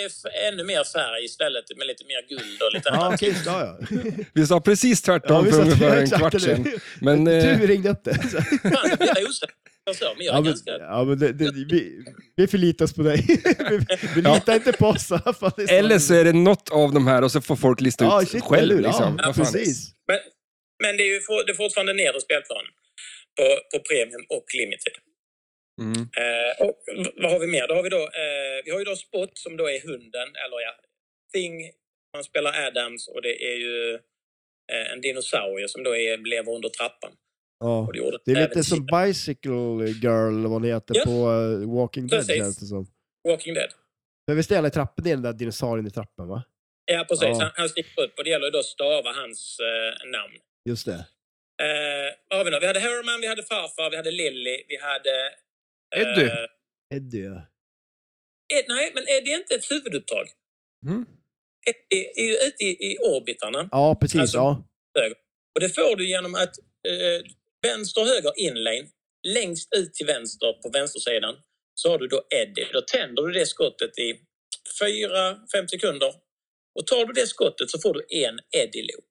[SPEAKER 8] är f- ännu mer färg istället med lite mer guld och lite
[SPEAKER 9] Ja,
[SPEAKER 8] annat.
[SPEAKER 9] okej, ja, ja.
[SPEAKER 1] Vi sa precis
[SPEAKER 9] ja
[SPEAKER 1] tvärtom
[SPEAKER 9] vi
[SPEAKER 1] för
[SPEAKER 9] satt-
[SPEAKER 1] ungefär en
[SPEAKER 9] exakt,
[SPEAKER 1] kvart
[SPEAKER 9] eller
[SPEAKER 1] sedan.
[SPEAKER 9] hur?
[SPEAKER 1] Men, eh,
[SPEAKER 9] Du ringde upp det. Så.
[SPEAKER 8] Fan, jag blir osäker. Jag förstår, men jag är
[SPEAKER 9] Ja, men,
[SPEAKER 8] ganska...
[SPEAKER 9] ja, men det, det, vi, vi förlitar oss på dig. <laughs> vi vi
[SPEAKER 1] Ja.
[SPEAKER 9] litar inte på oss i alla fall. Det är så-
[SPEAKER 1] Eller E så är det något av de här och så får folk lista
[SPEAKER 9] Ja,
[SPEAKER 1] ut
[SPEAKER 9] shit, eller
[SPEAKER 1] själv.
[SPEAKER 9] hur?
[SPEAKER 1] Liksom.
[SPEAKER 9] Ja,
[SPEAKER 1] Vad fan.
[SPEAKER 9] precis.
[SPEAKER 8] Men, men det är ju for, det är fortfarande nedre spelplanen på, på Premium och Limited.
[SPEAKER 1] Mm.
[SPEAKER 8] Eh, och v- vad har vi mer? Då har vi, då, eh, vi har ju då Spot som då är hunden, eller ja, Thing. Man spelar Adams och det är ju eh, en dinosaurie som då är, lever under trappan.
[SPEAKER 9] Ja.
[SPEAKER 8] Och det, gjorde
[SPEAKER 9] Det är lite
[SPEAKER 8] även
[SPEAKER 9] som
[SPEAKER 8] Chip-
[SPEAKER 9] Bicycle Girl, eller vad hon heter,
[SPEAKER 8] Ja.
[SPEAKER 9] på eh, Walking Dead
[SPEAKER 8] Precis.
[SPEAKER 9] känns det som.
[SPEAKER 8] Walking Dead.
[SPEAKER 9] Men visst är alla i trappen, det är den där dinosaurien i trappen va?
[SPEAKER 8] Ja, precis.
[SPEAKER 9] Ja.
[SPEAKER 8] Han, han sticker upp och det gäller ju då att stava hans eh, namn.
[SPEAKER 9] Just det.
[SPEAKER 8] Eh, vad har vi, då? vi hade Herman, vi hade farfar, vi hade Lilly, vi hade...
[SPEAKER 1] Eddie.
[SPEAKER 8] eh,
[SPEAKER 9] Eddie ja.
[SPEAKER 8] Ed, nej, men Eddie är inte ett huvuduppdrag.
[SPEAKER 1] Mm.
[SPEAKER 8] Eddie är ju ute i, i orbitarna.
[SPEAKER 9] Ja, precis.
[SPEAKER 8] Alltså-
[SPEAKER 9] ja.
[SPEAKER 8] Och det får du genom att eh, vänster, höger, inlane. Längst ut till vänster på vänstersidan så har du då Eddie. Då tänder du det skottet i 4-5 sekunder. Och tar du det skottet så får du en Eddie-loop.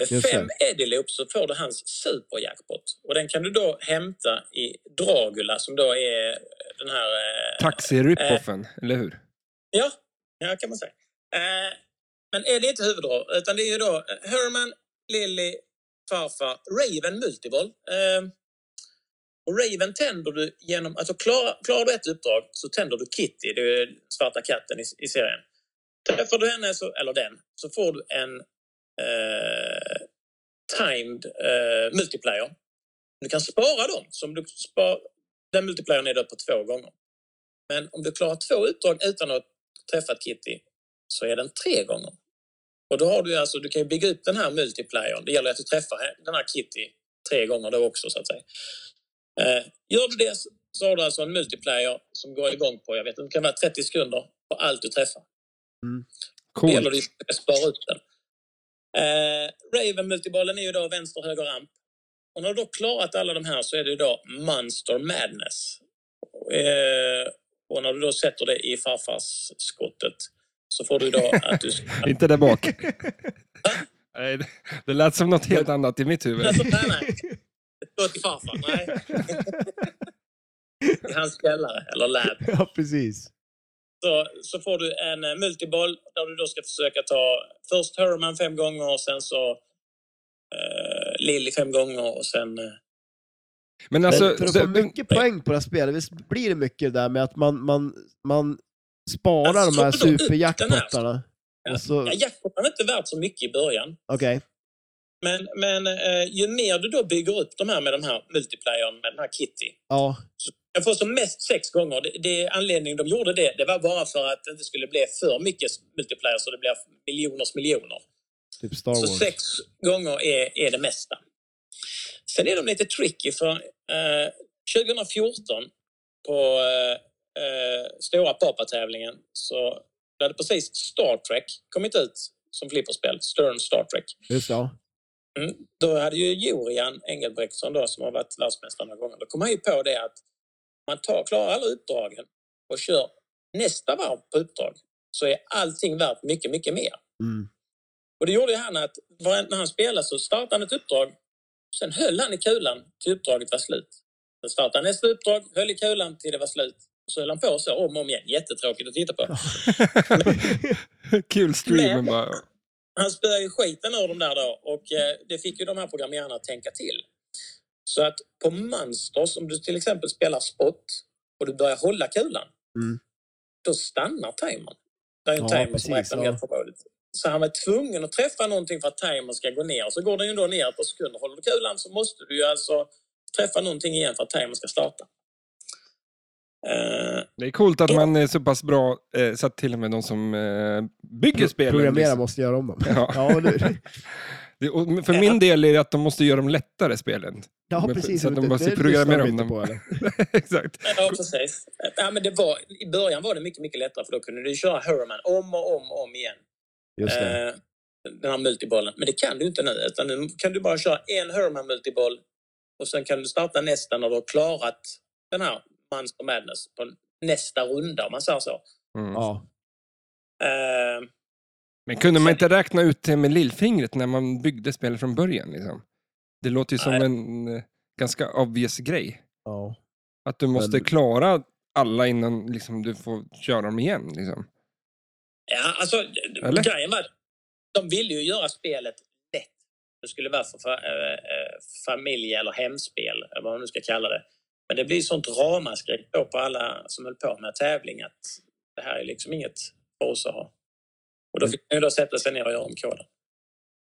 [SPEAKER 8] Med
[SPEAKER 9] Just
[SPEAKER 8] fem Eddie-loops så får du hans superjackpot. Och den kan du då hämta i Dragula som då är den här... eh,
[SPEAKER 1] Taxi-rip-offen, eller hur?
[SPEAKER 8] Ja, ja kan man säga. Eh, men är det inte huvuddrag, utan det är ju då eh, Herman, Lilly, farfar, Raven multiboll. Eh, och Raven tänder du genom... Alltså klarar, klarar du ett uppdrag så tänder du Kitty, det är ju den svarta katten i, i serien. Träffar du henne, så, eller den, så får du en eh, timed eh, multiplayer. Du kan spara dem. Som du spar, den multiplayern är då på två gånger. Men om du klarar två uppdrag utan att träffa Kitty så är den tre gånger. Och då har du ju alltså, du kan ju bygga ut den här multiplayern. Det gäller att du träffar he- den här Kitty tre gånger då också så att säga. Eh, gör du det så- så har du alltså en multiplayer som går igång på, jag vet inte, det kan vara 30 sekunder på allt du träffar. Det gäller
[SPEAKER 1] Coolt.
[SPEAKER 8] att du ska spara ut den. Eh, Raven multibollen är ju då vänster, höger ramp. Och när du då klarat alla de här så är det ju då Monster Madness. Eh, och när du då sätter det i farfars skottet så får du då att du ska...
[SPEAKER 1] <laughs> Inte där bak.
[SPEAKER 9] <laughs>
[SPEAKER 1] Nej, det- det lät som något helt annat i mitt huvud.
[SPEAKER 8] Alltså, nej, nej. Gå till farfar, nej. I hans källare, eller lab.
[SPEAKER 9] <laughs> ja, precis.
[SPEAKER 8] så, så får du en eh, multiboll där du då ska försöka ta först Herman fem gånger och sen så eh, Lilly fem gånger och sen... Eh,
[SPEAKER 1] Men
[SPEAKER 9] Men
[SPEAKER 1] alltså,
[SPEAKER 9] för att
[SPEAKER 1] det-
[SPEAKER 9] få mycket poäng på det här spelet, visst blir det mycket där med att man, man, man sparar
[SPEAKER 8] Alltså,
[SPEAKER 9] de här
[SPEAKER 8] så då ut
[SPEAKER 9] superjackpottarna?
[SPEAKER 8] Ja.
[SPEAKER 9] Och så,
[SPEAKER 8] ja, jackpoten är inte värt så mycket i början.
[SPEAKER 9] okej.
[SPEAKER 8] Men, men eh, ju mer du då bygger upp de här med de här multiplayern med den här Kitty.
[SPEAKER 9] Ja,
[SPEAKER 8] Jag får som mest sex gånger. Det, det, anledningen de gjorde det, det var bara för att det inte skulle bli för mycket multiplayer så det blir miljoners miljoner.
[SPEAKER 9] typ Star
[SPEAKER 8] Så
[SPEAKER 9] Wars.
[SPEAKER 8] sex gånger är, är det mesta. Sen är de lite tricky för eh, 2014 på eh, eh, stora Papa-tävlingen så då hade precis Star Trek kommit ut som flipperspel, Stern Star Trek.
[SPEAKER 9] Just det, ja.
[SPEAKER 8] Mm. Då hade ju Jorian Engelbrektsson då, som har varit världsmästare några gånger, då kom han ju på det att man tar, klarar alla uppdragen och kör nästa varv på uppdrag så är allting värt mycket, mycket mer.
[SPEAKER 9] Mm.
[SPEAKER 8] Och det gjorde ju han att var- när han spelade så startade han ett uppdrag, sen höll han i kulan till uppdraget var slut. Sen startade han nästa uppdrag, höll i kulan till det var slut. Och så höll han på så om och om igen. Jättetråkigt att titta på.
[SPEAKER 9] <laughs>
[SPEAKER 1] <laughs> Kul streamen bara.
[SPEAKER 8] han spöade ju skiten ur dem där då och eh, det fick ju de här programmerarna att tänka till. Så att på Monsters, om du till exempel spelar spot och du börjar hålla kulan,
[SPEAKER 9] Mm.
[SPEAKER 8] då stannar timern. Det är ju
[SPEAKER 9] Ja,
[SPEAKER 8] en timer som
[SPEAKER 9] precis,
[SPEAKER 8] räknar
[SPEAKER 9] ja.
[SPEAKER 8] helt förrådigt. Så han var tvungen att träffa någonting för att timern ska gå ner. Så går den ju då ner ett par sekunder. Håller du kulan så måste du ju alltså träffa någonting igen för att timern ska starta. Eh,
[SPEAKER 1] Det är coolt att man är så pass bra eh, så att till och med de som eh, bygger spelen...
[SPEAKER 2] Programmera måste göra om dem.
[SPEAKER 1] Ja.
[SPEAKER 2] Ja, eller hur?
[SPEAKER 1] Det- och
[SPEAKER 8] Eh,
[SPEAKER 1] För min del är det att de måste göra de lättare spelen. <laughs>
[SPEAKER 2] ja
[SPEAKER 1] Men-
[SPEAKER 2] precis.
[SPEAKER 1] så att de
[SPEAKER 2] Det-
[SPEAKER 1] måste
[SPEAKER 2] det
[SPEAKER 1] programmera
[SPEAKER 2] lyssnar de
[SPEAKER 1] om
[SPEAKER 2] inte
[SPEAKER 1] dem.
[SPEAKER 2] på, eller?
[SPEAKER 1] Exakt.
[SPEAKER 8] Ja, precis. Ja, men det var, I början var det mycket, mycket lättare för då kunde du köra Herman om och om och om igen.
[SPEAKER 2] Just det.
[SPEAKER 8] Eh, den här multibollen. Men det kan du inte nu. Utan nu kan du bara köra en Herman multiboll och sen kan du starta nästa när du har klarat den här Monster Madness på nästa runda om man säger så.
[SPEAKER 1] Mm.
[SPEAKER 2] Ja.
[SPEAKER 8] Eh,
[SPEAKER 1] Men kunde man inte räkna ut det med lillfingret när man byggde spelet från början? Liksom? Det låter ju som
[SPEAKER 8] Nej.
[SPEAKER 1] en eh, ganska obvious grej.
[SPEAKER 2] ja.
[SPEAKER 1] Att du måste
[SPEAKER 2] Men-
[SPEAKER 1] klara alla innan liksom, du får köra dem igen. Liksom.
[SPEAKER 8] ja, alltså,
[SPEAKER 1] Eller?
[SPEAKER 8] grejen var att de ville ju göra spelet lätt. Det skulle vara för fa- eh, eh, familje eller hemspel, eller vad man nu ska kalla det. Men det blir sånt ramaskri då på alla som höll på med tävling att det här är liksom inget för oss att ha. Och då
[SPEAKER 1] Mm.
[SPEAKER 8] fick man ju då sätta sig ner och göra om koden.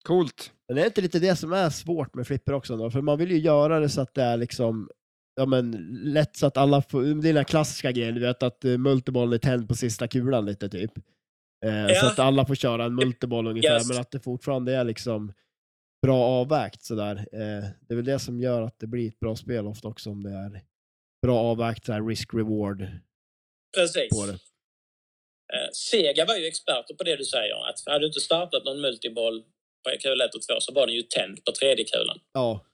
[SPEAKER 1] Coolt.
[SPEAKER 2] Men det är inte lite det som är svårt med flipper också då? För man vill ju göra det så att det är liksom Ja men lätt så att alla får, det är den här klassiska grejen du vet att eh, multibollen är tänd på sista kulan lite typ. Eh, Så
[SPEAKER 8] Ja.
[SPEAKER 2] att alla får köra en
[SPEAKER 8] <laughs>
[SPEAKER 2] multiboll ungefär
[SPEAKER 8] Yes.
[SPEAKER 2] men att det fortfarande är liksom bra avvägt sådär. Eh, det är väl det som gör att det blir ett bra spel ofta också om det är bra avvägt sådär risk-reward
[SPEAKER 8] Precis.
[SPEAKER 2] på det.
[SPEAKER 8] Eh, Sega var ju experter på det du säger. Att hade du inte startat någon multiboll på kula 1 och 2 så var den ju tänd på tredje kulan. <laughs>
[SPEAKER 2] Ja. <laughs>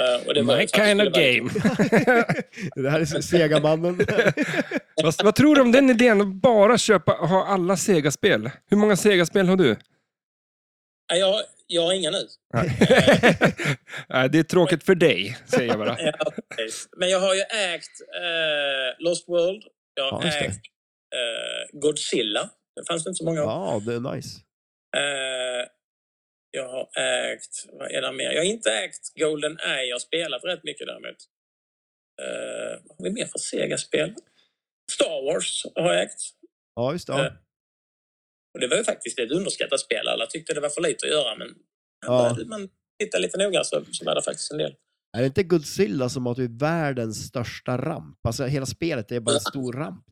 [SPEAKER 8] Eh, Och det var ju
[SPEAKER 1] My
[SPEAKER 8] för att det
[SPEAKER 1] kind
[SPEAKER 8] skulle
[SPEAKER 1] of
[SPEAKER 8] vara-
[SPEAKER 1] game.
[SPEAKER 2] det här är Sega-mannen.
[SPEAKER 1] <laughs> vad, vad tror du om den idén att bara köpa, ha alla Sega-spel? Hur många Sega-spel har du?
[SPEAKER 8] Nej, Jag, har- jag har inga nu.
[SPEAKER 1] Nej. <laughs> Nej, det är tråkigt för dig, säger jag bara.
[SPEAKER 8] Ja, precis. Men jag har ju ägt eh, Lost World. Jag har
[SPEAKER 2] Ja, just det.
[SPEAKER 8] ägt eh, Godzilla. Det fanns inte så många av.
[SPEAKER 2] ja, det är nice.
[SPEAKER 8] Eh, jag har ägt... Vad är det mer? Jag har inte ägt Golden Eye. Jag har spelat rätt mycket däremot. Eh, vad har vi mer för Sega-spel? Star Wars har jag ägt.
[SPEAKER 2] Ja, just det.
[SPEAKER 8] Eh,
[SPEAKER 2] Ja.
[SPEAKER 8] Och det var ju faktiskt ett underskattat spel. Alla tyckte det var för lite att göra, men
[SPEAKER 2] Ja.
[SPEAKER 8] började man titta lite noga så, så var det faktiskt en del.
[SPEAKER 2] Är det inte Godzilla som har typ världens största ramp? Alltså hela spelet är bara en stor ramp.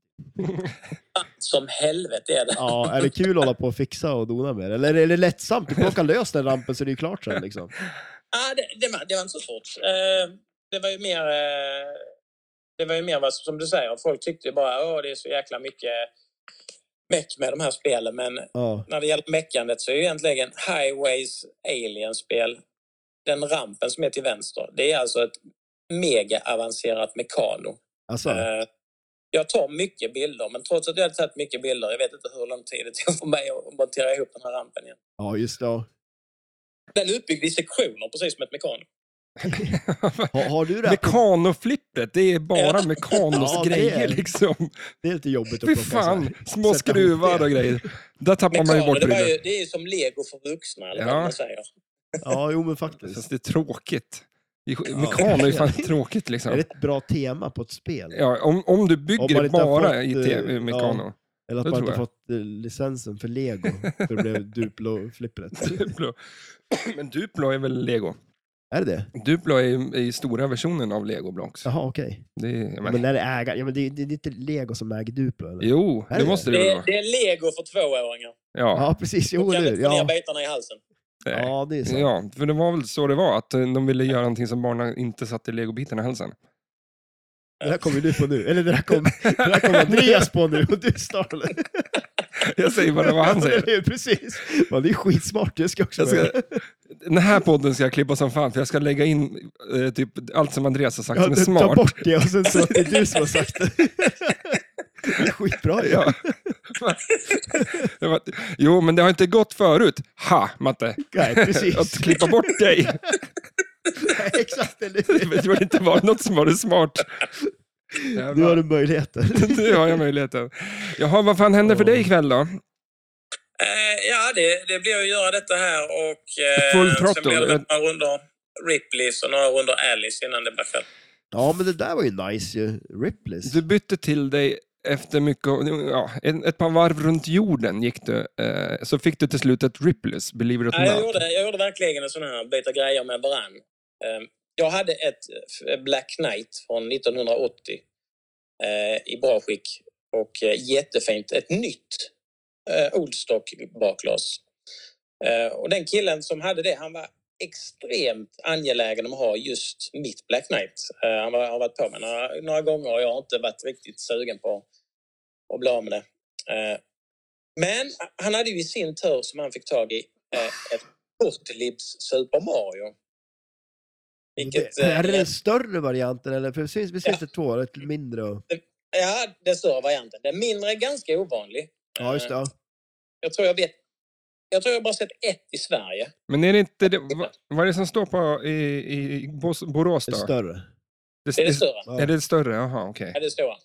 [SPEAKER 8] Som helvete är det.
[SPEAKER 2] Ja, är det kul att hålla på och fixa och dona med det? Eller är det lättsamt? Du plockar lös den rampen så det är ju klart sen liksom.
[SPEAKER 8] Ah, det, det, var, det var inte så svårt. Eh, det var ju mer, eh, det var ju mer vad, som du säger, folk tyckte ju bara åh det är så jäkla mycket meck med de här spelen. Men
[SPEAKER 2] Ja,
[SPEAKER 8] när det gäller meckandet så är ju egentligen Highways Alien-spel, den rampen som är till vänster, det är alltså ett mega avancerat mekano.
[SPEAKER 2] alltså.
[SPEAKER 8] Eh, Jag tar mycket bilder, men trots att jag har tagit mycket bilder, jag vet inte hur lång tid det tog för mig att montera ihop den här rampen igen.
[SPEAKER 2] Ja, just det.
[SPEAKER 1] <laughs>
[SPEAKER 2] Ja.
[SPEAKER 8] Den är uppbyggd i sektioner, precis som ett mekan.
[SPEAKER 2] Har, har du det? här på-
[SPEAKER 1] Mekanoflippet, det är bara
[SPEAKER 8] Ja.
[SPEAKER 1] mekanos
[SPEAKER 2] Ja, det är
[SPEAKER 1] grejer
[SPEAKER 2] det.
[SPEAKER 1] liksom.
[SPEAKER 2] Det är lite jobbigt att
[SPEAKER 1] Fy
[SPEAKER 2] plocka. så här.
[SPEAKER 1] fan, små
[SPEAKER 2] sätta ihop
[SPEAKER 1] skruvar
[SPEAKER 2] det.
[SPEAKER 1] och grejer. Där tappar man ju
[SPEAKER 8] Mekano,
[SPEAKER 1] bort
[SPEAKER 8] det, var
[SPEAKER 1] brydden.
[SPEAKER 8] ju, det är ju som lego för vuxna, eller
[SPEAKER 1] Ja.
[SPEAKER 8] vad man säger.
[SPEAKER 2] Ja, jo men
[SPEAKER 1] Fast
[SPEAKER 2] faktiskt.
[SPEAKER 1] det är tråkigt. Det är sk- Mekan är ju fan tråkigt
[SPEAKER 2] <laughs> Är
[SPEAKER 1] liksom.
[SPEAKER 2] det ett bra tema på ett spel?
[SPEAKER 1] Ja, om, om du
[SPEAKER 2] Om
[SPEAKER 1] bygger
[SPEAKER 2] man
[SPEAKER 1] det
[SPEAKER 2] inte har
[SPEAKER 1] bara
[SPEAKER 2] fått,
[SPEAKER 1] i te-
[SPEAKER 2] eh, <laughs>
[SPEAKER 1] Mekano.
[SPEAKER 2] Eller att
[SPEAKER 1] det
[SPEAKER 2] man inte
[SPEAKER 1] tror jag.
[SPEAKER 2] fått eh, licensen för lego, för
[SPEAKER 1] <laughs>
[SPEAKER 2] det blev Duplo-flippret.
[SPEAKER 1] Duplo. <clears throat> Men Duplo är väl lego?
[SPEAKER 2] är det det?
[SPEAKER 1] Duplo är ju, är ju stora versionen av lego blocks.
[SPEAKER 2] Jaha, okej.
[SPEAKER 1] Det är, jag
[SPEAKER 2] Men
[SPEAKER 1] menar-
[SPEAKER 2] är det ägare? Ja, men det, är- det är inte lego som äger Duplo eller?
[SPEAKER 1] jo,
[SPEAKER 2] Är
[SPEAKER 1] det
[SPEAKER 2] det?
[SPEAKER 1] måste det väl
[SPEAKER 8] Det,
[SPEAKER 1] vara.
[SPEAKER 8] det är lego för tvååringar.
[SPEAKER 1] Ja.
[SPEAKER 2] Ja, precis. Jo,
[SPEAKER 8] De kan
[SPEAKER 2] nu.
[SPEAKER 8] inte få ner
[SPEAKER 2] Ja.
[SPEAKER 8] bitarna i halsen.
[SPEAKER 1] Nej.
[SPEAKER 2] ja, det är sant.
[SPEAKER 1] Ja, för det var väl så det var, att eh, de ville göra någonting som barnen inte satte legobitarna i halsen. <laughs>
[SPEAKER 2] Det där kommer du på nu. Eller det där kom, det där kom Andreas på nu och du startade.
[SPEAKER 1] Jag säger bara vad han säger.
[SPEAKER 2] Precis. Ja, det är skitsmart. Det ska jag också
[SPEAKER 1] Jag ska,
[SPEAKER 2] göra. <laughs>
[SPEAKER 1] den här podden ska jag klippa som fan, för jag ska lägga in eh, typ allt som Andreas har sagt
[SPEAKER 2] Ja,
[SPEAKER 1] som är
[SPEAKER 2] du- Ta
[SPEAKER 1] smart.
[SPEAKER 2] bort det och sen så att det är du som har sagt det. Det är skitbra ju. <laughs>
[SPEAKER 1] Ja. Det var- jo, men det har inte gått förut. Ha, Matte!
[SPEAKER 2] Nej, precis.
[SPEAKER 1] Att klippa bort dig.
[SPEAKER 2] Nej, Exakt, eller hur?
[SPEAKER 1] Det var inte var något som var det smart.
[SPEAKER 2] Nu har du möjligheter.
[SPEAKER 1] nu har jag möjligheten. Jaha, vad fan händer för dig ikväll då?
[SPEAKER 8] Eh, ja, det, det blir att göra detta här och... Eh,
[SPEAKER 1] Full throttle.
[SPEAKER 8] Sen blir det några runder Ripleys och några runder Alice innan det blir kväll.
[SPEAKER 2] Ja, men det där var ju nice ju. Ripley's.
[SPEAKER 1] Du bytte till dig efter mycket, ja, en- ett par varv runt jorden gick du, eh, så fick du till slut ett Ripley's, Believe It Or
[SPEAKER 8] Nej, jag,
[SPEAKER 1] Not.
[SPEAKER 8] gjorde, jag gjorde verkligen en sån här byta grejer med varann. Eh, Jag hade ett eh, Black Knight från 1980 eh, i bra skick och eh, jättefint. Ett nytt eh, Oldstock bakglas. Eh, Och den killen som hade det, han var extremt angelägen om att ha just mitt Black Knight. Eh, Han var- har varit på mig några, några gånger och jag har inte varit riktigt sugen på att bli av med det. Eh, Men han hade ju i sin tur, som han fick tag i, eh, ett Bottlibs Super Mario. Vilket,
[SPEAKER 2] det, är
[SPEAKER 8] eh,
[SPEAKER 2] det den större varianten eller? För det finns, visst finns det två, ett mindre och...
[SPEAKER 8] Ja, den större varianten. Den mindre är ganska ovanlig. Eh,
[SPEAKER 2] Ja, just det. Ja.
[SPEAKER 8] Jag tror jag vet. Jag tror jag bara sett ett i Sverige.
[SPEAKER 1] Men är det inte, det, vad, vad är det som står på i, i Bos- Borås
[SPEAKER 2] Det
[SPEAKER 1] då?
[SPEAKER 2] större.
[SPEAKER 8] Det är det större.
[SPEAKER 1] Är det större? Jaha, okej.
[SPEAKER 8] Ja, det är stora.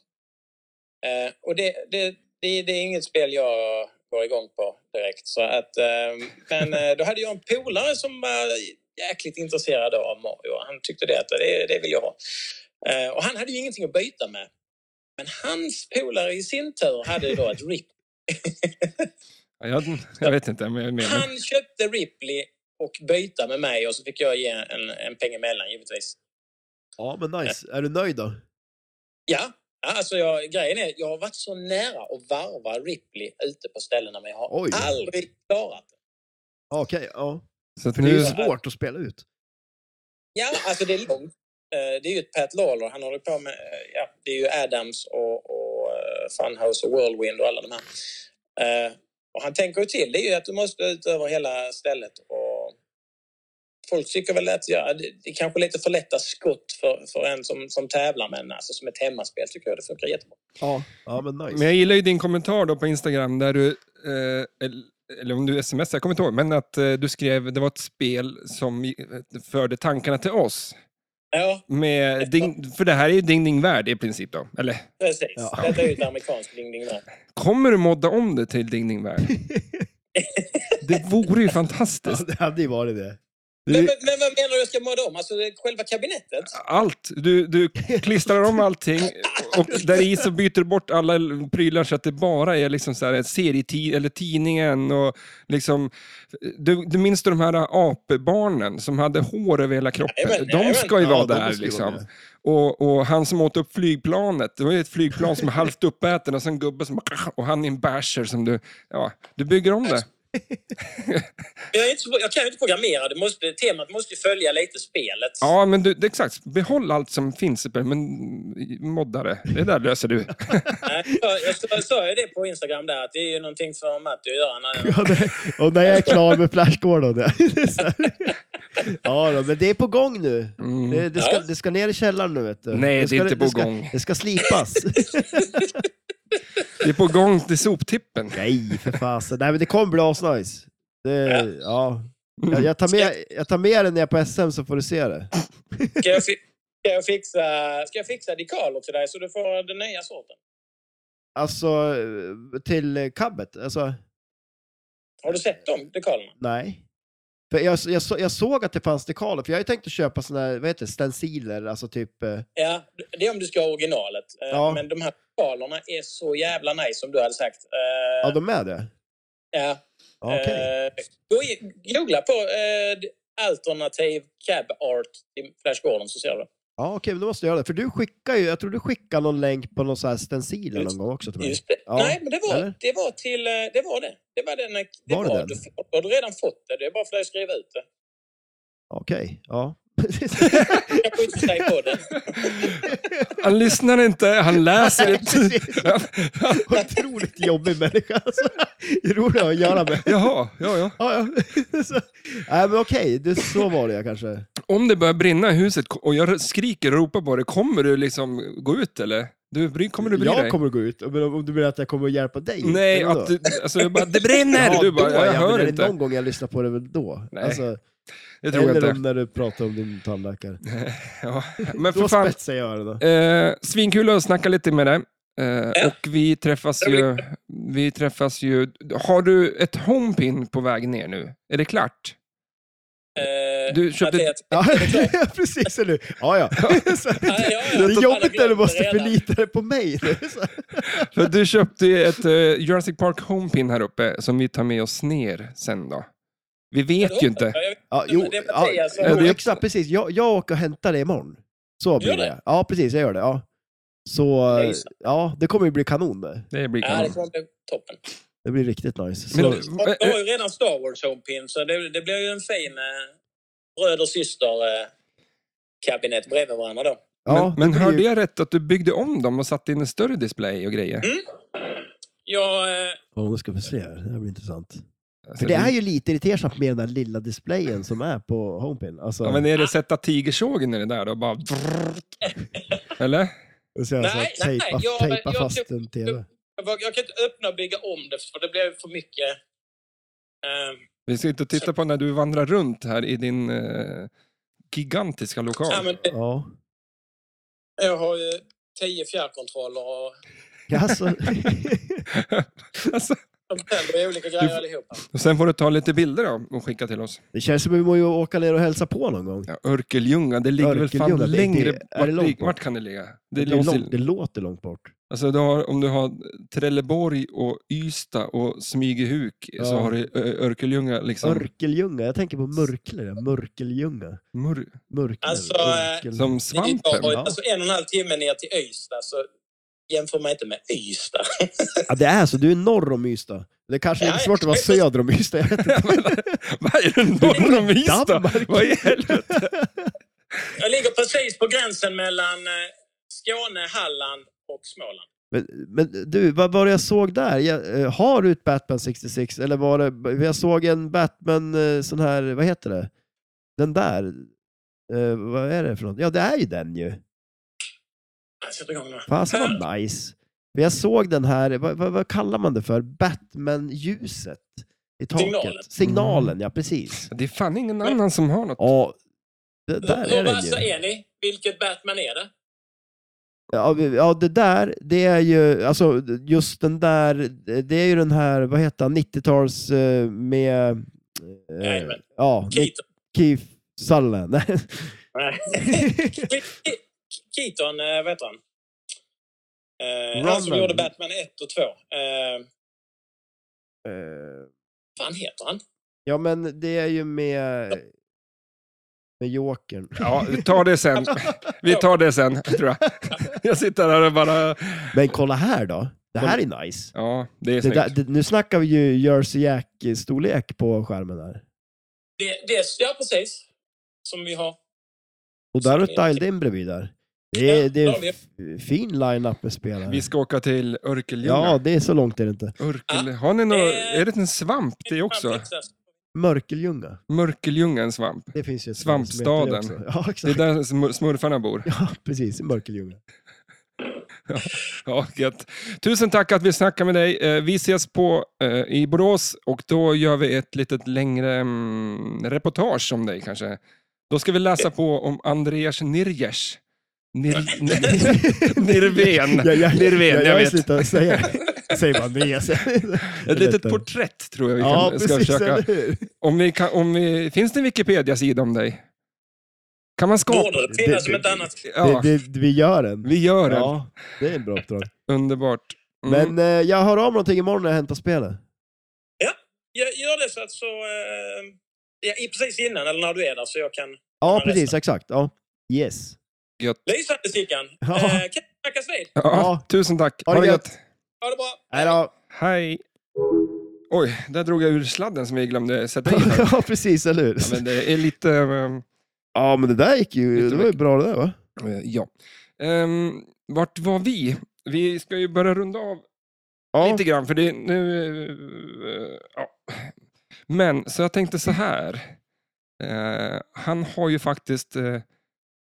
[SPEAKER 8] Eh, och det, det, det, det är inget spel jag går igång på direkt. Så att, eh, men eh, då hade jag en polare som var jäkligt intresserad av Mario. Han tyckte det att det, det vill jag ha. Eh, och han hade ju ingenting att byta med. Men hans polare i sin tur hade ju då ett RIP
[SPEAKER 1] Ja, jag, jag vet inte, men jag är med. Men,
[SPEAKER 8] Han köpte Ripley och byta med mig och så fick jag ge en, en peng emellan givetvis.
[SPEAKER 2] Ja, men nice.
[SPEAKER 8] Eh.
[SPEAKER 2] Är du nöjd då?
[SPEAKER 8] Ja, ja, alltså jag, grejen är jag har varit så nära att varva Ripley ute på ställena men jag har
[SPEAKER 2] Oj.
[SPEAKER 8] aldrig klarat det.
[SPEAKER 2] Ja, Okej, ja.
[SPEAKER 1] så att
[SPEAKER 2] För det är
[SPEAKER 1] nu,
[SPEAKER 2] ju svårt att spela ut.
[SPEAKER 8] Ja, alltså det är långt. Eh, Det är ju ett Pat Lawler, han håller på med, eh, ja, det är ju Adams och, och eh, Funhouse och Whirlwind och alla de här. Eh, Och han tänker ju till, det är ju att du måste ut över hela stället och folk tycker väl att ja, det, det är kanske lite för lätta skott för, för en som, som tävlar men alltså som ett hemmaspel tycker jag det funkar jättebra.
[SPEAKER 2] Ja, ja men nice.
[SPEAKER 1] men jag gillar ju din kommentar då på Instagram där du, eh, el- eller om du smsar, jag kommer inte ihåg, men att eh, du skrev det var ett spel som eh, förde tankarna till oss.
[SPEAKER 8] Ja,
[SPEAKER 1] Med ding, för det här är ju Ding Ding Värld i princip då, eller?
[SPEAKER 8] precis.
[SPEAKER 2] Ja.
[SPEAKER 8] Detta är ju ett amerikanskt ding ding där.
[SPEAKER 1] Kommer du modda om det till Ding Ding Värld? Det vore ju fantastiskt.
[SPEAKER 2] Ja, det hade ju varit det.
[SPEAKER 8] Men, men, men vad menar du jag ska måla om? Alltså det- själva kabinettet?
[SPEAKER 1] Allt. Du, du klistrar om allting och där i så byter du bort alla prylar så att det bara är liksom så här serietid eller tidningen och liksom... Du, du minns du de här apbarnen som hade hår över hela kroppen?
[SPEAKER 8] Jajamän,
[SPEAKER 1] de ska ju
[SPEAKER 2] jajamän.
[SPEAKER 1] vara
[SPEAKER 2] Ja, de
[SPEAKER 1] där
[SPEAKER 2] måste ju
[SPEAKER 1] liksom.
[SPEAKER 2] vara med.
[SPEAKER 1] Och, och han som åt upp flygplanet, det var ju ett flygplan som är halvt uppäten och sen en gubbe som... Och han är en basher som du... Ja, du bygger om det.
[SPEAKER 8] Jag, är inte, så- jag kan ju inte programmera, det måste, temat måste ju följa lite spelet.
[SPEAKER 1] Ja, men du, det, exakt. Behåll allt som finns, men modda det. Det där löser du.
[SPEAKER 8] Nej, Jag jag sa- jag sa ju det på Instagram där, att det är ju någonting för Matti att göra. När
[SPEAKER 2] <laughs> Ja, det, och när jag är klar med Flash Gordon. Ja, det <laughs> är så här. ja då, men det är på gång nu.
[SPEAKER 1] Mm.
[SPEAKER 2] Det, det, ska,
[SPEAKER 8] Ja.
[SPEAKER 2] det ska ner i källaren nu vet du.
[SPEAKER 1] Nej, det är
[SPEAKER 2] ska,
[SPEAKER 1] inte på
[SPEAKER 2] det ska,
[SPEAKER 1] gång.
[SPEAKER 2] Det ska <laughs> slipas.
[SPEAKER 1] Det är på gång till soptippen.
[SPEAKER 2] Nej, för fasen. Nej, men det kommer bli asnice. Det, ja. Jag, jag, tar med, jag tar med det när jag är på SM så får du se det.
[SPEAKER 8] ska, jag fi- ska, jag fixa, ska jag fixa dekaler till dig så du får den nya sorten?
[SPEAKER 2] Alltså, eh, till eh, cabbet. Alltså,
[SPEAKER 8] Har du sett de dekalerna?
[SPEAKER 2] nej. För jag, jag, så- jag såg att det fanns dekaler, för jag har ju tänkt att köpa såna här, vad heter det, stenciler, alltså typ... eh,
[SPEAKER 8] Ja, det är om du ska ha originalet. Eh,
[SPEAKER 2] Ja.
[SPEAKER 8] Men de här dekalerna är så jävla nice som du hade sagt. Eh,
[SPEAKER 2] Ja, de är det?
[SPEAKER 8] ja.
[SPEAKER 2] Ja, Okej.
[SPEAKER 8] Eh, gå in- googla på eh, alternativ cab art i Flash Gordon så ser du.
[SPEAKER 2] Ja, okej, men då måste jag göra det. För du skickar ju, jag tror du skickar någon länk på någon sån här stencil någon
[SPEAKER 8] Just-
[SPEAKER 2] gång också till mig.
[SPEAKER 8] Just det.
[SPEAKER 2] Ja,
[SPEAKER 8] Nej, men det var,
[SPEAKER 2] eller?
[SPEAKER 8] det var till... eh, Det var det. Det var den... eh, Det
[SPEAKER 2] Var det den?
[SPEAKER 8] Du, du har du redan fått det. Det är bara för dig att skriva ut det.
[SPEAKER 2] Okej, ja. <laughs>
[SPEAKER 1] <laughs>
[SPEAKER 8] Jag får inte säga på det.
[SPEAKER 1] Han lyssnar inte, han läser inte.
[SPEAKER 2] Precis. Otroligt jobbig människa <laughs> alltså. Det är roligt att göra med.
[SPEAKER 1] Jaha, ja, ja.
[SPEAKER 2] Ja, ja. <laughs> Så, nej, men okej, det, så var det jag kanske.
[SPEAKER 1] Om det börjar brinna i huset och jag skriker och ropar på dig, kommer du liksom gå ut eller? Du, bry- kommer du bry
[SPEAKER 2] jag
[SPEAKER 1] dig?
[SPEAKER 2] kommer gå ut, men om om du menar att jag kommer att hjälpa dig?
[SPEAKER 1] Nej,
[SPEAKER 2] eller vadå?
[SPEAKER 1] att du, alltså, jag bara, det brinner!
[SPEAKER 2] Jaha,
[SPEAKER 1] du bara,
[SPEAKER 2] då,
[SPEAKER 1] jag,
[SPEAKER 2] ja, men är
[SPEAKER 1] hör
[SPEAKER 2] det
[SPEAKER 1] inte.
[SPEAKER 2] någon gång jag lyssnar på det väl då?
[SPEAKER 1] Nej,
[SPEAKER 2] alltså,
[SPEAKER 1] Det tror jag
[SPEAKER 2] eller
[SPEAKER 1] inte.
[SPEAKER 2] om när du pratar om din tandläkare.
[SPEAKER 1] Ja. Men för
[SPEAKER 2] Då
[SPEAKER 1] fan,
[SPEAKER 2] spetsar jag öronen.
[SPEAKER 1] eh, svinkul att snacka lite med dig. Eh,
[SPEAKER 8] Ja.
[SPEAKER 1] och vi träffas ju, vi träffas ju... Har du ett homepin på väg ner nu? Är det klart?
[SPEAKER 8] Eh,
[SPEAKER 2] <laughs>
[SPEAKER 1] Du köpte-
[SPEAKER 8] att det är ett-
[SPEAKER 2] Ja,
[SPEAKER 8] <laughs> är det
[SPEAKER 2] <laughs>
[SPEAKER 8] klart?
[SPEAKER 2] precis. Eller? hur? Ja, ja. <laughs> Så att
[SPEAKER 8] Ja, ja, ja.
[SPEAKER 2] Det är jobbigt när du måste
[SPEAKER 8] Redan.
[SPEAKER 2] förlita dig på mig. <laughs> nu. Så-
[SPEAKER 1] För du köpte ju ett eh, Jurassic Park Homepin här uppe som vi tar med oss ner sen då. Vi vet ju inte.
[SPEAKER 8] Ja, jag vet
[SPEAKER 2] Ja,
[SPEAKER 8] inte,
[SPEAKER 2] jo,
[SPEAKER 8] men det är
[SPEAKER 2] ja,
[SPEAKER 8] Mattias som-
[SPEAKER 1] Ja,
[SPEAKER 2] jo,
[SPEAKER 1] det-
[SPEAKER 2] exakt, precis. Jag, jag åker och hämtar det imorgon. Så blir
[SPEAKER 8] Gör det?
[SPEAKER 2] det. Ja, precis. Jag gör det. Ja. Så eh,
[SPEAKER 8] Nice.
[SPEAKER 2] ja, det kommer ju bli kanon det.
[SPEAKER 1] Det blir
[SPEAKER 8] Ja,
[SPEAKER 1] kanon.
[SPEAKER 8] det kommer bli toppen.
[SPEAKER 2] Det blir riktigt nice. Så,
[SPEAKER 1] Men,
[SPEAKER 8] Och
[SPEAKER 1] eh,
[SPEAKER 8] Vi
[SPEAKER 1] eh,
[SPEAKER 8] har ju redan Star Wars Homepin, så det, det blir ju en fin eh, bröder syster eh, kabinett bredvid varandra då.
[SPEAKER 2] ja,
[SPEAKER 1] men men
[SPEAKER 2] det blir
[SPEAKER 1] hörde
[SPEAKER 2] ju,
[SPEAKER 1] jag rätt att du byggde om dem och satte in en större display och grejer?
[SPEAKER 2] Mm.
[SPEAKER 8] Jag, eh,
[SPEAKER 2] Åh, nu ska vi se. här. Det här blir intressant.
[SPEAKER 1] Alltså,
[SPEAKER 2] För det är ju lite irritersamt med den där lilla displayen som är på Homepin. Alltså,
[SPEAKER 1] Ja, men är det sätta tigersågen i det där då?
[SPEAKER 8] <laughs>
[SPEAKER 1] Bara... Eller?
[SPEAKER 2] så jag
[SPEAKER 8] Nej,
[SPEAKER 2] så här,
[SPEAKER 8] nej,
[SPEAKER 2] tejpa,
[SPEAKER 8] jag-
[SPEAKER 2] tejpa
[SPEAKER 8] jag-
[SPEAKER 2] fast en TV.
[SPEAKER 8] jag, jag kan inte öppna och bygga om det, för det blir för mycket. Eh,
[SPEAKER 1] Vi sitter och tittar på när du vandrar runt här i din eh, gigantiska
[SPEAKER 8] ja,
[SPEAKER 1] lokal.
[SPEAKER 8] men, det-
[SPEAKER 2] Ja.
[SPEAKER 8] jag har ju tio fjärrkontroller och
[SPEAKER 1] <laughs>
[SPEAKER 2] Alltså,
[SPEAKER 8] <laughs>
[SPEAKER 2] <laughs>
[SPEAKER 1] alltså,
[SPEAKER 8] de tänder i olika grejer allihopa.
[SPEAKER 1] och sen får du ta lite bilder då och skicka till oss.
[SPEAKER 2] det känns som att vi måste åka ner och hälsa på någon gång.
[SPEAKER 1] Ja, Örkeljunga, det ligger väl
[SPEAKER 2] Örkeljunga,
[SPEAKER 1] fan
[SPEAKER 2] det- det-
[SPEAKER 1] längre...
[SPEAKER 2] är det långt
[SPEAKER 1] vart,
[SPEAKER 2] bort?
[SPEAKER 1] vart kan det ligga? Det
[SPEAKER 2] Det,
[SPEAKER 1] är
[SPEAKER 2] är
[SPEAKER 1] långt,
[SPEAKER 2] långt, det låter långt bort.
[SPEAKER 1] Alltså du har, om du har Trelleborg och Ystad och Smygehuk så
[SPEAKER 2] Ja.
[SPEAKER 1] har du Ö- Örkeljunga liksom...
[SPEAKER 2] Örkeljunga, jag tänker på Mörkle, där. Mörkeljunga.
[SPEAKER 1] mur,
[SPEAKER 2] Mörkle.
[SPEAKER 8] Alltså,
[SPEAKER 2] Örkel-
[SPEAKER 1] som
[SPEAKER 8] Det är ju bara-
[SPEAKER 1] svampen.
[SPEAKER 2] ja.
[SPEAKER 1] <laughs>
[SPEAKER 8] Alltså en och en halv timme ner till Ystad, så jämför mig inte med Ystad.
[SPEAKER 2] ja, det är så, du är norr om Ystad. Det kanske är
[SPEAKER 8] Ja,
[SPEAKER 2] svårt att vara
[SPEAKER 8] jag-
[SPEAKER 2] söder om Ystad, jag vet inte.
[SPEAKER 1] Vad är det <laughs> norr om Ystad?
[SPEAKER 2] Danmark.
[SPEAKER 1] Vad i helvete?
[SPEAKER 8] Jag ligger precis på gränsen mellan eh, Skåne, Halland och Småland.
[SPEAKER 2] <laughs> Men, men du, vad var det jag såg där? Jag, eh, har du ett Batman 66? Eller var det, jag såg en Batman, eh, sån här, vad heter det? Den där. Eh, vad är det för något? Ja, det är ju den ju.
[SPEAKER 8] Jag sätter igång nu.
[SPEAKER 2] Fasen alltså, <clears throat> vad nice. Men Jag såg den här, vad, vad, vad kallar man det för? Batman-ljuset i taket.
[SPEAKER 8] Signalen.
[SPEAKER 2] Signalen, ja precis.
[SPEAKER 1] Det är fan ingen annan som har något.
[SPEAKER 2] Ja, alltså, det där
[SPEAKER 8] Hur
[SPEAKER 2] är
[SPEAKER 8] vassa
[SPEAKER 2] den ju.
[SPEAKER 8] är ni? Vilket Batman är det?
[SPEAKER 2] Ja, vi- ja, det där, det är ju, alltså just den där, det är ju den här, vad heter han, 90-tals eh, med... Eh,
[SPEAKER 8] Jajamän.
[SPEAKER 2] ja, Nick
[SPEAKER 8] Keaton.
[SPEAKER 2] Keith Sutherland. <laughs> Eh, Nej.
[SPEAKER 8] Nej. Ke- Keaton, eh, vad heter han? Eh, han som
[SPEAKER 2] Ronan.
[SPEAKER 8] gjorde Batman 1 och 2. Eh,
[SPEAKER 2] Eh,
[SPEAKER 8] vad fan heter han?
[SPEAKER 2] ja, men det är ju med... Med Jokern.
[SPEAKER 1] Ja, vi tar det sen. Vi tar det sen, tror jag. Jag sitter här och bara...
[SPEAKER 2] Men kolla här då. Det här är nice.
[SPEAKER 1] Ja, det är
[SPEAKER 2] Det
[SPEAKER 1] snyggt.
[SPEAKER 2] där, det, nu snackar vi ju Jersey Jack-storlek på skärmen där.
[SPEAKER 8] Det, det, ja, precis. Som vi har.
[SPEAKER 2] Och där har du ett dialed in bredvid där. Det är,
[SPEAKER 8] Ja,
[SPEAKER 2] det
[SPEAKER 8] ja,
[SPEAKER 2] är en f- fin line-up med spelare.
[SPEAKER 1] Vi ska åka till Örkeljunga.
[SPEAKER 2] Ja, det är så långt är det inte.
[SPEAKER 1] Örkel... Har ni någon...
[SPEAKER 8] Eh.
[SPEAKER 1] Är det en svamp det också?
[SPEAKER 2] Mörkeljunga.
[SPEAKER 1] Mörkeljunga är en svamp.
[SPEAKER 2] Det finns ju ett
[SPEAKER 1] Svampstaden.
[SPEAKER 2] ställe som heter det också. Ja,
[SPEAKER 1] Det är
[SPEAKER 2] exakt.
[SPEAKER 1] där smur- smurfarna bor.
[SPEAKER 2] <laughs> Ja, precis. I Mörkeljunga.
[SPEAKER 1] Ja, gött. Tusen tack att vi snackade med dig. Eh, Vi ses på eh, i Borås och då gör vi ett litet längre mm, reportage om dig kanske. Då ska vi läsa på om Andreas Nirjers. Nir...
[SPEAKER 2] <laughs>
[SPEAKER 1] Nirven. Nirven, jag
[SPEAKER 2] har
[SPEAKER 1] vet.
[SPEAKER 2] slutat säga
[SPEAKER 1] <laughs>
[SPEAKER 2] Säg bara Andreas.
[SPEAKER 1] Ett litet porträtt tror jag vi kan,
[SPEAKER 2] Ja,
[SPEAKER 1] ska
[SPEAKER 2] precis.
[SPEAKER 1] försöka.
[SPEAKER 2] Eller hur?
[SPEAKER 1] Om vi kan, om vi, finns det en Wikipedia-sida om dig? Kan man skapa?
[SPEAKER 8] Borde det finnas som ett annat
[SPEAKER 1] Ja,
[SPEAKER 2] Det, det, vi gör den.
[SPEAKER 1] vi gör det.
[SPEAKER 2] Ja, det är en bra uppdrag.
[SPEAKER 1] Underbart. Mm.
[SPEAKER 2] Men eh, jag hör av någonting imorgon när jag hämtar spelet.
[SPEAKER 8] Jag gör det så att så... Eh, ja, i- precis innan, eller när du är där, så jag kan...
[SPEAKER 2] Ja,
[SPEAKER 8] Ja,
[SPEAKER 2] precis. Exakt. Ja. Yes.
[SPEAKER 8] Lysande Sickan!
[SPEAKER 2] Ja.
[SPEAKER 8] Eh, kan vi snackas vid?
[SPEAKER 1] ja,
[SPEAKER 2] ja.
[SPEAKER 1] Tusen tack.
[SPEAKER 2] Ha
[SPEAKER 1] Ha det
[SPEAKER 2] det
[SPEAKER 1] gött.
[SPEAKER 8] Ha det bra!
[SPEAKER 2] Hej då.
[SPEAKER 1] Hej. Oj, där drog jag ur sladden som jag glömde sätta in.
[SPEAKER 2] <laughs>
[SPEAKER 1] här.
[SPEAKER 2] <laughs> ja, precis. Eller hur?
[SPEAKER 1] Ja, men det är lite... ehm,
[SPEAKER 2] Ja, men det där gick ju...
[SPEAKER 1] Lite
[SPEAKER 2] Det var ju
[SPEAKER 1] mycket.
[SPEAKER 2] bra det där va?
[SPEAKER 1] eh, ja. Ehm, vart var vi? Vi ska ju börja runda av lite grann, för det är nu... eh, ja. Men, så jag tänkte så här. Eh, han har ju faktiskt eh,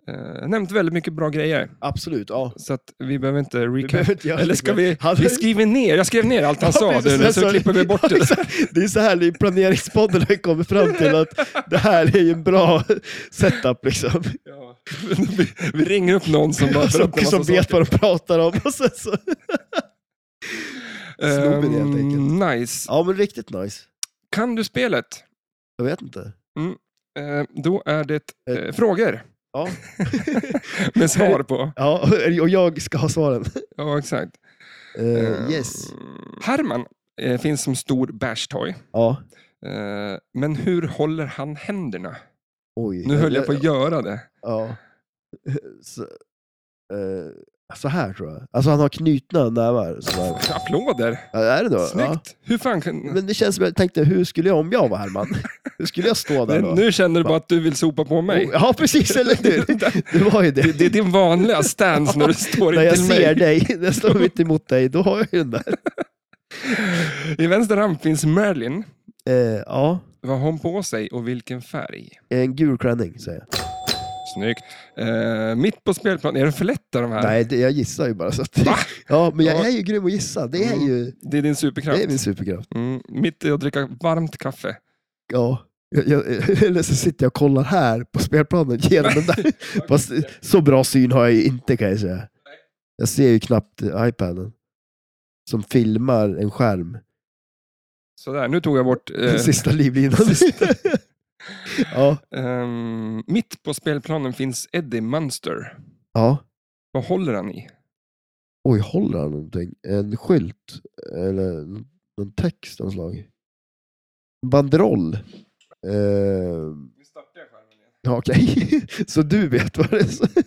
[SPEAKER 1] eh, nämnt väldigt mycket bra grejer,
[SPEAKER 2] Absolut, ja.
[SPEAKER 1] så att vi behöver inte
[SPEAKER 2] Vi
[SPEAKER 1] recap.
[SPEAKER 2] behöver inte göra
[SPEAKER 1] Eller
[SPEAKER 2] det.
[SPEAKER 1] ska
[SPEAKER 2] <laughs>
[SPEAKER 1] vi...
[SPEAKER 2] Han-
[SPEAKER 1] Vi skriver ner, jag skrev ner allt han
[SPEAKER 2] Ja,
[SPEAKER 1] sa
[SPEAKER 2] precis,
[SPEAKER 1] nu, nu,
[SPEAKER 2] jag
[SPEAKER 1] så
[SPEAKER 2] sa det.
[SPEAKER 1] klipper vi bort
[SPEAKER 2] <laughs> Ja,
[SPEAKER 1] det.
[SPEAKER 2] exakt. Det är så här i planeringspodden har vi kommit fram till att det här är ju en bra setup liksom.
[SPEAKER 1] Ja. Vi, vi ringer upp någon som bara
[SPEAKER 2] Som,
[SPEAKER 1] berättar
[SPEAKER 2] som
[SPEAKER 1] massa
[SPEAKER 2] vet
[SPEAKER 1] saker.
[SPEAKER 2] vad de pratar om. Och sen så. Snubben, helt
[SPEAKER 1] Ehm,
[SPEAKER 2] enkelt.
[SPEAKER 1] Nice.
[SPEAKER 2] Ja men riktigt nice.
[SPEAKER 1] Kan du spelet?
[SPEAKER 2] Jag vet inte.
[SPEAKER 1] Eh, då är det eh, frågor
[SPEAKER 2] Ja. <laughs> eh,
[SPEAKER 1] med svar på.
[SPEAKER 2] ja, och jag ska ha svaren.
[SPEAKER 1] Ja, exakt.
[SPEAKER 2] Eh,
[SPEAKER 1] Eh,
[SPEAKER 2] yes.
[SPEAKER 1] Herman eh, finns som stor bashtoy.
[SPEAKER 2] Ja.
[SPEAKER 1] Eh, men hur håller han händerna?
[SPEAKER 2] Oj.
[SPEAKER 1] Nu höll jag på att göra det.
[SPEAKER 2] Ja. <laughs> Så, eh, så här tror jag. Alltså han har knutna nävar.
[SPEAKER 1] <laughs>
[SPEAKER 2] Så här.
[SPEAKER 1] Applåder!
[SPEAKER 2] Ja, Är det då? Ja.
[SPEAKER 1] Snyggt! Hur fan kan...
[SPEAKER 2] Men det känns som jag tänkte, hur skulle jag om jag var Herman? Hur skulle
[SPEAKER 1] <laughs>
[SPEAKER 2] jag stå där då? Oh,
[SPEAKER 1] Nu känner du bara att du vill sopa på mig.
[SPEAKER 2] Ja, precis, eller hur? Det var ju
[SPEAKER 1] <laughs>
[SPEAKER 2] det.
[SPEAKER 1] Det är din vanliga stance
[SPEAKER 2] <laughs>
[SPEAKER 1] när du står
[SPEAKER 2] När jag
[SPEAKER 1] intill
[SPEAKER 2] ser
[SPEAKER 1] mig.
[SPEAKER 2] dig, <laughs> när jag står mitt emot dig, då har jag ju
[SPEAKER 1] <laughs>
[SPEAKER 2] den där.
[SPEAKER 1] I vänster hand finns Merlin.
[SPEAKER 2] Eh, ja,
[SPEAKER 1] Vad har hon på sig och vilken färg?
[SPEAKER 2] en gul klänning säger jag.
[SPEAKER 1] Snyggt. Eh, mitt på spelplanen, är det för lätta de här?
[SPEAKER 2] Nej, det, jag gissar ju bara. Så att,
[SPEAKER 1] Va?
[SPEAKER 2] <laughs> ja, men jag
[SPEAKER 1] Ja.
[SPEAKER 2] är ju grym att gissa. Det är
[SPEAKER 1] Mm.
[SPEAKER 2] ju
[SPEAKER 1] Det är din
[SPEAKER 2] det
[SPEAKER 1] superkraft.
[SPEAKER 2] är min superkraft.
[SPEAKER 1] Mm, mitt är att dricka varmt kaffe.
[SPEAKER 2] Ja. Jag, jag, <laughs> eller så sitter jag och kollar här på spelplanen genom den där. Fast så bra syn har jag ju inte kan jag säga. Jag ser ju knappt eh, iPaden. Som filmar en skärm.
[SPEAKER 1] Sådär, nu tog jag bort... eh,
[SPEAKER 2] Den <laughs> sista livlinan. ja,
[SPEAKER 1] ehm, mitt på spelplanen finns Eddie Munster.
[SPEAKER 2] ja.
[SPEAKER 1] Vad håller han i?
[SPEAKER 2] Oj, håller han någonting? En skylt? Eller n- någon text av något slag? Banderoll? Eh, ja, Okej, <laughs> så du vet vad det är.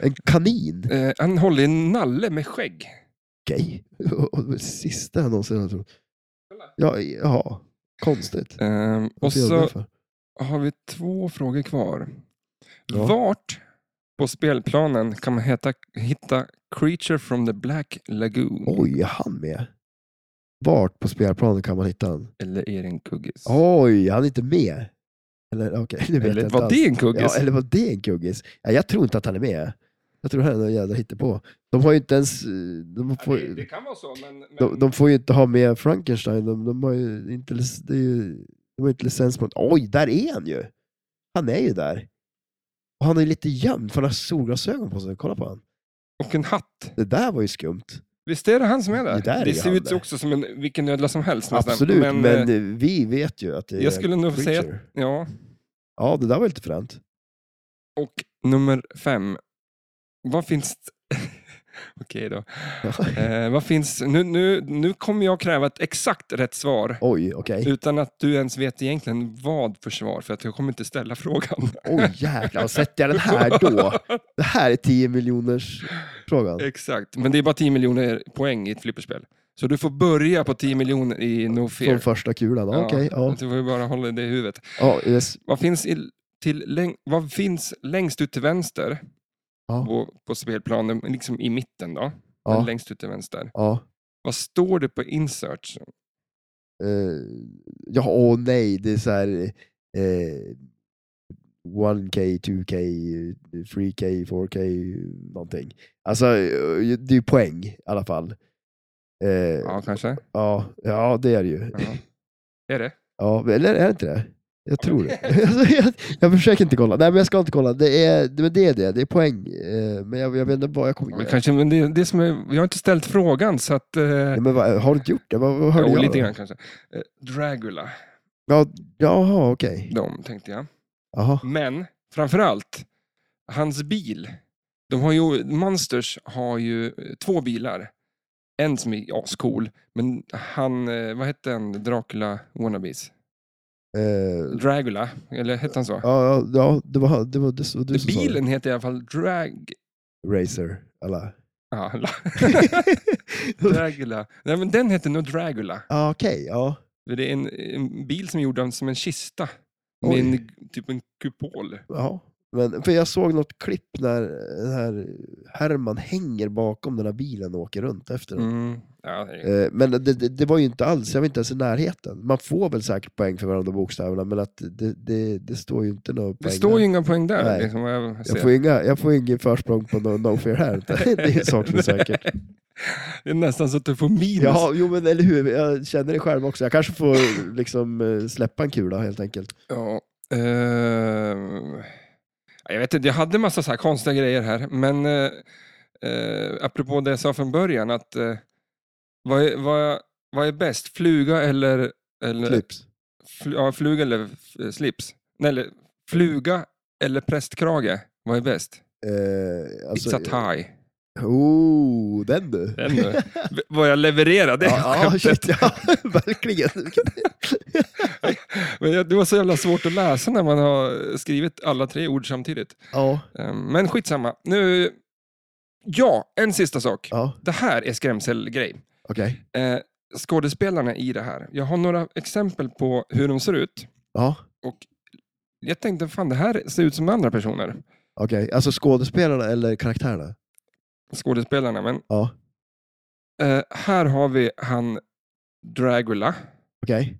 [SPEAKER 2] En kanin?
[SPEAKER 1] Eh, han håller i en nalle med skägg.
[SPEAKER 2] Okej. <laughs> Och- och det Sista jag någonsin har trott. Ja, ja, konstigt.
[SPEAKER 1] Ehm, och
[SPEAKER 2] Varför gör jag det
[SPEAKER 1] så
[SPEAKER 2] för?
[SPEAKER 1] har vi två frågor kvar.
[SPEAKER 2] Ja.
[SPEAKER 1] Vart på spelplanen kan man heta, hitta Creature from the Black Lagoon?
[SPEAKER 2] Oj, är han med? Vart på spelplanen kan man hitta han?
[SPEAKER 1] Eller är det en kuggis?
[SPEAKER 2] Oj, han är inte med? Eller okej, <laughs> nu vet jag
[SPEAKER 1] Eller
[SPEAKER 2] inte
[SPEAKER 1] var
[SPEAKER 2] alls.
[SPEAKER 1] det en kuggis?
[SPEAKER 2] Ja, eller var det en kuggis? Ja, jag tror inte att han är med. Jag tror han är någon jävla hittepå. De har ju inte ens... eh, De får,
[SPEAKER 1] kan vara så, men... men...
[SPEAKER 2] de, de får ju inte ha med Frankenstein. De, de har ju inte, lic- det är ju, de har inte licens på Oj, där är han ju! Han är ju där. Och han är lite gömd, för han har solglasögon på sig. Kolla på han.
[SPEAKER 1] Och en hatt.
[SPEAKER 2] Det där var ju skumt.
[SPEAKER 1] Visst är det han som är där?
[SPEAKER 2] Det där är
[SPEAKER 1] det
[SPEAKER 2] ju
[SPEAKER 1] ser
[SPEAKER 2] han
[SPEAKER 1] ut
[SPEAKER 2] där.
[SPEAKER 1] också som en, vilken ödla som helst nästan.
[SPEAKER 2] Absolut, men,
[SPEAKER 1] eh,
[SPEAKER 2] eh, vi vet ju att det är
[SPEAKER 1] jag skulle nog säga
[SPEAKER 2] creature.
[SPEAKER 1] Ja,
[SPEAKER 2] Ja, det där var lite fränt. <laughs>
[SPEAKER 1] och nummer fem. Vad finns... det- <laughs> Okej då. Eh, vad finns... Nu, nu, nu kommer jag kräva ett exakt rätt svar.
[SPEAKER 2] Oj, okej.
[SPEAKER 1] <laughs> Utan att du ens vet egentligen vad för svar, för att jag kommer inte ställa <laughs> frågan.
[SPEAKER 2] Oj jävlar, sätter jag den här då? Det här är 10 miljoners frågan.
[SPEAKER 1] Exakt, men det är bara 10 miljoner poäng i ett flipperspel. Så du får börja på 10 miljoner i No
[SPEAKER 2] Från
[SPEAKER 1] Fear.
[SPEAKER 2] första kulan, ja, okej. Ja.
[SPEAKER 1] Du får ju bara hålla det i huvudet.
[SPEAKER 2] Ja, yes.
[SPEAKER 1] Vad finns, i, till, läng, vad finns längst ut till vänster
[SPEAKER 2] Ja.
[SPEAKER 1] på, på spelplanen, liksom i mitten då?
[SPEAKER 2] Ja.
[SPEAKER 1] Men längst ut till vänster.
[SPEAKER 2] ja.
[SPEAKER 1] Vad står det på insert?
[SPEAKER 2] Eh, ja, åh nej, det är så här... eh, 1K, 2K, 3K, 4K, någonting. Alltså, eh, det är ju poäng i alla fall. Eh, ja.
[SPEAKER 1] Ja, kanske.
[SPEAKER 2] Ja, det är det ju.
[SPEAKER 1] Ja. Är det?
[SPEAKER 2] <laughs> Ja, eller är det inte det? Jag tror det.
[SPEAKER 1] <laughs>
[SPEAKER 2] Alltså, jag, jag försöker inte kolla. Nej, men jag ska inte kolla. Det är det, men det, är det. det är poäng. Eh, Men jag, jag vet inte vad jag kommer
[SPEAKER 1] Ja, kanske men det, det som är, jag har inte ställt frågan, så att... Eh,
[SPEAKER 2] Ja, men vad, har du inte gjort det? Vad, vad hörde
[SPEAKER 1] jo,
[SPEAKER 2] jag?
[SPEAKER 1] lite
[SPEAKER 2] då?
[SPEAKER 1] grann kanske. Eh, Dragula,
[SPEAKER 2] Ja, jaha, okej.
[SPEAKER 1] de tänkte jag.
[SPEAKER 2] Jaha.
[SPEAKER 1] Men framförallt, hans bil. De har ju, Monsters har ju eh, två bilar. En som är ascool, men han, eh, vad hette han, Dracula Wannabes?
[SPEAKER 2] Eh,
[SPEAKER 1] Dragula, eller hette han så?
[SPEAKER 2] Ja, ja, ja, det var det, var, det, så- du som sa
[SPEAKER 1] Bilen heter i alla fall Drag...
[SPEAKER 2] det. Racer,
[SPEAKER 1] <laughs>
[SPEAKER 2] alla.
[SPEAKER 1] Ah, la-
[SPEAKER 2] <laughs>
[SPEAKER 1] Dragula. Nej, men den heter nog Dragula.
[SPEAKER 2] Ja, okej, ja.
[SPEAKER 1] För Det är en, en bil som är gjord av- som en kista. Med
[SPEAKER 2] Oj.
[SPEAKER 1] en, typ en kupol.
[SPEAKER 2] ja. Men, för jag såg något klipp när den här Herman hänger bakom den här bilen och åker runt efter den.
[SPEAKER 1] Mm. Ja, det är-
[SPEAKER 2] Eh, Men det, det, det var ju inte alls, jag var inte ens i närheten. Man får väl säkert poäng för varandra bokstäverna, men att det, det, det står ju inte några poäng.
[SPEAKER 1] det står ju
[SPEAKER 2] där.
[SPEAKER 1] inga poäng där.
[SPEAKER 2] Nej.
[SPEAKER 1] Liksom, vad jag ser.
[SPEAKER 2] jag, får inga, jag får ingen försprång på no, no fear här. <laughs> Det är saken säkert.
[SPEAKER 1] Det är nästan så att du får minus.
[SPEAKER 2] Ja, jo men eller hur, jag känner det själv också. Jag
[SPEAKER 1] <laughs>
[SPEAKER 2] kanske får liksom eh, släppa en kula helt enkelt.
[SPEAKER 1] Ja, ehm, jag vet inte, jag hade massa så här konstiga grejer här, men eh, eh, apropå det jag sa från början, att eh, vad, är, vad, vad är bäst, fluga eller, eller
[SPEAKER 2] Clips.
[SPEAKER 1] Fl, ja, fluga eller f- slips? Nej, eller Fluga eller prästkrage? Vad är bäst?
[SPEAKER 2] Eh, alltså,
[SPEAKER 1] It's a tie.
[SPEAKER 2] Oh, <laughs> den du. <laughs>
[SPEAKER 1] Den du. V- Vad jag levererar, det är
[SPEAKER 2] ja, ja,
[SPEAKER 1] skämtet.
[SPEAKER 2] shit, ja, <laughs>
[SPEAKER 1] <laughs>
[SPEAKER 2] verkligen.
[SPEAKER 1] Men jag- Det var så jävla svårt att läsa när man har skrivit alla tre ord samtidigt.
[SPEAKER 2] Ja,
[SPEAKER 1] Ehm, Men skitsamma. Nu... Ja, en sista sak.
[SPEAKER 2] ja,
[SPEAKER 1] Det här är skrämselgrej.
[SPEAKER 2] okej.
[SPEAKER 1] Eh, skådespelarna i det här. Jag har några exempel på hur de ser ut.
[SPEAKER 2] Ja,
[SPEAKER 1] Jag tänkte, fan det här ser ut som andra personer.
[SPEAKER 2] okej. Alltså skådespelarna eller karaktärerna?
[SPEAKER 1] Skådespelarna, men
[SPEAKER 2] Ja,
[SPEAKER 1] eh, här har vi han Dragula.
[SPEAKER 2] okej.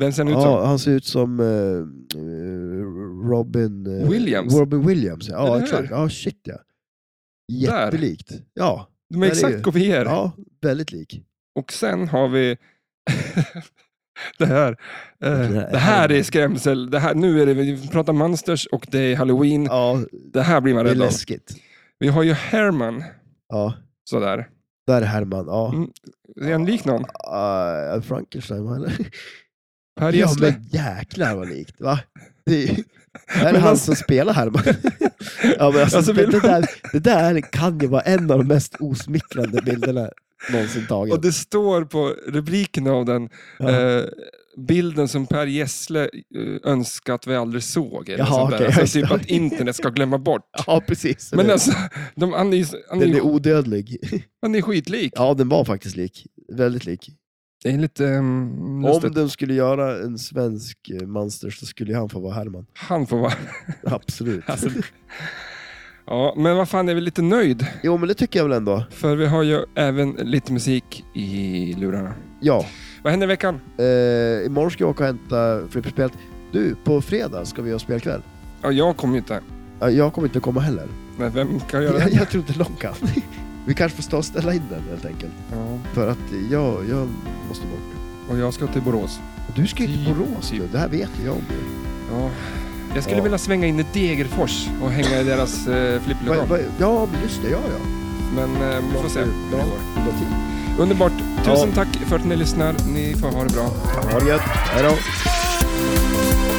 [SPEAKER 1] Vem ser han ut som?
[SPEAKER 2] Ja, han ser ut som eh, eh, Robin... eh,
[SPEAKER 1] Williams.
[SPEAKER 2] Robin Williams, ja.
[SPEAKER 1] Eller
[SPEAKER 2] ja
[SPEAKER 1] hur?
[SPEAKER 2] exakt. Ja, shit ja. Jättelikt. Ja,
[SPEAKER 1] De är
[SPEAKER 2] där är
[SPEAKER 1] exakt
[SPEAKER 2] ju-
[SPEAKER 1] kopior.
[SPEAKER 2] ja, väldigt lik.
[SPEAKER 1] Och sen har vi <laughs> det här. Eh,
[SPEAKER 2] här-
[SPEAKER 1] det här är skrämsel. Det här, nu är det, vi pratar monsters och det är halloween.
[SPEAKER 2] Ja,
[SPEAKER 1] Det här blir man
[SPEAKER 2] det är
[SPEAKER 1] rädd av.
[SPEAKER 2] läskigt.
[SPEAKER 1] Vi har ju Herman.
[SPEAKER 2] Ja,
[SPEAKER 1] Sådär.
[SPEAKER 2] där är Herman. Ja.
[SPEAKER 1] Mm. Är han lik någon?
[SPEAKER 2] Uh, Frankenstein, eller?
[SPEAKER 1] Per
[SPEAKER 2] Ja,
[SPEAKER 1] Gessle.
[SPEAKER 2] men jäklar vad likt, va? Det är,
[SPEAKER 1] <laughs>
[SPEAKER 2] ju- det här är
[SPEAKER 1] Men
[SPEAKER 2] han
[SPEAKER 1] alltså-
[SPEAKER 2] som spelar Herman. ja, men alltså,
[SPEAKER 1] Alltså,
[SPEAKER 2] det,
[SPEAKER 1] vill
[SPEAKER 2] det,
[SPEAKER 1] man-
[SPEAKER 2] där, det där kan ju vara en av de mest osmickrande bilderna någonsin
[SPEAKER 1] Och
[SPEAKER 2] taget.
[SPEAKER 1] det står på rubriken av den,
[SPEAKER 2] Ja.
[SPEAKER 1] eh, bilden som Per Gessle eh, önskar att vi aldrig såg. Eller
[SPEAKER 2] Jaha,
[SPEAKER 1] sånt där.
[SPEAKER 2] okej, just
[SPEAKER 1] alltså,
[SPEAKER 2] det.
[SPEAKER 1] typ att internet ska glömma bort.
[SPEAKER 2] Ja, precis.
[SPEAKER 1] Men
[SPEAKER 2] den,
[SPEAKER 1] alltså, de, han, är, ju- han, är,
[SPEAKER 2] den är
[SPEAKER 1] ju-
[SPEAKER 2] odödlig.
[SPEAKER 1] han är skitlik.
[SPEAKER 2] ja, den var faktiskt lik. Väldigt lik.
[SPEAKER 1] Det är lite um,
[SPEAKER 2] Om
[SPEAKER 1] lustigt.
[SPEAKER 2] de skulle göra en svensk eh, monster så skulle han få vara Herman.
[SPEAKER 1] Han får vara...
[SPEAKER 2] <laughs> Absolut.
[SPEAKER 1] Alltså, ja, men vad fan, är vi lite nöjd?
[SPEAKER 2] Jo, men det tycker jag väl ändå.
[SPEAKER 1] För vi har ju även lite musik i lurarna.
[SPEAKER 2] Ja.
[SPEAKER 1] Vad händer i veckan?
[SPEAKER 2] Eh, imorgon ska jag åka och hämta flipperspelet. Du, på fredag ska vi ha spelkväll.
[SPEAKER 1] Ja, jag kommer ju inte.
[SPEAKER 2] Ja, Jag kommer inte komma heller.
[SPEAKER 1] Men vem kan göra
[SPEAKER 2] <laughs> Jag,
[SPEAKER 1] det?
[SPEAKER 2] jag tror inte de kan. Vi kanske får stå och ställa in den helt enkelt.
[SPEAKER 1] Ja,
[SPEAKER 2] För att jag, jag måste bort.
[SPEAKER 1] och jag ska till Borås.
[SPEAKER 2] Du ska ju till
[SPEAKER 1] Typ,
[SPEAKER 2] Borås
[SPEAKER 1] typ.
[SPEAKER 2] nu. Det här vet ju jag om. ju.
[SPEAKER 1] Ja. Jag skulle
[SPEAKER 2] Ja.
[SPEAKER 1] vilja svänga in i Degerfors och hänga i deras eh, flipplokal.
[SPEAKER 2] Va- va- Ja, men just det. Ja, ja.
[SPEAKER 1] Men eh, vi får se.
[SPEAKER 2] Bra.
[SPEAKER 1] hur det går.
[SPEAKER 2] Bra tid.
[SPEAKER 1] Underbart.
[SPEAKER 2] Ja.
[SPEAKER 1] Tusen tack för att ni lyssnar. Ni får ha det bra.
[SPEAKER 2] Ha det gött. Hej då.